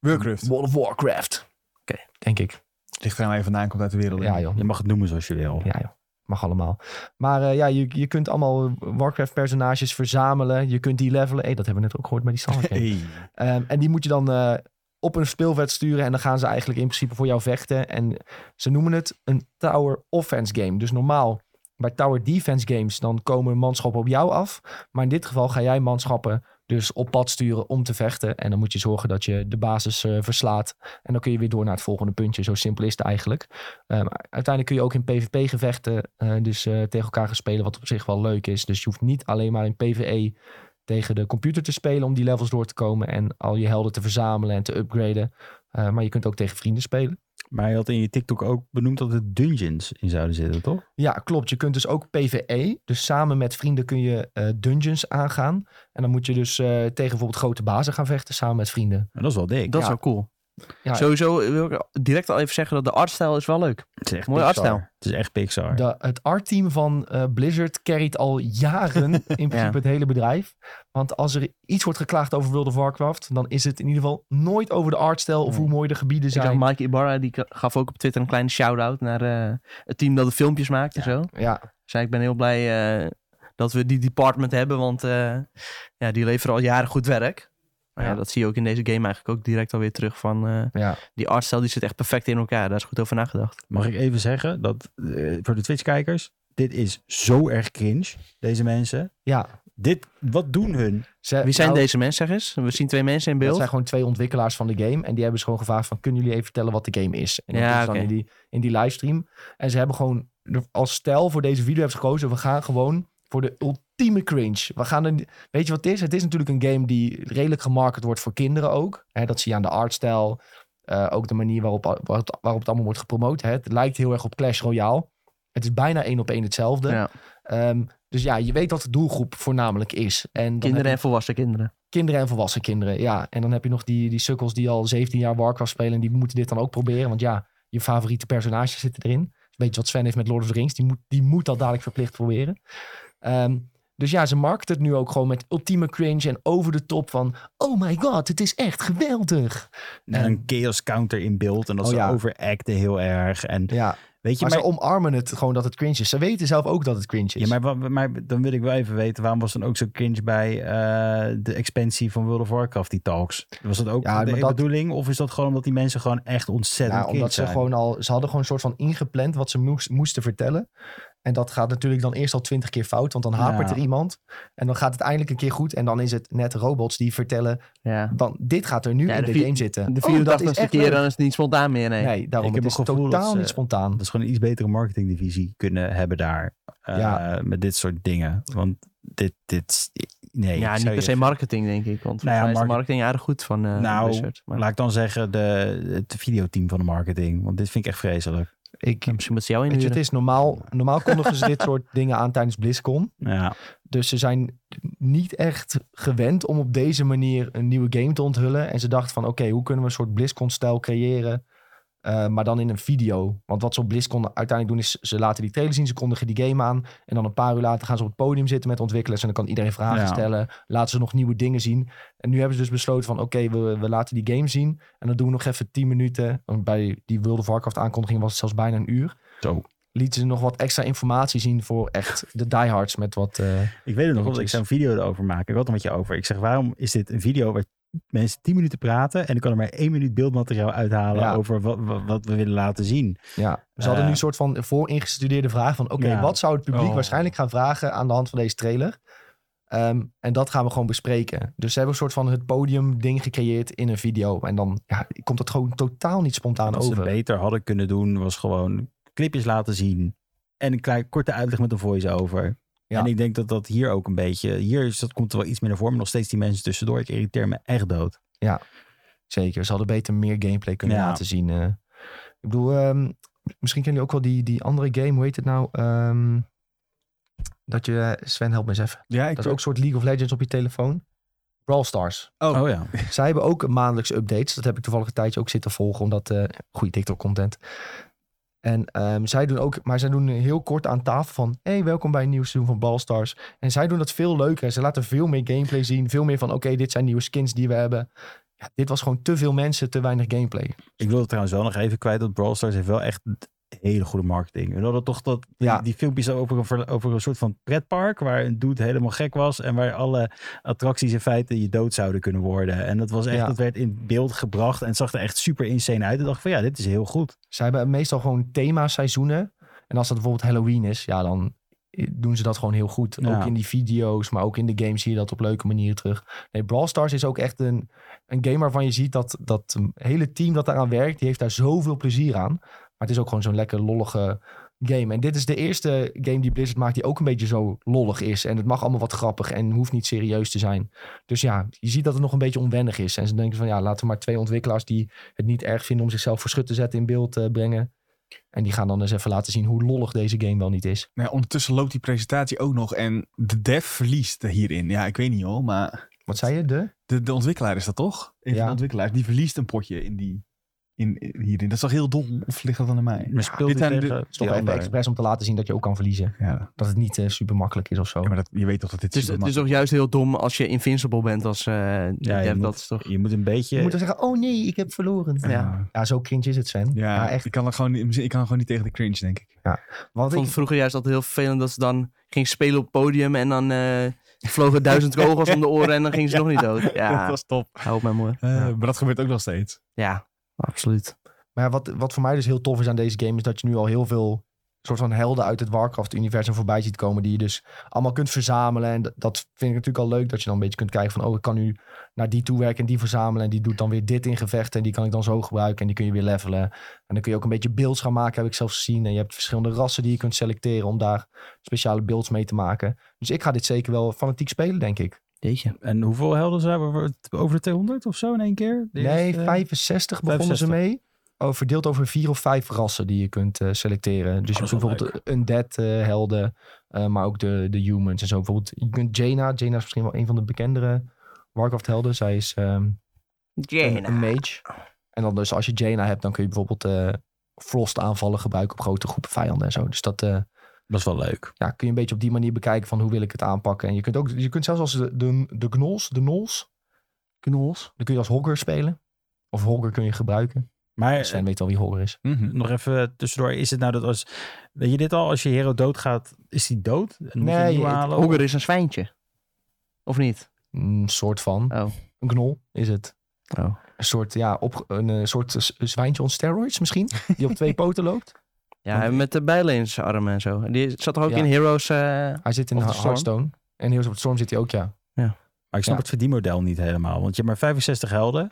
[SPEAKER 2] Warcraft.
[SPEAKER 1] World of Warcraft. Oké, denk ik.
[SPEAKER 2] Ligt eraan waar je vandaan komt uit de wereld.
[SPEAKER 1] Ja joh,
[SPEAKER 3] Je mag het noemen zoals je wil.
[SPEAKER 1] Ja, joh. Mag allemaal. Maar eh, ja, je, je kunt allemaal Warcraft-personages verzamelen. Je kunt die levelen. Hey, dat hebben we net ook gehoord bij die Sonic game.
[SPEAKER 2] Hey.
[SPEAKER 1] Ehm, en die moet je dan eh, op een speelveld sturen. En dan gaan ze eigenlijk in principe voor jou vechten. En ze noemen het een tower offense game. Dus normaal bij tower defense games, dan komen manschappen op jou af. Maar in dit geval ga jij manschappen dus op pad sturen om te vechten. En dan moet je zorgen dat je de basis eh, verslaat. En dan kun je weer door naar het volgende puntje. Zo simpel is het eigenlijk. Eh, maar uiteindelijk kun je ook in PvP-gevechten eh, dus eh, tegen elkaar gaan spelen. Wat op zich wel leuk is. Dus je hoeft niet alleen maar in E PvE tegen de computer te spelen om die levels door te komen en al je helden te verzamelen en te upgraden. Eh, maar je kunt ook tegen vrienden spelen.
[SPEAKER 3] Maar je had in je TikTok ook benoemd dat er dungeons in zouden zitten, toch?
[SPEAKER 1] Ja, klopt. Je kunt dus ook PvE. Dus samen met vrienden kun je eh, dungeons aangaan. En dan moet je dus eh, tegen bijvoorbeeld grote bazen gaan vechten samen met vrienden.
[SPEAKER 3] En dat is wel dik.
[SPEAKER 4] Dat
[SPEAKER 1] Ja.
[SPEAKER 4] is wel cool.
[SPEAKER 1] Ja.
[SPEAKER 4] Sowieso wil ik direct al even zeggen dat de artstijl is wel leuk.
[SPEAKER 3] Het is echt
[SPEAKER 4] Mooie
[SPEAKER 3] Pixar.
[SPEAKER 4] artstijl.
[SPEAKER 3] Het is echt Pixar.
[SPEAKER 1] De, het artteam van eh, Blizzard carryt al jaren in principe
[SPEAKER 4] Ja.
[SPEAKER 1] het hele bedrijf. Want als er iets wordt geklaagd over World of Warcraft, dan is het in ieder geval nooit over de artstijl of
[SPEAKER 4] Nee.
[SPEAKER 1] hoe mooi de gebieden
[SPEAKER 4] Dus Ik zag
[SPEAKER 1] zijn.
[SPEAKER 4] Mike Ibarra, die ka- gaf ook op Twitter een kleine shout-out naar eh, het team dat de filmpjes maakt en zo.
[SPEAKER 1] Ja,
[SPEAKER 4] Zei, ik ben heel blij eh, dat we die department hebben, want eh, ja, die leveren al jaren goed werk. Maar ja.
[SPEAKER 1] Ja.
[SPEAKER 4] dat zie je ook in deze game eigenlijk ook direct alweer terug van eh,
[SPEAKER 1] ja.
[SPEAKER 4] die artstijl die zit echt perfect in elkaar. Daar is goed over nagedacht.
[SPEAKER 3] Mag ik even zeggen dat eh, voor de Twitch-kijkers, dit is zo erg cringe, deze mensen.
[SPEAKER 1] ja.
[SPEAKER 3] Dit, wat doen hun?
[SPEAKER 1] Ze-
[SPEAKER 4] Wie zijn
[SPEAKER 1] nou,
[SPEAKER 4] deze mensen, zeg eens? We zien twee mensen in
[SPEAKER 1] Dat
[SPEAKER 4] beeld.
[SPEAKER 1] zijn gewoon twee ontwikkelaars van de game. En die hebben ze gewoon gevraagd van, kunnen jullie even vertellen wat de game is? En dat
[SPEAKER 4] Ja,
[SPEAKER 1] is dan
[SPEAKER 4] oké.
[SPEAKER 1] in die, in die livestream. En ze hebben gewoon de- als stijl voor deze video hebben ze gekozen. We gaan gewoon voor de ultieme cringe. We gaan er, niet- weet je wat het is? Het is natuurlijk een game die redelijk gemarket wordt voor kinderen ook. Hè, dat zie je aan de artstijl. eh, ook de manier waarop, al- waarop, waarop het allemaal wordt gepromoot. Hè. Het lijkt heel erg op Clash Royale. Het is bijna één op één hetzelfde.
[SPEAKER 4] Ja.
[SPEAKER 1] Ehm, dus ja, je weet wat de doelgroep voornamelijk is. En dan heb
[SPEAKER 4] Kinderen
[SPEAKER 1] je-
[SPEAKER 4] en volwassen kinderen.
[SPEAKER 1] kinderen en volwassen kinderen. Ja, en dan heb je nog die, die sukkels die al 17 jaar Warcraft spelen. En die moeten dit dan ook proberen. Want ja, je favoriete personages zitten erin. Een beetje wat Sven heeft met Lord of the Rings. Die moet, die moet dat dadelijk verplicht proberen. Ehm, dus ja, ze markten het nu ook gewoon met ultieme cringe en over de top van... Oh my god, het is echt geweldig.
[SPEAKER 3] En een chaos counter in beeld en dat
[SPEAKER 1] Oh
[SPEAKER 3] ze
[SPEAKER 1] ja.
[SPEAKER 3] overacten heel erg. En
[SPEAKER 1] Ja,
[SPEAKER 3] weet je,
[SPEAKER 1] maar,
[SPEAKER 3] maar,
[SPEAKER 1] ze omarmen het gewoon dat het cringe is. Ze weten zelf ook dat het cringe is.
[SPEAKER 3] ja, maar, wa- maar dan wil ik wel even weten, waarom was dan ook zo cringe bij eh, de expansie van World of Warcraft, die talks? Was dat ook
[SPEAKER 1] Ja,
[SPEAKER 3] de
[SPEAKER 1] maar dat-
[SPEAKER 3] bedoeling? Of is dat gewoon omdat die mensen gewoon echt ontzettend
[SPEAKER 1] Ja, omdat
[SPEAKER 3] cringe
[SPEAKER 1] ze
[SPEAKER 3] zijn?
[SPEAKER 1] gewoon al, ze hadden gewoon een soort van ingepland wat ze moest- moesten vertellen. En dat gaat natuurlijk dan eerst al twintig keer fout, want dan hapert
[SPEAKER 3] Ja.
[SPEAKER 1] er iemand. En dan gaat het eindelijk een keer goed. En dan is het net robots die vertellen,
[SPEAKER 4] Ja.
[SPEAKER 1] dan, dit gaat er nu
[SPEAKER 4] Ja,
[SPEAKER 1] in
[SPEAKER 4] de
[SPEAKER 1] de,
[SPEAKER 4] vi-
[SPEAKER 1] game zitten.
[SPEAKER 4] De
[SPEAKER 1] Oh, dat is
[SPEAKER 4] 84ste
[SPEAKER 1] echt
[SPEAKER 4] keer,
[SPEAKER 1] leuk.
[SPEAKER 4] dan is het niet spontaan meer, nee.
[SPEAKER 1] Nee, daarom.
[SPEAKER 3] Ik
[SPEAKER 1] het
[SPEAKER 3] heb
[SPEAKER 1] is
[SPEAKER 3] het gevoel eh, dat
[SPEAKER 1] totaal
[SPEAKER 3] ze-
[SPEAKER 1] niet spontaan.
[SPEAKER 3] Dat is gewoon een iets betere marketingdivisie kunnen hebben daar. eh,
[SPEAKER 1] Ja.
[SPEAKER 3] Met dit soort dingen. Want dit, dit, nee.
[SPEAKER 4] ja, niet per
[SPEAKER 3] serieus.
[SPEAKER 4] se marketing, denk ik. Want volgens
[SPEAKER 3] Nou ja,
[SPEAKER 4] mij is de
[SPEAKER 3] market-
[SPEAKER 4] marketing aardig goed van eh
[SPEAKER 3] Nou,
[SPEAKER 4] Blizzard. Maar
[SPEAKER 3] Laat ik dan zeggen, de, het videoteam van de marketing. Want dit vind ik echt vreselijk.
[SPEAKER 1] Ik,
[SPEAKER 4] misschien moet ze jou
[SPEAKER 1] weet je, het
[SPEAKER 4] inhuren.
[SPEAKER 1] is normaal, normaal kondigen ze dit soort dingen aan tijdens BlizzCon.
[SPEAKER 3] Ja,
[SPEAKER 1] Dus ze zijn niet echt gewend om op deze manier een nieuwe game te onthullen. En ze dachten van, oké, hoe kunnen we een soort BlizzCon-stijl creëren? eh, maar dan in een video. Want wat ze op BlizzCon uiteindelijk doen, is ze laten die trailer zien. Ze kondigen die game aan. En dan een paar uur later gaan ze op het podium zitten met ontwikkelaars. En dan kan iedereen vragen
[SPEAKER 3] Ja.
[SPEAKER 1] stellen. Laten ze nog nieuwe dingen zien. En nu hebben ze dus besloten van, oké, we, we laten die game zien. En dan doen we nog even 10 minuten. Want bij die World of Warcraft aankondiging was het zelfs bijna een uur.
[SPEAKER 3] zo.
[SPEAKER 1] Lieten ze nog wat extra informatie zien voor echt de diehards met wat... eh,
[SPEAKER 3] Ik weet het nog,
[SPEAKER 1] Goed
[SPEAKER 3] dat ik
[SPEAKER 1] is.
[SPEAKER 3] zou een video erover maken. Ik had het met je over. Ik zeg, waarom is dit een video waar mensen 10 minuten praten... en ik kan er maar één minuut beeldmateriaal uithalen...
[SPEAKER 1] Ja.
[SPEAKER 3] over wat, wat, wat we willen laten zien.
[SPEAKER 1] Ja, ze hadden
[SPEAKER 3] Eh.
[SPEAKER 1] nu een soort van vooringestudeerde vraag van... oké,
[SPEAKER 3] Ja.
[SPEAKER 1] wat zou het publiek
[SPEAKER 2] Oh.
[SPEAKER 1] waarschijnlijk gaan vragen aan de hand van deze trailer? Ehm, en dat gaan we gewoon bespreken. Dus ze hebben een soort van het podium ding gecreëerd in een video. En dan ja, komt dat gewoon totaal niet spontaan
[SPEAKER 3] Wat ze
[SPEAKER 1] over.
[SPEAKER 3] beter hadden kunnen doen, was gewoon clipjes laten zien... en een klein, korte uitleg met een voice-over.
[SPEAKER 1] Ja.
[SPEAKER 3] En ik denk dat dat hier ook een beetje... hier is, dat komt er wel iets meer naar voren... maar nog steeds die mensen tussendoor. Ik irriteer me echt dood.
[SPEAKER 1] Zeker, ze hadden beter meer gameplay kunnen
[SPEAKER 3] Ja.
[SPEAKER 1] laten zien. eh. Ik bedoel, ehm, misschien kennen jullie ook wel die, die andere game, hoe heet het nou? Ehm, dat je, Sven, help me eens even.
[SPEAKER 2] Ja, ik
[SPEAKER 1] Dat is ook een soort League of Legends op je telefoon. Brawl Stars.
[SPEAKER 2] Oh.
[SPEAKER 3] ja.
[SPEAKER 1] Zij hebben ook maandelijks updates. Dat heb ik toevallig een tijdje ook zitten volgen, omdat eh goede TikTok-content. En ehm, zij doen ook, maar zij doen heel kort aan tafel van, hey, welkom bij een nieuw seizoen van Ballstars. En zij doen dat veel leuker. Ze laten veel meer gameplay zien, veel meer van, oké, dit zijn nieuwe skins die we hebben. Ja, dit was gewoon te veel mensen, te weinig gameplay.
[SPEAKER 3] Ik wil het trouwens wel nog even kwijt dat Brawl Stars heeft wel echt hele goede marketing. We hadden toch dat, die,
[SPEAKER 1] Ja.
[SPEAKER 3] die filmpjes over een, ver- over een soort van pretpark waar een dude helemaal gek was en waar alle attracties in feite je dood zouden kunnen worden. En dat was echt,
[SPEAKER 1] Ja.
[SPEAKER 3] dat werd in beeld gebracht en het zag er echt super insane uit. Ik dacht van ja, dit is heel goed.
[SPEAKER 1] Zij hebben meestal gewoon thema-seizoenen. En als dat bijvoorbeeld Halloween is, ja, dan eh, doen ze dat gewoon heel goed.
[SPEAKER 3] Ja.
[SPEAKER 1] Ook in die video's, maar ook in de games zie je dat op leuke manieren terug. Nee, Brawl Stars is ook echt een, een game waarvan je ziet dat dat hele team dat daaraan werkt, die heeft daar zoveel plezier aan. Maar het is ook gewoon zo'n lekker lollige game. En dit is de eerste game die Blizzard maakt die ook een beetje zo lollig is. En het mag allemaal wat grappig en hoeft niet serieus te zijn. Dus ja, je ziet dat het nog een beetje onwennig is. En ze denken van ja, laten we maar twee ontwikkelaars die het niet erg vinden om zichzelf voor schut te zetten in beeld eh, brengen. En die gaan dan eens even laten zien hoe lollig deze game wel niet is.
[SPEAKER 2] Nou ja, ondertussen loopt die presentatie ook nog en de dev verliest hierin. Ja, ik weet niet hoor, maar
[SPEAKER 1] Wat zei je? De?
[SPEAKER 2] De, de ontwikkelaar is dat toch? Een van
[SPEAKER 1] Ja.
[SPEAKER 2] de ontwikkelaars. Die verliest een potje in die, in, in- hierin. Dat is toch heel dom? Of ligt dat dan aan mij?
[SPEAKER 3] Maar speelt
[SPEAKER 2] dit
[SPEAKER 3] hij
[SPEAKER 2] zijn de-
[SPEAKER 3] tegen
[SPEAKER 1] Is toch
[SPEAKER 3] die
[SPEAKER 1] even
[SPEAKER 3] andere?
[SPEAKER 1] expres om te laten zien dat je ook kan verliezen.
[SPEAKER 2] Ja,
[SPEAKER 1] Dat het niet eh, super makkelijk is of zo.
[SPEAKER 2] ja, maar dat, je weet toch dat dit
[SPEAKER 4] Het is, het is
[SPEAKER 2] supermakkelijk
[SPEAKER 4] toch juist heel dom als je invincible bent als eh
[SPEAKER 3] Ja, je
[SPEAKER 4] dev,
[SPEAKER 3] moet-
[SPEAKER 4] dat is toch...
[SPEAKER 3] Je moet een beetje...
[SPEAKER 1] Je moet dan zeggen, oh nee, ik heb verloren.
[SPEAKER 2] is.
[SPEAKER 1] Ja,
[SPEAKER 2] Ja,
[SPEAKER 1] ja zo cringe is het, Sven.
[SPEAKER 2] ja,
[SPEAKER 1] Ja, echt.
[SPEAKER 2] Ik, kan er gewoon, niet- ik kan gewoon niet tegen de cringe, denk ik.
[SPEAKER 1] Want
[SPEAKER 4] Ik
[SPEAKER 1] ik,
[SPEAKER 4] vond het vroeger juist altijd heel vervelend dat ze dan ging spelen op het podium en dan eh, vlogen duizend kogels om de oren en dan ging ze nog niet dood.
[SPEAKER 2] Dat
[SPEAKER 4] Ja,
[SPEAKER 2] was top.
[SPEAKER 4] hou op mij mooi.
[SPEAKER 2] Eh, Maar dat gebeurt ook nog steeds.
[SPEAKER 4] Ja, absoluut.
[SPEAKER 1] Maar wat, wat voor mij dus heel tof is aan deze game, is dat je nu al heel veel soort van helden uit het Warcraft-universum voorbij ziet komen, die je dus allemaal kunt verzamelen. En dat, dat vind ik natuurlijk al leuk, dat je dan een beetje kunt kijken van, oh, ik kan nu naar die toe werken en die verzamelen. En die doet dan weer dit in gevechten en die kan ik dan zo gebruiken en die kun je weer levelen. En dan kun je ook een beetje beelds gaan maken, heb ik zelfs gezien. En je hebt verschillende rassen die je kunt selecteren om daar speciale beelds mee te maken. Dus ik ga dit zeker wel fanatiek spelen, denk ik.
[SPEAKER 4] Jeetje.
[SPEAKER 3] En hoeveel helden zijn we? Over de 200 of zo in één keer? eh, De
[SPEAKER 1] Nee,
[SPEAKER 3] eerste-
[SPEAKER 1] 65 begonnen
[SPEAKER 3] 65.
[SPEAKER 1] ze mee. Oh, verdeeld over vier of vijf rassen die je kunt eh, selecteren. Dus je hebt
[SPEAKER 3] Oh, dat is wel
[SPEAKER 1] bijvoorbeeld een undead eh, helden, eh, maar ook de, de humans en zo. Bijvoorbeeld, je kunt Jaina. Jaina is misschien wel een van de bekendere Warcraft helden. Zij is ehm, een,
[SPEAKER 4] Eh,
[SPEAKER 1] een mage. En dan dus als je Jaina hebt, dan kun je bijvoorbeeld eh, frost aanvallen gebruiken op grote groepen vijanden en zo. Dus dat eh,
[SPEAKER 3] Dat is wel leuk.
[SPEAKER 1] ja, kun je een beetje op die manier bekijken van hoe wil ik het aanpakken. En je kunt ook, je kunt zelfs als de, de, de gnolls, de nols,
[SPEAKER 4] Knols.
[SPEAKER 1] dan kun je als hogger spelen. Of hogger kun je gebruiken.
[SPEAKER 4] Eh,
[SPEAKER 3] Maar eh,
[SPEAKER 1] Sven weet al wie Hogger is.
[SPEAKER 2] Mhm.
[SPEAKER 3] nog even tussendoor. Is het nou dat als... Weet je dit al? Als je hero doodgaat, is die dood? En moet je
[SPEAKER 1] Nee,
[SPEAKER 3] een nieuwe
[SPEAKER 1] het-
[SPEAKER 3] halen?
[SPEAKER 4] Hogger is een zwijntje. Of niet?
[SPEAKER 1] Een soort van.
[SPEAKER 4] Oh.
[SPEAKER 1] Een knol is het.
[SPEAKER 4] Oh.
[SPEAKER 1] Een soort, ja, op, een, eh, soort z- zwijntje on steroids misschien. Die op twee poten loopt.
[SPEAKER 4] Ja, en met de bijleensarmen en zo. Die zat toch ook
[SPEAKER 1] Ja.
[SPEAKER 4] in Heroes... eh,
[SPEAKER 1] Hij zit in
[SPEAKER 4] Of de Storm.
[SPEAKER 1] Hearthstone. En heel op Storm zit hij ook, ja.
[SPEAKER 3] Maar ik snap
[SPEAKER 1] Ja.
[SPEAKER 3] het verdienmodel niet helemaal. Want je hebt maar 65 helden op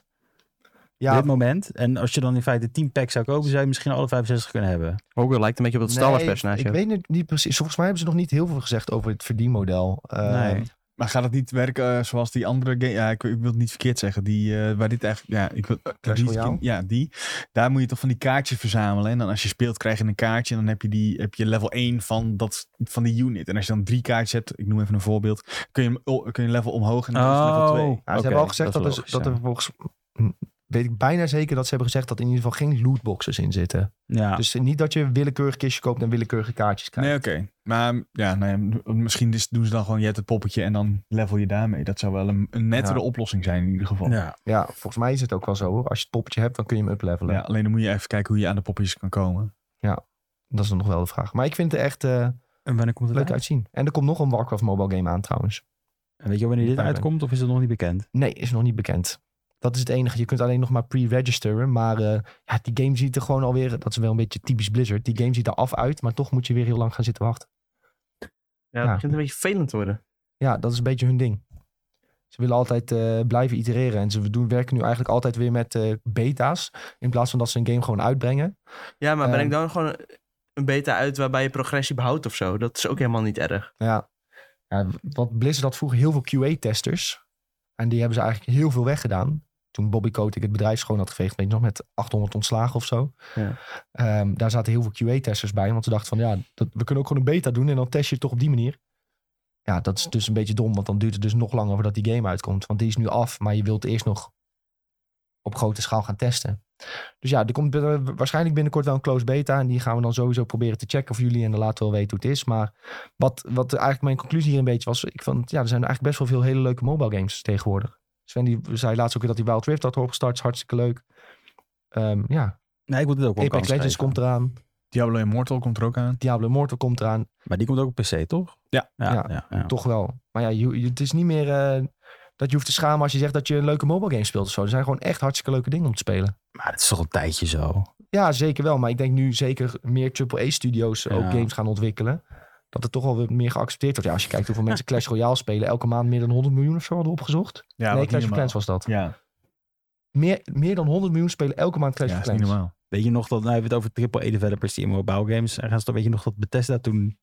[SPEAKER 1] Ja,
[SPEAKER 3] dit moment. En als je dan in feite 10 packs zou kopen, zou je misschien alle 65 kunnen hebben.
[SPEAKER 4] Hogger lijkt een beetje op dat Star Wars
[SPEAKER 1] nee,
[SPEAKER 4] personage.
[SPEAKER 1] Ik weet het niet precies. Volgens mij hebben ze nog niet heel veel gezegd over het verdienmodel. Eh,
[SPEAKER 3] nee.
[SPEAKER 2] Maar gaat het niet werken eh, zoals die andere game? Ja, ik, ik wil het niet verkeerd zeggen. Die, eh, waar dit eigenlijk. Ja, ik wil,
[SPEAKER 1] Clash
[SPEAKER 2] die-
[SPEAKER 1] Royale?
[SPEAKER 2] ja, die. Daar moet je toch van die kaartjes verzamelen. En dan als je speelt, krijg je een kaartje. En dan heb je, die, heb je level 1 van, dat, van die unit. En als je dan drie kaartjes hebt, ik noem even een voorbeeld. Kun je, hem o- kun je een level omhoog en dan is het level 2.
[SPEAKER 1] Ja, ze
[SPEAKER 3] Oké,
[SPEAKER 1] hebben al gezegd dat,
[SPEAKER 3] is
[SPEAKER 1] er,
[SPEAKER 3] logisch,
[SPEAKER 1] dat er volgens... hm, Weet ik bijna zeker dat ze hebben gezegd dat er in ieder geval geen lootboxes in zitten.
[SPEAKER 3] ja. Ja.
[SPEAKER 1] Dus niet dat je een willekeurig kistje koopt en willekeurige kaartjes krijgt.
[SPEAKER 2] Nee, oké. Maar ja, nou ja, m- misschien is- doen ze dan gewoon, je hebt het poppetje en dan level je daarmee. Dat zou wel een, een nettere
[SPEAKER 1] Ja.
[SPEAKER 2] oplossing zijn in ieder geval. Ja.
[SPEAKER 3] Ja.
[SPEAKER 1] Ja, volgens mij is het ook wel zo hoor. Als je het poppetje hebt, dan kun je hem uplevelen.
[SPEAKER 2] alleen dan moet je even kijken hoe je aan de poppetjes kan komen.
[SPEAKER 1] Dat is dan nog wel de vraag. Maar ik vind het er echt eh,
[SPEAKER 3] En wanneer komt het
[SPEAKER 1] leuk
[SPEAKER 3] uit?
[SPEAKER 1] uitzien. En er komt nog een Warcraft mobile game aan trouwens.
[SPEAKER 3] En weet je wanneer dit
[SPEAKER 1] Fijn, fijn.
[SPEAKER 3] uitkomt of is het nog niet bekend?
[SPEAKER 1] Nee, is nog niet bekend. Dat is het enige. Je kunt alleen nog maar pre-registeren. Maar eh, ja, die game ziet er gewoon alweer... Dat is wel een beetje typisch Blizzard. Die game ziet er af uit, maar toch moet je weer heel lang gaan zitten wachten. Ja.
[SPEAKER 4] Ja, het begint een beetje vervelend te worden.
[SPEAKER 1] Ja, dat is een beetje hun ding. Ze willen altijd eh, blijven itereren. En ze doen, werken nu eigenlijk altijd weer met eh, beta's. In plaats van dat ze een game gewoon uitbrengen.
[SPEAKER 4] Ja, maar breng
[SPEAKER 1] Ehm.
[SPEAKER 4] dan gewoon een beta uit waarbij je progressie behoudt of zo. Dat is ook helemaal niet erg.
[SPEAKER 1] Ja. ja wat Blizzard had vroeger heel veel QA-testers. En die hebben ze eigenlijk heel veel weggedaan. Toen Bobby Kotick het bedrijf schoon had geveegd, weet je nog, met 800 ontslagen of zo.
[SPEAKER 4] Ja.
[SPEAKER 1] Ehm, daar zaten heel veel QA-testers bij. Want ze dachten van, ja, dat, we kunnen ook gewoon een beta doen en dan test je het toch op die manier. Ja, dat is dus een beetje dom, want dan duurt het dus nog langer voordat die game uitkomt. Want die is nu af, maar je wilt eerst nog op grote schaal gaan testen. Dus ja, er komt binnen- waarschijnlijk binnenkort wel een close beta. En die gaan we dan sowieso proberen te checken voor jullie. En dan laten we wel weten hoe het is. Maar wat, wat eigenlijk mijn conclusie hier een beetje was. Ik vond, ja, er zijn eigenlijk best wel veel hele leuke mobile games tegenwoordig. Sven die zei laatst ook weer dat hij Wild Rift had opgestart. Is hartstikke leuk. Ehm, ja,
[SPEAKER 3] Nee, ik moet het ook wel
[SPEAKER 1] Apex
[SPEAKER 3] kans
[SPEAKER 1] Legends
[SPEAKER 3] geven.
[SPEAKER 1] komt eraan.
[SPEAKER 2] Diablo Immortal komt er ook aan.
[SPEAKER 1] Diablo Immortal komt eraan.
[SPEAKER 3] Maar die komt ook op PC, toch?
[SPEAKER 2] Ja.
[SPEAKER 3] Ja,
[SPEAKER 1] Ja.
[SPEAKER 3] ja, ja.
[SPEAKER 1] Toch wel. Maar ja, je, je- het is niet meer eh, dat je hoeft te schamen als je zegt dat je een leuke mobile game speelt of zo. Er zijn gewoon echt hartstikke leuke dingen om te spelen.
[SPEAKER 3] Maar het is toch al een tijdje zo.
[SPEAKER 1] Ja, zeker wel. Maar ik denk nu zeker meer AAA-studio's ook
[SPEAKER 3] Ja.
[SPEAKER 1] games gaan ontwikkelen. Dat het toch wel weer meer geaccepteerd wordt. Ja, als je kijkt hoeveel mensen Clash Royale spelen. Elke maand meer dan 100 miljoen of zo hadden opgezocht.
[SPEAKER 2] Ja,
[SPEAKER 1] nee, Clash
[SPEAKER 2] wat niet
[SPEAKER 1] of
[SPEAKER 2] normaal.
[SPEAKER 1] Clans was dat.
[SPEAKER 2] Ja,
[SPEAKER 1] Meer, meer dan 100 miljoen spelen elke maand Clash
[SPEAKER 2] ja
[SPEAKER 1] of
[SPEAKER 2] is niet
[SPEAKER 1] Clans.
[SPEAKER 2] normaal.
[SPEAKER 3] Weet je nog dat, nou hebben we het over triple E-developers die in mobile games gaan staan. Weet je nog dat Bethesda toen...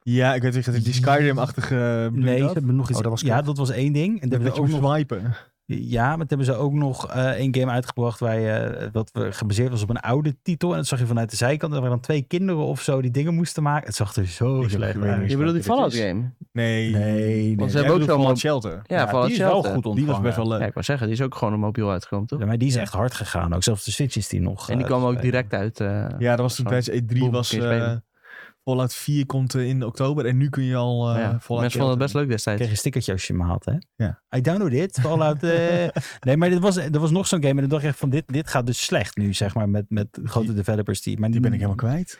[SPEAKER 2] Ja, ik weet niet, die Skyrim-achtige... bedoel je
[SPEAKER 3] nee,
[SPEAKER 2] dat?
[SPEAKER 3] hebben nog iets...
[SPEAKER 1] Oh, dat was
[SPEAKER 3] ja,
[SPEAKER 1] kut.
[SPEAKER 3] dat was één ding. En
[SPEAKER 2] Dat
[SPEAKER 3] dan
[SPEAKER 2] je
[SPEAKER 3] hebben we
[SPEAKER 2] moet
[SPEAKER 3] ook nog...
[SPEAKER 2] swipen.
[SPEAKER 3] Ja, maar toen hebben ze ook nog eh één game uitgebracht waar je, eh, wat we- gebaseerd was op een oude titel. En dat zag je vanuit de zijkant. Er waren dan twee kinderen of zo die dingen moisten maken. Het zag er zo
[SPEAKER 2] heb
[SPEAKER 3] slecht
[SPEAKER 2] geen idee.
[SPEAKER 3] uit.
[SPEAKER 4] Je bedoelt die Fallout game?
[SPEAKER 2] Nee.
[SPEAKER 3] Nee,
[SPEAKER 2] Jij
[SPEAKER 3] nee.
[SPEAKER 4] ze hebben ook
[SPEAKER 2] bedoelt
[SPEAKER 4] zo'n
[SPEAKER 2] Fallout
[SPEAKER 4] mob-
[SPEAKER 2] Shelter.
[SPEAKER 4] Ja, Fallout
[SPEAKER 3] die is wel
[SPEAKER 4] Shelter.
[SPEAKER 3] goed ontvangen.
[SPEAKER 2] Die was best wel
[SPEAKER 4] Ja,
[SPEAKER 2] leuk.
[SPEAKER 4] ik wou zeggen, die is ook gewoon op mobiel uitgekomen, toch?
[SPEAKER 3] Ja, maar die is echt hard gegaan ook. Zelfs de Switch is die nog.
[SPEAKER 4] en die
[SPEAKER 3] eh,
[SPEAKER 4] kwam ook
[SPEAKER 3] uitgekomen.
[SPEAKER 4] direct uit. eh,
[SPEAKER 2] Ja, dat was toen tijdens E3
[SPEAKER 4] Boom,
[SPEAKER 2] was
[SPEAKER 4] kun je spelen.
[SPEAKER 2] eh, Fallout 4 komt eh, in oktober en nu kun je al eh
[SPEAKER 4] ja.
[SPEAKER 2] Fallout
[SPEAKER 4] Mensen vonden
[SPEAKER 2] Shelter.
[SPEAKER 4] het best leuk destijds.
[SPEAKER 3] kreeg je een stickertje als je hem haalt, hè?
[SPEAKER 2] Ja.
[SPEAKER 3] I download it. Fallout. eh. Nee, maar dit was, er was nog zo'n game. En dan dacht ik echt van, dit, dit gaat dus slecht nu, zeg maar, met, met grote
[SPEAKER 2] Die-
[SPEAKER 3] developers. Die, maar
[SPEAKER 2] Die ben ik helemaal kwijt.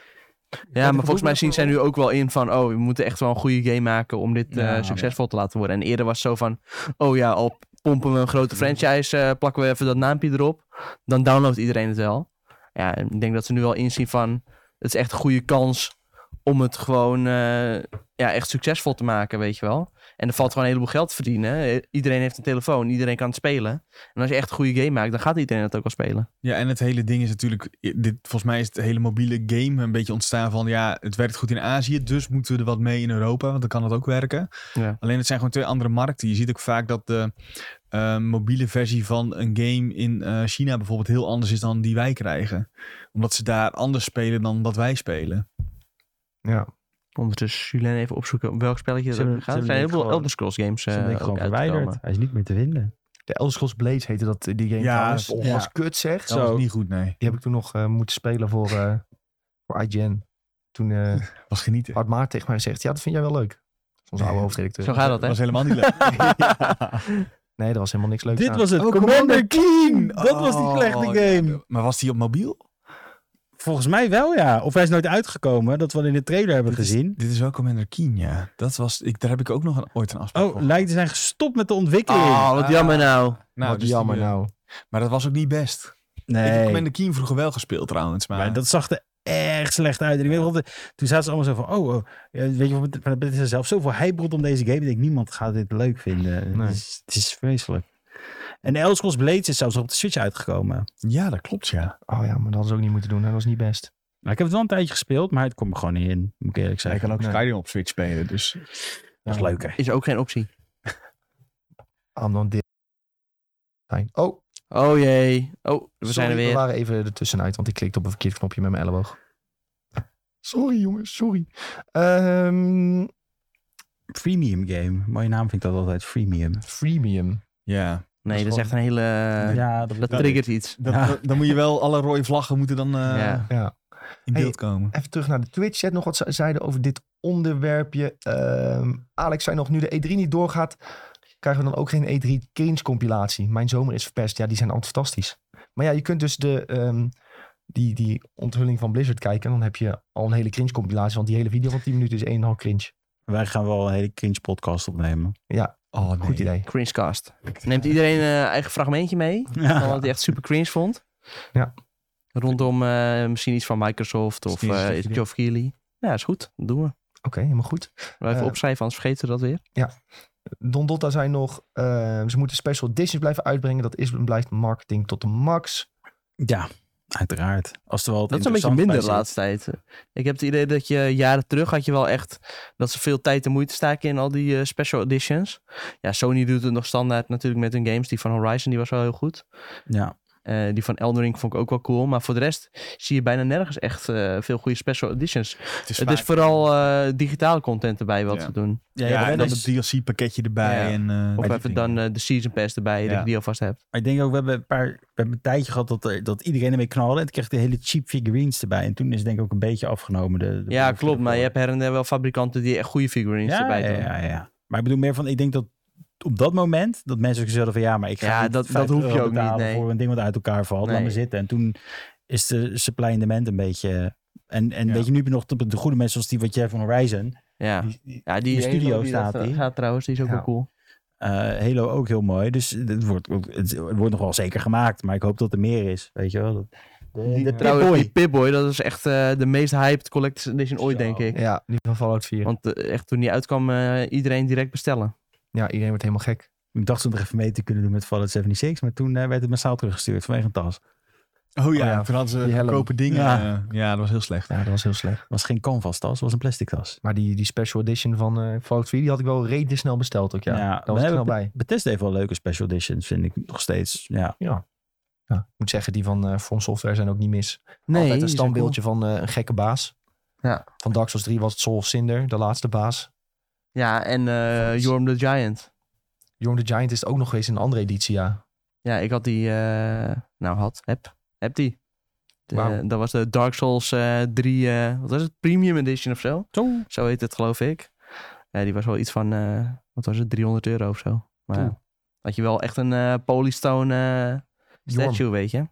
[SPEAKER 4] Ja, maar volgens mij zien zij nu ook wel in van... oh, we moeten echt wel een goede game maken om dit eh,
[SPEAKER 3] Ja.
[SPEAKER 4] succesvol te laten worden. En eerder was het zo van... oh ja, al pompen we een grote franchise, eh, plakken we even dat naampje erop. Dan downloadt iedereen het wel. Ja, en ik denk dat ze nu wel inzien van... het is echt een goede kans om het gewoon eh, ja, echt succesvol te maken, weet je wel. En er valt gewoon een heleboel geld te verdienen. I- Iedereen heeft een telefoon, iedereen kan het spelen. En als je echt een goede game maakt, dan gaat iedereen het ook wel spelen.
[SPEAKER 2] Ja, en het hele ding is natuurlijk, dit, volgens mij is het hele mobiele game een beetje ontstaan van, ja, het werkt goed in Azië, dus moeten we er wat mee in Europa, want dan kan het ook werken.
[SPEAKER 4] Ja.
[SPEAKER 2] Alleen het zijn gewoon twee andere markten. Je ziet ook vaak dat de eh, mobiele versie van een game in eh, China bijvoorbeeld heel anders is dan die wij krijgen. Omdat ze daar anders spelen dan dat wij spelen.
[SPEAKER 1] Ja.
[SPEAKER 4] Ondertussen Julien even opzoeken om welk spelletje het
[SPEAKER 3] Ze hebben-
[SPEAKER 4] ook gaat.
[SPEAKER 3] ze
[SPEAKER 4] Er
[SPEAKER 3] hebben
[SPEAKER 4] zijn heel
[SPEAKER 3] dit
[SPEAKER 4] veel
[SPEAKER 3] gewoon-
[SPEAKER 4] Elder Scrolls games
[SPEAKER 3] Ze
[SPEAKER 4] eh,
[SPEAKER 3] ben ik gewoon
[SPEAKER 4] ook uitgekomen.
[SPEAKER 3] verwijderd. Hij is niet meer te vinden.
[SPEAKER 1] De Elder Scrolls Blades heette dat, eh, die game.
[SPEAKER 2] Ja,
[SPEAKER 1] trouwens.
[SPEAKER 2] ja.
[SPEAKER 1] was kut zeg.
[SPEAKER 2] Dat
[SPEAKER 3] Zo.
[SPEAKER 2] was niet goed, nee.
[SPEAKER 1] Die heb ik toen nog eh, moeten spelen voor, eh voor IGN. Toen eh
[SPEAKER 2] Was genieten.
[SPEAKER 1] had Maarten tegen mij gezegd, ja, dat vind jij wel leuk. Dat is Onze oude hoofdredacteur.
[SPEAKER 4] Zo gaat dat, hè?
[SPEAKER 2] was helemaal niet leuk.
[SPEAKER 1] Nee, dat was helemaal niks leuks
[SPEAKER 3] Dit
[SPEAKER 1] aan.
[SPEAKER 3] was het. Commander Keen! Dat was die slechte
[SPEAKER 2] Oh,
[SPEAKER 3] game.
[SPEAKER 2] ja. Maar was die op mobiel?
[SPEAKER 3] Volgens mij wel, ja. Of hij is nooit uitgekomen. Dat we al in de trailer hebben
[SPEAKER 2] Dit is-
[SPEAKER 3] gezien.
[SPEAKER 2] Dit is wel Commander Keen, ja. Dat was, ik, daar heb ik ook nog een, ooit een afspraak
[SPEAKER 3] Oh,
[SPEAKER 2] voor.
[SPEAKER 3] lijkt te zijn gestopt met de ontwikkeling.
[SPEAKER 4] Oh, wat jammer nou.
[SPEAKER 2] Nou,
[SPEAKER 1] Wat
[SPEAKER 2] dus die,
[SPEAKER 1] jammer
[SPEAKER 2] eh,
[SPEAKER 1] nou.
[SPEAKER 2] Maar dat was ook niet best. Ik heb
[SPEAKER 3] nee.
[SPEAKER 2] Commander Keen vroeger wel gespeeld trouwens, maar...
[SPEAKER 3] Maar dat zag er erg slecht uit. En ik weet nog altijd, toen zaten ze allemaal zo van, oh, oh, ja, weet je wat, maar er is zelf zoveel heibrot om deze game. Ik denk, niemand gaat dit leuk vinden.
[SPEAKER 1] Nee.
[SPEAKER 3] Het, is, het is vreselijk. En Elder Scrolls Blades is zelfs nog op de Switch uitgekomen.
[SPEAKER 2] Ja, dat klopt, ja.
[SPEAKER 1] Oh ja, maar dat hadden ze ook niet moeten doen. Dat was niet best.
[SPEAKER 3] Nou, ik heb het wel een tijdje gespeeld, maar het kwam er gewoon niet in, moet ik eerlijk
[SPEAKER 2] Zij
[SPEAKER 3] zeggen.
[SPEAKER 2] kan ook
[SPEAKER 1] Nee.
[SPEAKER 2] Skyrim op Switch spelen, dus...
[SPEAKER 3] Dat is leuker.
[SPEAKER 4] Is ook geen optie.
[SPEAKER 1] Aan dan dit. Fijn. Oh,
[SPEAKER 4] Oh jee. Oh, we
[SPEAKER 1] Sorry,
[SPEAKER 4] zijn er
[SPEAKER 1] We
[SPEAKER 4] weer.
[SPEAKER 1] waren even ertussenuit, want ik klikte op een verkeerd knopje met mijn elleboog. Sorry jongens, sorry. Ehm,
[SPEAKER 3] Freemium game. Mooie naam vind ik dat altijd, Freemium.
[SPEAKER 1] freemium.
[SPEAKER 2] Ja.
[SPEAKER 4] Nee, dat
[SPEAKER 1] gewoon-
[SPEAKER 4] is echt een hele... eh,
[SPEAKER 3] ja, dat,
[SPEAKER 4] Dat
[SPEAKER 3] dat-
[SPEAKER 4] triggert iets.
[SPEAKER 2] Dan,
[SPEAKER 3] Ja.
[SPEAKER 2] dan- dan moet je wel... Alle rode vlaggen moeten dan eh,
[SPEAKER 4] Ja.
[SPEAKER 1] Ja.
[SPEAKER 2] in
[SPEAKER 1] Hey.
[SPEAKER 2] beeld komen.
[SPEAKER 1] Even terug naar de Twitch chat. Nog wat ze zeiden over dit onderwerpje. Ehm, Alex zei nog, nu de E3 niet doorgaat, krijgen we dan ook geen E3 Keynes compilatie. Mijn zomer is verpest. Ja, die zijn altijd fantastisch. Maar ja, je kunt dus de, ehm, die, die onthulling van Blizzard kijken. En dan heb je al een hele cringe compilatie. Want die hele video van 10 minuten is 1,5 cringe.
[SPEAKER 3] Wij gaan wel een hele cringe podcast opnemen.
[SPEAKER 2] Oh, nee.
[SPEAKER 1] Goed idee.
[SPEAKER 4] Cringecast. Neemt iedereen eh eigen fragmentje mee. Van wat hij echt super cringe vond.
[SPEAKER 1] Ja.
[SPEAKER 4] Rondom eh, misschien iets van Microsoft of
[SPEAKER 2] Misschien is het
[SPEAKER 4] eh,
[SPEAKER 2] een idee.
[SPEAKER 4] Geoff Keighley. Ja, is goed. Dat doen we.
[SPEAKER 1] Oké, helemaal goed.
[SPEAKER 4] Maar even
[SPEAKER 1] Eh.
[SPEAKER 4] opschrijven, anders vergeten we dat weer.
[SPEAKER 1] Don Dotta zei nog, eh, ze moeten special editions blijven uitbrengen. Dat is en blijft marketing tot de max.
[SPEAKER 3] Ja, uiteraard. Als er wel wat
[SPEAKER 4] Dat is een beetje minder
[SPEAKER 3] interessants bij
[SPEAKER 4] de
[SPEAKER 3] zit.
[SPEAKER 4] laatste tijd. Ik heb het idee dat je jaren terug had je wel echt dat ze veel tijd en moeite staken in al die eh, special editions. Ja, Sony doet het nog standaard natuurlijk met hun games. Die van Horizon die was wel heel goed.
[SPEAKER 3] Ja.
[SPEAKER 4] Eh, die van Elden Ring vond ik ook wel cool. Maar voor de rest zie je bijna nergens echt eh, veel goede special editions.
[SPEAKER 2] Het is,
[SPEAKER 4] het is
[SPEAKER 2] vaak-
[SPEAKER 4] vooral eh, digitale content erbij wat
[SPEAKER 2] Ja.
[SPEAKER 4] ze doen.
[SPEAKER 3] Ja,
[SPEAKER 2] Ja, en dan
[SPEAKER 3] dat
[SPEAKER 2] het DLC-pakketje erbij.
[SPEAKER 4] Ja.
[SPEAKER 2] En, eh,
[SPEAKER 4] Of
[SPEAKER 2] die
[SPEAKER 4] even
[SPEAKER 2] dingen.
[SPEAKER 4] dan eh, de season pass erbij, dat
[SPEAKER 2] Ja.
[SPEAKER 4] je die alvast hebt.
[SPEAKER 3] Maar ik denk ook, we hebben een, paar, we hebben een tijdje gehad dat, er- dat iedereen ermee knalde. En toen kreeg de hele cheap figurines erbij. En toen is het denk ik ook een beetje afgenomen. De, de
[SPEAKER 4] Ja, klopt. Maar je hebt her en der wel fabrikanten die echt goede figurines
[SPEAKER 3] ja,
[SPEAKER 4] erbij
[SPEAKER 3] ja,
[SPEAKER 4] doen.
[SPEAKER 3] ja, ja. Maar ik bedoel meer van, ik denk dat op dat moment, dat mensen ook zelf van ja, maar ik ga
[SPEAKER 4] Ja,
[SPEAKER 3] niet
[SPEAKER 4] dat- dat
[SPEAKER 3] 50
[SPEAKER 4] hoef je
[SPEAKER 3] euro
[SPEAKER 4] ook niet,
[SPEAKER 3] betalen
[SPEAKER 4] nee.
[SPEAKER 3] voor een ding wat uit elkaar valt. Laat
[SPEAKER 4] Nee.
[SPEAKER 3] maar zitten. En toen is de supply and demand een beetje... En, en
[SPEAKER 2] Ja.
[SPEAKER 3] weet je, nu heb je nog de, de goede mensen zoals die wat jij van Horizon.
[SPEAKER 4] Ja. Ja, die,
[SPEAKER 3] de
[SPEAKER 4] ene
[SPEAKER 3] studio
[SPEAKER 4] die
[SPEAKER 3] staat
[SPEAKER 4] dat eh,
[SPEAKER 3] die. Nou.
[SPEAKER 4] Gaat trouwens, die is ook
[SPEAKER 1] Ja.
[SPEAKER 4] wel cool.
[SPEAKER 3] Eh, Halo ook heel mooi. Dus het wordt, ook- het wordt nog wel zeker gemaakt. Maar ik hoop dat er meer is. Weet je wel. Dat- De, de
[SPEAKER 4] Trouwens,
[SPEAKER 3] Pip-Boy.
[SPEAKER 4] die Pip-Boy, dat is echt eh, de meest hyped collector's edition ooit,
[SPEAKER 3] Zo.
[SPEAKER 4] denk ik.
[SPEAKER 1] Ja, die van Fallout 4.
[SPEAKER 4] Want eh, echt, toen die uitkwam, eh, iedereen direct bestellen.
[SPEAKER 1] Ja, iedereen wordt helemaal gek.
[SPEAKER 3] Ik dacht ze nog even mee te kunnen doen met Fallout 76, maar toen eh, werd het massaal teruggestuurd vanwege een tas.
[SPEAKER 2] Oh ja,
[SPEAKER 1] Oh ja,
[SPEAKER 2] toen hadden ze
[SPEAKER 1] die helm.
[SPEAKER 2] goedkope dingen.
[SPEAKER 3] Ja.
[SPEAKER 2] Ja. ja, dat was heel slecht.
[SPEAKER 1] Ja, dat was heel slecht.
[SPEAKER 3] was geen canvas tas, was een plastic tas.
[SPEAKER 1] Maar die, die special edition van eh Fallout 4, die had ik wel redelijk snel besteld ook, ja. Daar
[SPEAKER 3] we
[SPEAKER 1] was ik
[SPEAKER 3] hebben
[SPEAKER 1] snel bij.
[SPEAKER 3] Bethesda heeft wel leuke special editions, vind ik nog steeds. Ja,
[SPEAKER 1] Ja, ik moet zeggen, die van eh From Software zijn ook niet mis.
[SPEAKER 4] Nee,
[SPEAKER 1] Altijd
[SPEAKER 4] die
[SPEAKER 1] een
[SPEAKER 4] zijn
[SPEAKER 1] standbeeldje van eh, een gekke baas.
[SPEAKER 4] Ja.
[SPEAKER 1] Van Dark Souls 3 was het Soul of Cinder, de laatste baas.
[SPEAKER 4] cool. Ja, en eh
[SPEAKER 1] Volgens-
[SPEAKER 4] Jorm the Giant.
[SPEAKER 1] Jorn the Giant is het ook nog geweest in een andere editie, ja.
[SPEAKER 4] Ja, ik had die... eh, nou, had. Heb. Heb die. De-
[SPEAKER 1] Wauw.
[SPEAKER 4] Dat was de Dark Souls eh 3... eh, wat was het? Premium Edition of zo?
[SPEAKER 3] Zo.
[SPEAKER 4] Zo heet het, geloof ik. Ja, die was wel iets van... eh, wat was het? 300 euro of zo. Maar
[SPEAKER 1] Oeh.
[SPEAKER 4] ja, had je wel echt een eh, polystone eh,
[SPEAKER 1] Jorm.
[SPEAKER 4] statue, weet je?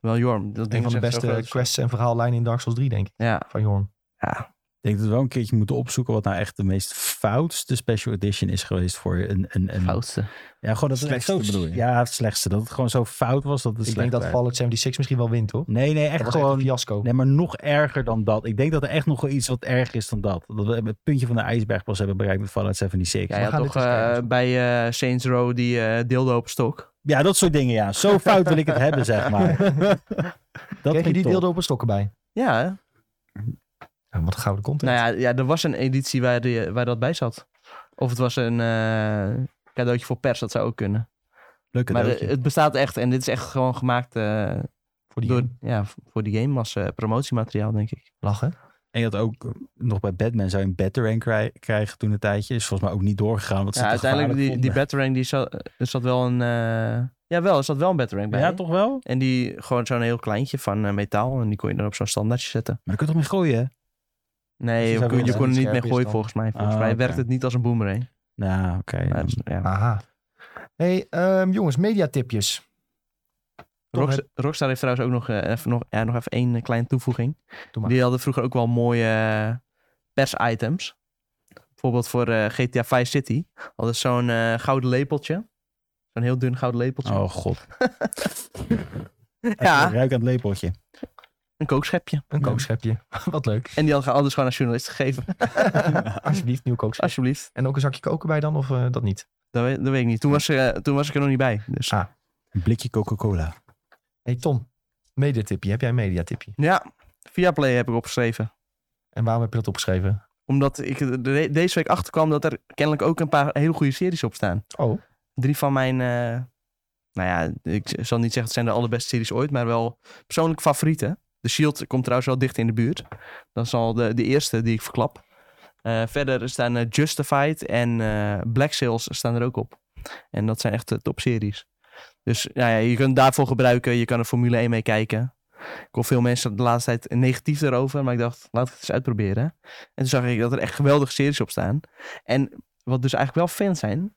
[SPEAKER 4] Wel Jorm. Dat
[SPEAKER 1] Een
[SPEAKER 4] ding
[SPEAKER 1] van
[SPEAKER 4] is
[SPEAKER 1] de
[SPEAKER 4] echt zo
[SPEAKER 1] beste
[SPEAKER 4] groot.
[SPEAKER 1] quests en verhaallijnen in Dark Souls 3, denk ik,
[SPEAKER 4] Ja,
[SPEAKER 1] van Jorn.
[SPEAKER 4] ja.
[SPEAKER 3] ik denk dat we wel een keertje moeten opzoeken wat nou echt de meest foutste special edition is geweest voor een... een, een
[SPEAKER 4] Foutste.
[SPEAKER 3] Ja, gewoon dat het echt
[SPEAKER 2] Slechtste
[SPEAKER 3] zo-
[SPEAKER 2] bedoel je?
[SPEAKER 3] Ja, het slechtste. Dat het gewoon zo fout was dat het
[SPEAKER 1] Ik
[SPEAKER 3] slecht
[SPEAKER 1] denk dat
[SPEAKER 3] werd.
[SPEAKER 1] Fallout 76 misschien wel wint, hoor.
[SPEAKER 3] Nee, nee,
[SPEAKER 1] Dat
[SPEAKER 3] echt
[SPEAKER 1] was
[SPEAKER 3] gewoon...
[SPEAKER 1] echt een fiasco.
[SPEAKER 3] Nee, maar nog erger dan dat. Ik denk dat er echt nog wel iets wat erger is dan dat. Dat we het puntje van de ijsberg pas hebben bereikt met Fallout 76.
[SPEAKER 4] Ja,
[SPEAKER 1] We
[SPEAKER 4] ja
[SPEAKER 1] gaan
[SPEAKER 4] toch
[SPEAKER 1] dit eens
[SPEAKER 4] eh,
[SPEAKER 1] kijken.
[SPEAKER 4] bij eh, Saints Row die eh, deelde op stok.
[SPEAKER 3] Ja, dat soort dingen, ja. Zo fout wil ik het hebben, zeg maar. Dat
[SPEAKER 1] Kreeg je
[SPEAKER 3] vind ik
[SPEAKER 1] die
[SPEAKER 3] top.
[SPEAKER 1] deelde open stokken bij?
[SPEAKER 4] Ja, hè?
[SPEAKER 1] Ja, wat gouden content.
[SPEAKER 4] nou ja, ja, er was een editie waar, die, waar dat bij zat. Of het was een eh, cadeautje voor pers, dat zou ook kunnen.
[SPEAKER 3] Leuk
[SPEAKER 4] Maar
[SPEAKER 3] cadeautje.
[SPEAKER 4] eh, het bestaat echt en dit is echt gewoon gemaakt eh,
[SPEAKER 1] voor die
[SPEAKER 4] door, ja, v- voor die game als eh, promotiemateriaal, denk ik.
[SPEAKER 1] lachen.
[SPEAKER 3] En je had ook eh, nog bij Batman zou je een Batarang krij- krijgen toen een tijdje. Is volgens mij ook niet doorgegaan. Want ze
[SPEAKER 4] Ja,
[SPEAKER 3] het te
[SPEAKER 4] uiteindelijk, die,
[SPEAKER 3] gevaarlijk
[SPEAKER 4] die
[SPEAKER 3] vonden.
[SPEAKER 4] Batarang, die zat, er zat wel een... eh, ja, wel, er zat wel een Batarang bij.
[SPEAKER 3] Ja, toch wel? Maar
[SPEAKER 4] En die gewoon zo'n heel kleintje van eh, metaal en die kon je dan op zo'n standaardje zetten.
[SPEAKER 3] daar kun je toch mee gooien? hè?
[SPEAKER 4] Nee,
[SPEAKER 3] Dus je
[SPEAKER 4] je
[SPEAKER 3] zou
[SPEAKER 4] kon,
[SPEAKER 3] willen
[SPEAKER 4] je
[SPEAKER 3] dat
[SPEAKER 4] kon er
[SPEAKER 1] het
[SPEAKER 4] niet
[SPEAKER 1] scherp
[SPEAKER 4] mee
[SPEAKER 1] is
[SPEAKER 4] gooien
[SPEAKER 1] dan.
[SPEAKER 4] volgens mij. Volgens
[SPEAKER 3] Ah,
[SPEAKER 4] mij
[SPEAKER 3] oké.
[SPEAKER 4] werkt het niet als een boomerang.
[SPEAKER 3] Nou, oké.
[SPEAKER 4] Maar
[SPEAKER 3] dan-
[SPEAKER 4] het is- ja.
[SPEAKER 1] Aha. Hey, ehm, jongens, mediatipjes. Toch,
[SPEAKER 4] Rockst- Rockstar heeft trouwens ook nog, eh, even, nog, ja, nog even één eh, kleine toevoeging.
[SPEAKER 1] Doe maar.
[SPEAKER 4] Die hadden vroeger ook wel mooie eh, persitems. Bijvoorbeeld voor eh, GTA Vice City hadden ze zo'n eh, gouden lepeltje. Zo'n heel dun gouden lepeltje.
[SPEAKER 3] Oh god.
[SPEAKER 4] ja,
[SPEAKER 3] Ruik aan het lepeltje.
[SPEAKER 4] een kookschepje.
[SPEAKER 1] Een kookschepje. wat leuk.
[SPEAKER 4] En die hadden ze anders gewoon aan journalisten gegeven.
[SPEAKER 1] Alsjeblieft, nieuw kookschep.
[SPEAKER 4] Alsjeblieft.
[SPEAKER 1] En ook een zakje koken bij dan, of eh, dat niet?
[SPEAKER 4] Dat weet, dat weet ik niet. Toen was, eh, toen was ik er nog niet bij. Dus.
[SPEAKER 1] Ah.
[SPEAKER 3] Een blikje Coca-Cola.
[SPEAKER 1] Hey Tom, mediatipje. Heb jij een mediatipje?
[SPEAKER 4] Ja, Viaplay heb ik opgeschreven.
[SPEAKER 1] En waarom heb je dat opgeschreven?
[SPEAKER 4] Omdat ik er de- deze week achterkwam dat er kennelijk ook een paar hele goede series op staan.
[SPEAKER 1] Oh,
[SPEAKER 4] Drie van mijn, eh, nou ja, ik zal niet zeggen het zijn de allerbeste series ooit, maar wel persoonlijk favorieten. The Shield komt trouwens wel dicht in de buurt. Dat is al de, de eerste die ik verklap. Eh, verder staan eh, Justified en eh, Black Sails staan er ook op. En dat zijn echt de topseries. Dus nou ja, je kunt het daarvoor gebruiken. Je kan er Formule 1 mee kijken. Ik hoor veel mensen de laatste tijd negatief daarover. Maar ik dacht, laat ik het eens uitproberen. En toen zag ik dat er echt geweldige series op staan. En wat dus eigenlijk wel fans zijn,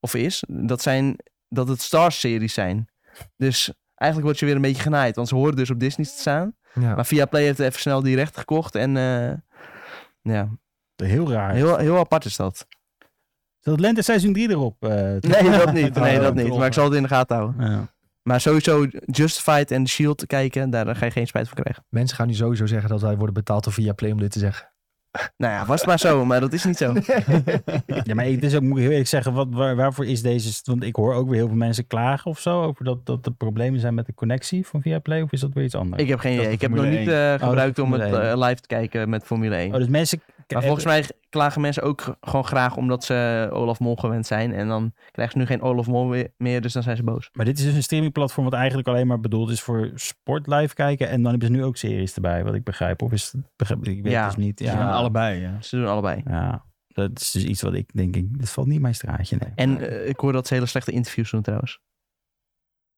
[SPEAKER 4] of is, dat, zijn, dat het Star-series zijn. Dus eigenlijk word je weer een beetje genaaid. Want ze horen dus op Disney te staan.
[SPEAKER 1] ja.
[SPEAKER 4] Maar Viaplay heeft even snel die rechten gekocht. En eh, ja,
[SPEAKER 3] Heel raar.
[SPEAKER 4] heel, heel apart is dat.
[SPEAKER 3] Dat lente seizoen 3 erop. eh,
[SPEAKER 4] Nee, dat niet. Nee,
[SPEAKER 3] Oh,
[SPEAKER 4] dat niet.
[SPEAKER 3] toch.
[SPEAKER 4] Maar ik zal het in de gaten houden.
[SPEAKER 3] Ja.
[SPEAKER 4] Maar sowieso Justified en The Shield E kijken, daar ga je geen spijt van krijgen.
[SPEAKER 1] Mensen gaan nu sowieso zeggen dat wij worden betaald door Viaplay om dit te zeggen.
[SPEAKER 4] Nou ja, was het maar zo, maar dat is niet zo.
[SPEAKER 3] Ja, maar het is ook, moet ik heel eerlijk zeggen, wat, waar- waarvoor is deze... Want ik hoor ook weer heel veel mensen klagen of zo... over dat, dat er problemen zijn met de connectie van Viaplay. Of is dat weer iets anders?
[SPEAKER 4] Ik heb geen
[SPEAKER 2] Dat is
[SPEAKER 4] idee. Ik heb nog
[SPEAKER 2] Formule
[SPEAKER 4] niet eh, gebruikt om het
[SPEAKER 3] Formule
[SPEAKER 4] eh, live te kijken met Formule 1.
[SPEAKER 3] Oh, dus mensen...
[SPEAKER 4] Maar volgens mij
[SPEAKER 2] eh,
[SPEAKER 4] klagen mensen ook g- gewoon graag omdat ze Olaf Mol gewend zijn. En dan krijgen ze nu geen Olaf Mol weer- meer, dus dan zijn ze boos.
[SPEAKER 3] Maar dit is dus een streamingplatform wat eigenlijk alleen maar bedoeld is voor sport live kijken. En dan hebben ze nu ook series erbij, wat ik begrijp. Of is het, begrijp, ik weet
[SPEAKER 4] Ja.
[SPEAKER 3] het dus niet.
[SPEAKER 2] Ja,
[SPEAKER 3] Ja.
[SPEAKER 2] allebei. Ja.
[SPEAKER 4] Ze doen allebei.
[SPEAKER 3] Ja. dat is dus iets wat ik denk, ik, dat valt niet mijn straatje. Nee.
[SPEAKER 4] En eh, ik hoor dat ze hele slechte interviews doen trouwens.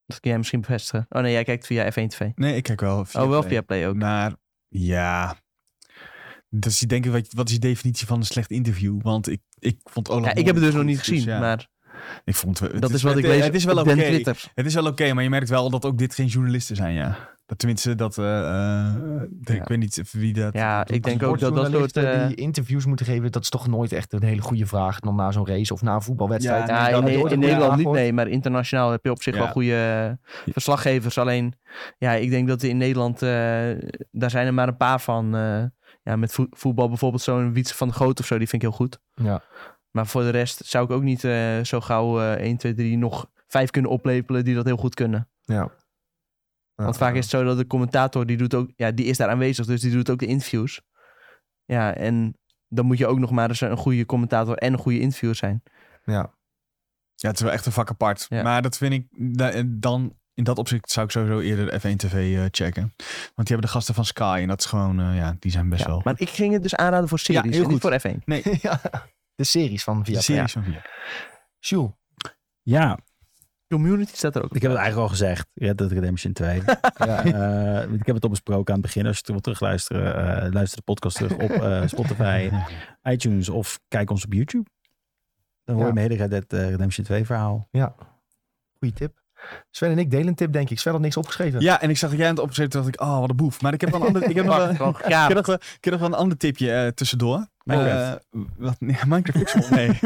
[SPEAKER 4] Dat kun jij misschien bevestigen. Oh nee, jij kijkt via F1 TV.
[SPEAKER 2] Nee, ik kijk wel via
[SPEAKER 4] Oh, wel
[SPEAKER 2] Play.
[SPEAKER 4] via Play ook.
[SPEAKER 2] Maar ja, dat is denk ik, wat, wat is de definitie van een slecht interview? Want ik, ik vond Olaf
[SPEAKER 4] Ja, ik
[SPEAKER 2] Mol
[SPEAKER 4] heb het dus
[SPEAKER 2] goed,
[SPEAKER 4] nog niet gezien,
[SPEAKER 2] dus ja.
[SPEAKER 4] maar
[SPEAKER 2] ik vond, het
[SPEAKER 4] dat is wat
[SPEAKER 2] het-
[SPEAKER 4] ik lees
[SPEAKER 2] Het is wel
[SPEAKER 4] op
[SPEAKER 2] oké,
[SPEAKER 4] den Twitter.
[SPEAKER 2] het is wel oké, maar je merkt wel dat ook dit geen journalisten zijn, ja. Dat, tenminste, dat, eh, eh, de-
[SPEAKER 4] Ja.
[SPEAKER 2] ik weet niet wie dat...
[SPEAKER 4] Ja, ik denk ook dat dat soort...
[SPEAKER 1] Sportjournalisten
[SPEAKER 4] eh,
[SPEAKER 1] die interviews moeten geven, dat is toch nooit echt een hele goede vraag. Dan na zo'n race of na een voetbalwedstrijd.
[SPEAKER 2] Ja,
[SPEAKER 4] ja,
[SPEAKER 2] dat
[SPEAKER 4] in,
[SPEAKER 2] je
[SPEAKER 4] in
[SPEAKER 2] ooit een goede
[SPEAKER 4] Nederland
[SPEAKER 1] vraag
[SPEAKER 4] niet,
[SPEAKER 1] hoort.
[SPEAKER 4] nee. Maar internationaal heb je op zich
[SPEAKER 2] Ja.
[SPEAKER 4] wel goede eh, verslaggevers. Alleen, ja, ik denk dat in Nederland... eh, daar zijn er maar een paar van. eh, ja, met voe- voetbal bijvoorbeeld zo'n Wietse van de Goot of zo. Die vind ik heel goed.
[SPEAKER 1] Ja.
[SPEAKER 4] Maar voor de rest zou ik ook niet eh, zo gauw eh 1, 2, 3 nog vijf kunnen oplepelen die dat heel goed kunnen.
[SPEAKER 1] Ja.
[SPEAKER 4] Want vaak is het zo dat de commentator, die, doet ook, ja, die is daar aanwezig, dus die doet ook de interviews. Ja, en dan moet je ook nog maar eens een goede commentator en een goede interviewer zijn.
[SPEAKER 1] Ja.
[SPEAKER 2] Ja, het is wel echt een vak apart.
[SPEAKER 4] Ja.
[SPEAKER 2] Maar dat vind ik da- eh, dan... In dat opzicht zou ik sowieso eerder F1 TV eh, checken. Want die hebben de gasten van Sky. En dat is gewoon... eh, ja, die zijn best
[SPEAKER 4] Ja,
[SPEAKER 2] wel...
[SPEAKER 4] Maar ik ging het dus aanraden voor series,
[SPEAKER 2] Ja,
[SPEAKER 4] en
[SPEAKER 2] heel
[SPEAKER 4] niet
[SPEAKER 2] goed.
[SPEAKER 4] voor F1.
[SPEAKER 1] ja. De series van
[SPEAKER 2] de
[SPEAKER 1] Via.
[SPEAKER 2] series van Via.
[SPEAKER 1] Sjoel.
[SPEAKER 3] Ja,
[SPEAKER 4] Community staat er ook.
[SPEAKER 3] ik heb het eigenlijk al gezegd. Red Dead Redemption 2.
[SPEAKER 1] Ja.
[SPEAKER 3] Eh, ik heb het al besproken aan het begin. Als je het wil terugluisteren, eh, luister de podcast terug op eh, Spotify, iTunes of kijk ons op YouTube. Dan hoor je
[SPEAKER 1] Ja.
[SPEAKER 3] mijn hele Red Dead eh, Redemption 2 verhaal.
[SPEAKER 1] Goeie tip. Sven en ik delen een tip, denk ik. Sven had niks opgeschreven.
[SPEAKER 2] Ja, en ik zag dat jij aan het opzetten. dacht ik, oh, wat een boef. Maar ik heb wel een ander... Ik heb nog wel-
[SPEAKER 4] Gewoon
[SPEAKER 2] Ik
[SPEAKER 4] gaaf.
[SPEAKER 2] heb nog, wel- ik heb nog wel een ander tipje eh, tussendoor.
[SPEAKER 3] Minecraft.
[SPEAKER 2] Eh, wat? Nee, Minecraft Pixel? Nee.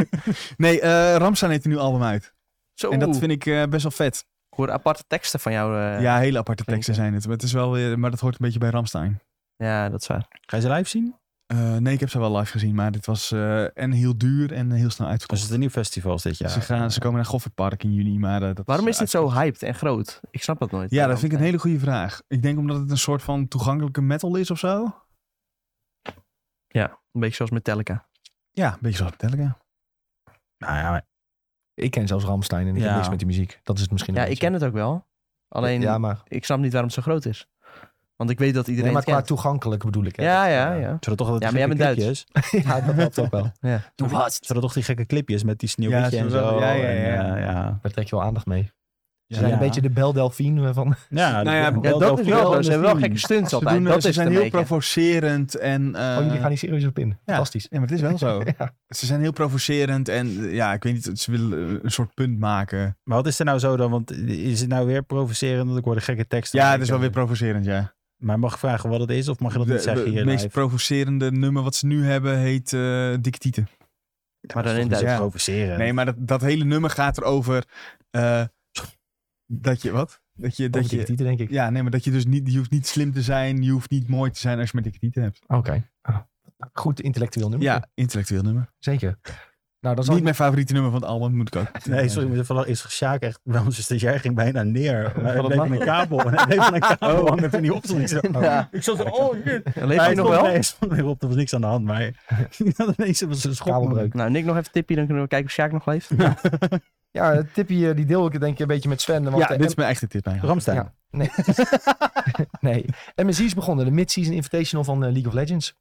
[SPEAKER 2] nee, eh Ramstein heeft een nieuw album uit.
[SPEAKER 4] Zo,
[SPEAKER 2] En dat vind ik eh, best wel vet.
[SPEAKER 4] ik hoor aparte teksten van jou. eh. ja.
[SPEAKER 2] ja, hele aparte
[SPEAKER 4] klinkt,
[SPEAKER 2] teksten zijn het. Maar, het is wel weer, maar dat hoort een beetje bij Ramstein.
[SPEAKER 4] dat is waar.
[SPEAKER 3] Ga je ze live zien?
[SPEAKER 2] Eh, nee, ik heb ze wel live gezien. Maar dit was eh, en heel duur en heel snel
[SPEAKER 3] Was
[SPEAKER 4] Dus
[SPEAKER 2] uitverkocht.
[SPEAKER 3] het een nieuw festival dit jaar?
[SPEAKER 2] ze, gaan, ze komen naar Goffertpark in juni. Maar, eh, dat
[SPEAKER 4] Waarom is dit zo
[SPEAKER 2] uitverkocht.
[SPEAKER 4] hyped en groot? Ik snap dat nooit.
[SPEAKER 2] Ja, dat vind ik een hele goede vraag. Ik denk omdat het een soort van toegankelijke metal is of zo.
[SPEAKER 4] Ja, een beetje zoals Metallica.
[SPEAKER 2] Ja, een beetje zoals Metallica.
[SPEAKER 3] Nou ja, maar-
[SPEAKER 1] Ik ken zelfs Ramstein en ik
[SPEAKER 3] Ja.
[SPEAKER 1] heb niks met die muziek. Dat is het misschien
[SPEAKER 4] Ja,
[SPEAKER 1] een
[SPEAKER 4] ik
[SPEAKER 1] beetje.
[SPEAKER 4] ken het ook wel. Alleen,
[SPEAKER 1] Ja, maar,
[SPEAKER 4] ik snap niet waarom het zo groot is. Want ik weet dat iedereen
[SPEAKER 1] nee, maar
[SPEAKER 4] het
[SPEAKER 1] qua
[SPEAKER 4] kent.
[SPEAKER 1] toegankelijk bedoel ik. Hè?
[SPEAKER 4] Ja,
[SPEAKER 1] Dat,
[SPEAKER 4] ja,
[SPEAKER 1] eh,
[SPEAKER 4] ja.
[SPEAKER 3] zullen toch altijd
[SPEAKER 4] Ja,
[SPEAKER 3] die
[SPEAKER 4] maar jij
[SPEAKER 3] gekke
[SPEAKER 4] bent
[SPEAKER 3] clipjes?
[SPEAKER 1] ja, dat helpt ook wel.
[SPEAKER 4] ja.
[SPEAKER 3] Zullen toch die gekke clipjes met die
[SPEAKER 2] Ja,
[SPEAKER 3] sneeuwwitje
[SPEAKER 2] ze
[SPEAKER 3] en
[SPEAKER 2] wel-
[SPEAKER 3] zo?
[SPEAKER 2] ja, ja,
[SPEAKER 3] en,
[SPEAKER 2] ja.
[SPEAKER 3] eh, ja.
[SPEAKER 1] Daar trek je wel aandacht mee. Ze
[SPEAKER 2] Ja.
[SPEAKER 1] zijn
[SPEAKER 3] Ja. Eh.
[SPEAKER 1] een beetje de Bel Delphine van...
[SPEAKER 3] Ja,
[SPEAKER 2] Nou ja,
[SPEAKER 3] de-
[SPEAKER 2] dat
[SPEAKER 4] Ja,
[SPEAKER 3] wel
[SPEAKER 4] dat is wel zo.
[SPEAKER 3] wel-
[SPEAKER 4] Ze hebben wel gekke stunts
[SPEAKER 2] Ze,
[SPEAKER 4] altijd.
[SPEAKER 2] doen, eh,
[SPEAKER 4] dat
[SPEAKER 2] ze
[SPEAKER 4] is
[SPEAKER 2] zijn
[SPEAKER 4] een
[SPEAKER 2] heel
[SPEAKER 4] beetje.
[SPEAKER 2] provocerend en... eh,
[SPEAKER 1] oh, jullie gaan hier serieus op in. Fantastisch.
[SPEAKER 2] Ja, maar het is wel zo.
[SPEAKER 1] Ja.
[SPEAKER 2] Ze zijn heel provocerend en eh, ja, ik weet niet, ze willen eh, een soort punt maken.
[SPEAKER 3] Maar wat is er nou zo dan? Want is het nou weer provocerend? Want ik hoor de gekke teksten.
[SPEAKER 2] Ja,
[SPEAKER 3] Maar
[SPEAKER 2] het is
[SPEAKER 3] ik-
[SPEAKER 2] wel weer provocerend, ja.
[SPEAKER 3] Maar mag ik vragen wat het is? Of mag je dat niet zeggen hier
[SPEAKER 2] het meest
[SPEAKER 3] live?
[SPEAKER 2] provocerende nummer wat ze nu hebben heet eh Dikke Tieten.
[SPEAKER 4] Maar dan in
[SPEAKER 3] Dat is
[SPEAKER 4] Duits.
[SPEAKER 2] Ja.
[SPEAKER 3] provocerend.
[SPEAKER 2] Nee, maar dat, dat hele nummer gaat erover eh, dat je, wat? Dat je,
[SPEAKER 1] Dat
[SPEAKER 2] dat
[SPEAKER 1] je
[SPEAKER 2] je,
[SPEAKER 1] titel, denk ik.
[SPEAKER 2] ja, nee, maar dat je dus niet, je hoeft niet slim te zijn, je hoeft niet mooi te zijn als je maar dikke tieten hebt.
[SPEAKER 1] Oké. Ah, Goed intellectueel nummer.
[SPEAKER 2] Ja, intellectueel nummer.
[SPEAKER 1] Zeker. Nou, dat
[SPEAKER 2] Dat
[SPEAKER 1] is
[SPEAKER 2] is niet mijn favoriete nummer van het album, moet ik ook.
[SPEAKER 3] Nee, sorry, maar vanaf is Sjaak echt bij onze stagiair ging bijna neer. Maar hij
[SPEAKER 4] het
[SPEAKER 3] bleef aan een kabel. en Hij bleef aan een kabel hangen toen hij opstond. Ik zo, oh.
[SPEAKER 4] Ja.
[SPEAKER 3] Ik zat zo, oh shit.
[SPEAKER 4] Leef je nog
[SPEAKER 3] stond-
[SPEAKER 4] wel?
[SPEAKER 3] Nee, hij stond weer op, er was niks aan de hand. Maar hij had ineens een schok.
[SPEAKER 1] kabelbreuk.
[SPEAKER 4] Nou, Nick nog even tipje, dan kunnen we kijken of Sjaak nog leeft.
[SPEAKER 1] Ja, het tipje eh, die deel ik denk ik een beetje met Sven. Want eh,
[SPEAKER 2] Ja,
[SPEAKER 1] de
[SPEAKER 2] dit is mijn echte tip eigenlijk.
[SPEAKER 3] Ramstein.
[SPEAKER 1] Ja. Nee. nee. MSI is begonnen, de mid-season invitational van eh, League of Legends.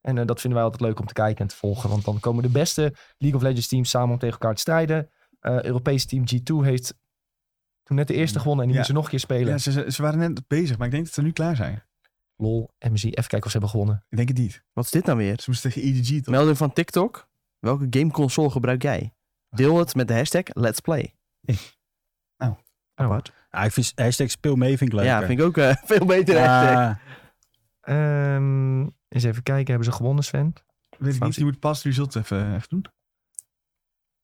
[SPEAKER 1] En eh, dat vinden wij altijd leuk om te kijken en te volgen. Want dan komen de beste League of Legends teams samen om tegen elkaar te strijden. Eh Europese team G2 heeft toen net de eerste gewonnen en die moeten
[SPEAKER 2] Mm, Ja.
[SPEAKER 1] ze nog een keer spelen.
[SPEAKER 2] Ja, ze, ze waren net bezig, maar ik denk dat ze nu klaar zijn.
[SPEAKER 1] Lol, MSI, even kijken of ze hebben gewonnen.
[SPEAKER 2] Ik denk het niet.
[SPEAKER 4] Wat is dit nou weer?
[SPEAKER 2] Ze moesten tegen EDG toch?
[SPEAKER 4] Melding van TikTok. Welke gameconsole gebruik jij? Deel het met de hashtag Let's Play.
[SPEAKER 1] Oh, wat?
[SPEAKER 3] Ah, ik vind hashtag speel mee vind ik leuker.
[SPEAKER 4] Ja, vind ik ook eh, veel beter. hashtag.
[SPEAKER 3] Ah,
[SPEAKER 1] Ehm, eens even kijken, hebben ze gewonnen Sven?
[SPEAKER 2] Weet ik niet,
[SPEAKER 1] Fransie.
[SPEAKER 2] je moet pas het result even, even doen.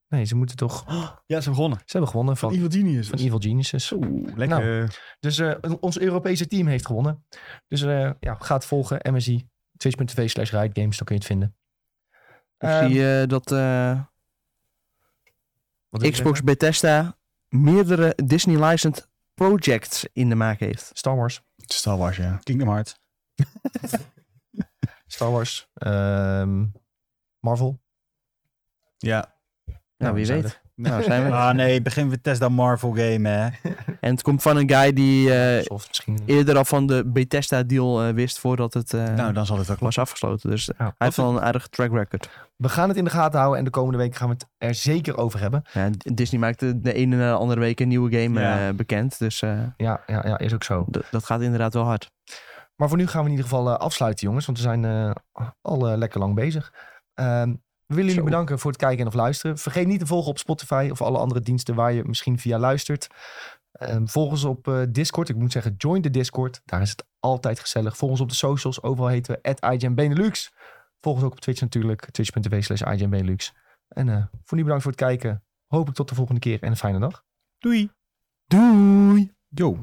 [SPEAKER 1] Nee, ze moeten toch... Ze
[SPEAKER 2] Ja, ze begonnen.
[SPEAKER 1] hebben gewonnen van,
[SPEAKER 2] Evil Genius.
[SPEAKER 1] van Evil Geniuses.
[SPEAKER 2] Oeh,
[SPEAKER 1] lekker. Dus eh, ons Europese team heeft gewonnen. Dus eh, ja, ga het volgen. MSI, twitch.tv slash ridegames, dan kun je het vinden.
[SPEAKER 4] Ik
[SPEAKER 1] Ehm,
[SPEAKER 4] zie eh, dat eh,
[SPEAKER 1] wat wil ik
[SPEAKER 4] Xbox
[SPEAKER 1] zeggen?
[SPEAKER 4] Bethesda meerdere Disney-licensed projects in de maak heeft.
[SPEAKER 1] Star Wars.
[SPEAKER 2] Star Wars, ja.
[SPEAKER 3] Kingdom Hearts.
[SPEAKER 1] Star Wars. ehm, Marvel.
[SPEAKER 2] Ja.
[SPEAKER 4] Nou, wie
[SPEAKER 1] zouden-
[SPEAKER 4] weet. Nou, zijn we.
[SPEAKER 3] Ah nee, begin met Tesla Marvel game hè.
[SPEAKER 4] En het komt van een guy die eh,
[SPEAKER 1] Microsoft misschien.
[SPEAKER 4] eerder al van de Bethesda-deal eh, wist voordat het eh,
[SPEAKER 2] Nou, dan zal het ook wel.
[SPEAKER 4] was afgesloten. Dus
[SPEAKER 1] Ja.
[SPEAKER 4] hij heeft wel een aardige track record.
[SPEAKER 1] We gaan het in de gaten houden en de komende week gaan we het er zeker over hebben.
[SPEAKER 4] Ja, Disney maakt de, de ene na de andere week een nieuwe game
[SPEAKER 2] Ja.
[SPEAKER 4] eh, bekend. Dus eh,
[SPEAKER 1] Ja, ja, ja, is ook zo.
[SPEAKER 4] d- dat gaat inderdaad wel hard.
[SPEAKER 1] Maar voor nu gaan we in ieder geval eh, afsluiten, jongens. Want we zijn eh, al eh, lekker lang bezig. Ehm, we willen jullie
[SPEAKER 4] Zo.
[SPEAKER 1] bedanken voor het kijken en of luisteren. Vergeet niet te volgen op Spotify of alle andere diensten waar je misschien via luistert. Ehm, volg ons op eh, Discord. Ik moet zeggen, join de Discord. Daar is het altijd gezellig. Volg ons op de socials. Overal heten we @IGNBenelux. Volg ons ook op Twitch natuurlijk. Twitch.tv slash IGNBenelux. En eh, voor nu bedankt voor het kijken. Hopelijk tot de volgende keer en een fijne dag.
[SPEAKER 2] Doei.
[SPEAKER 3] Doei. Yo.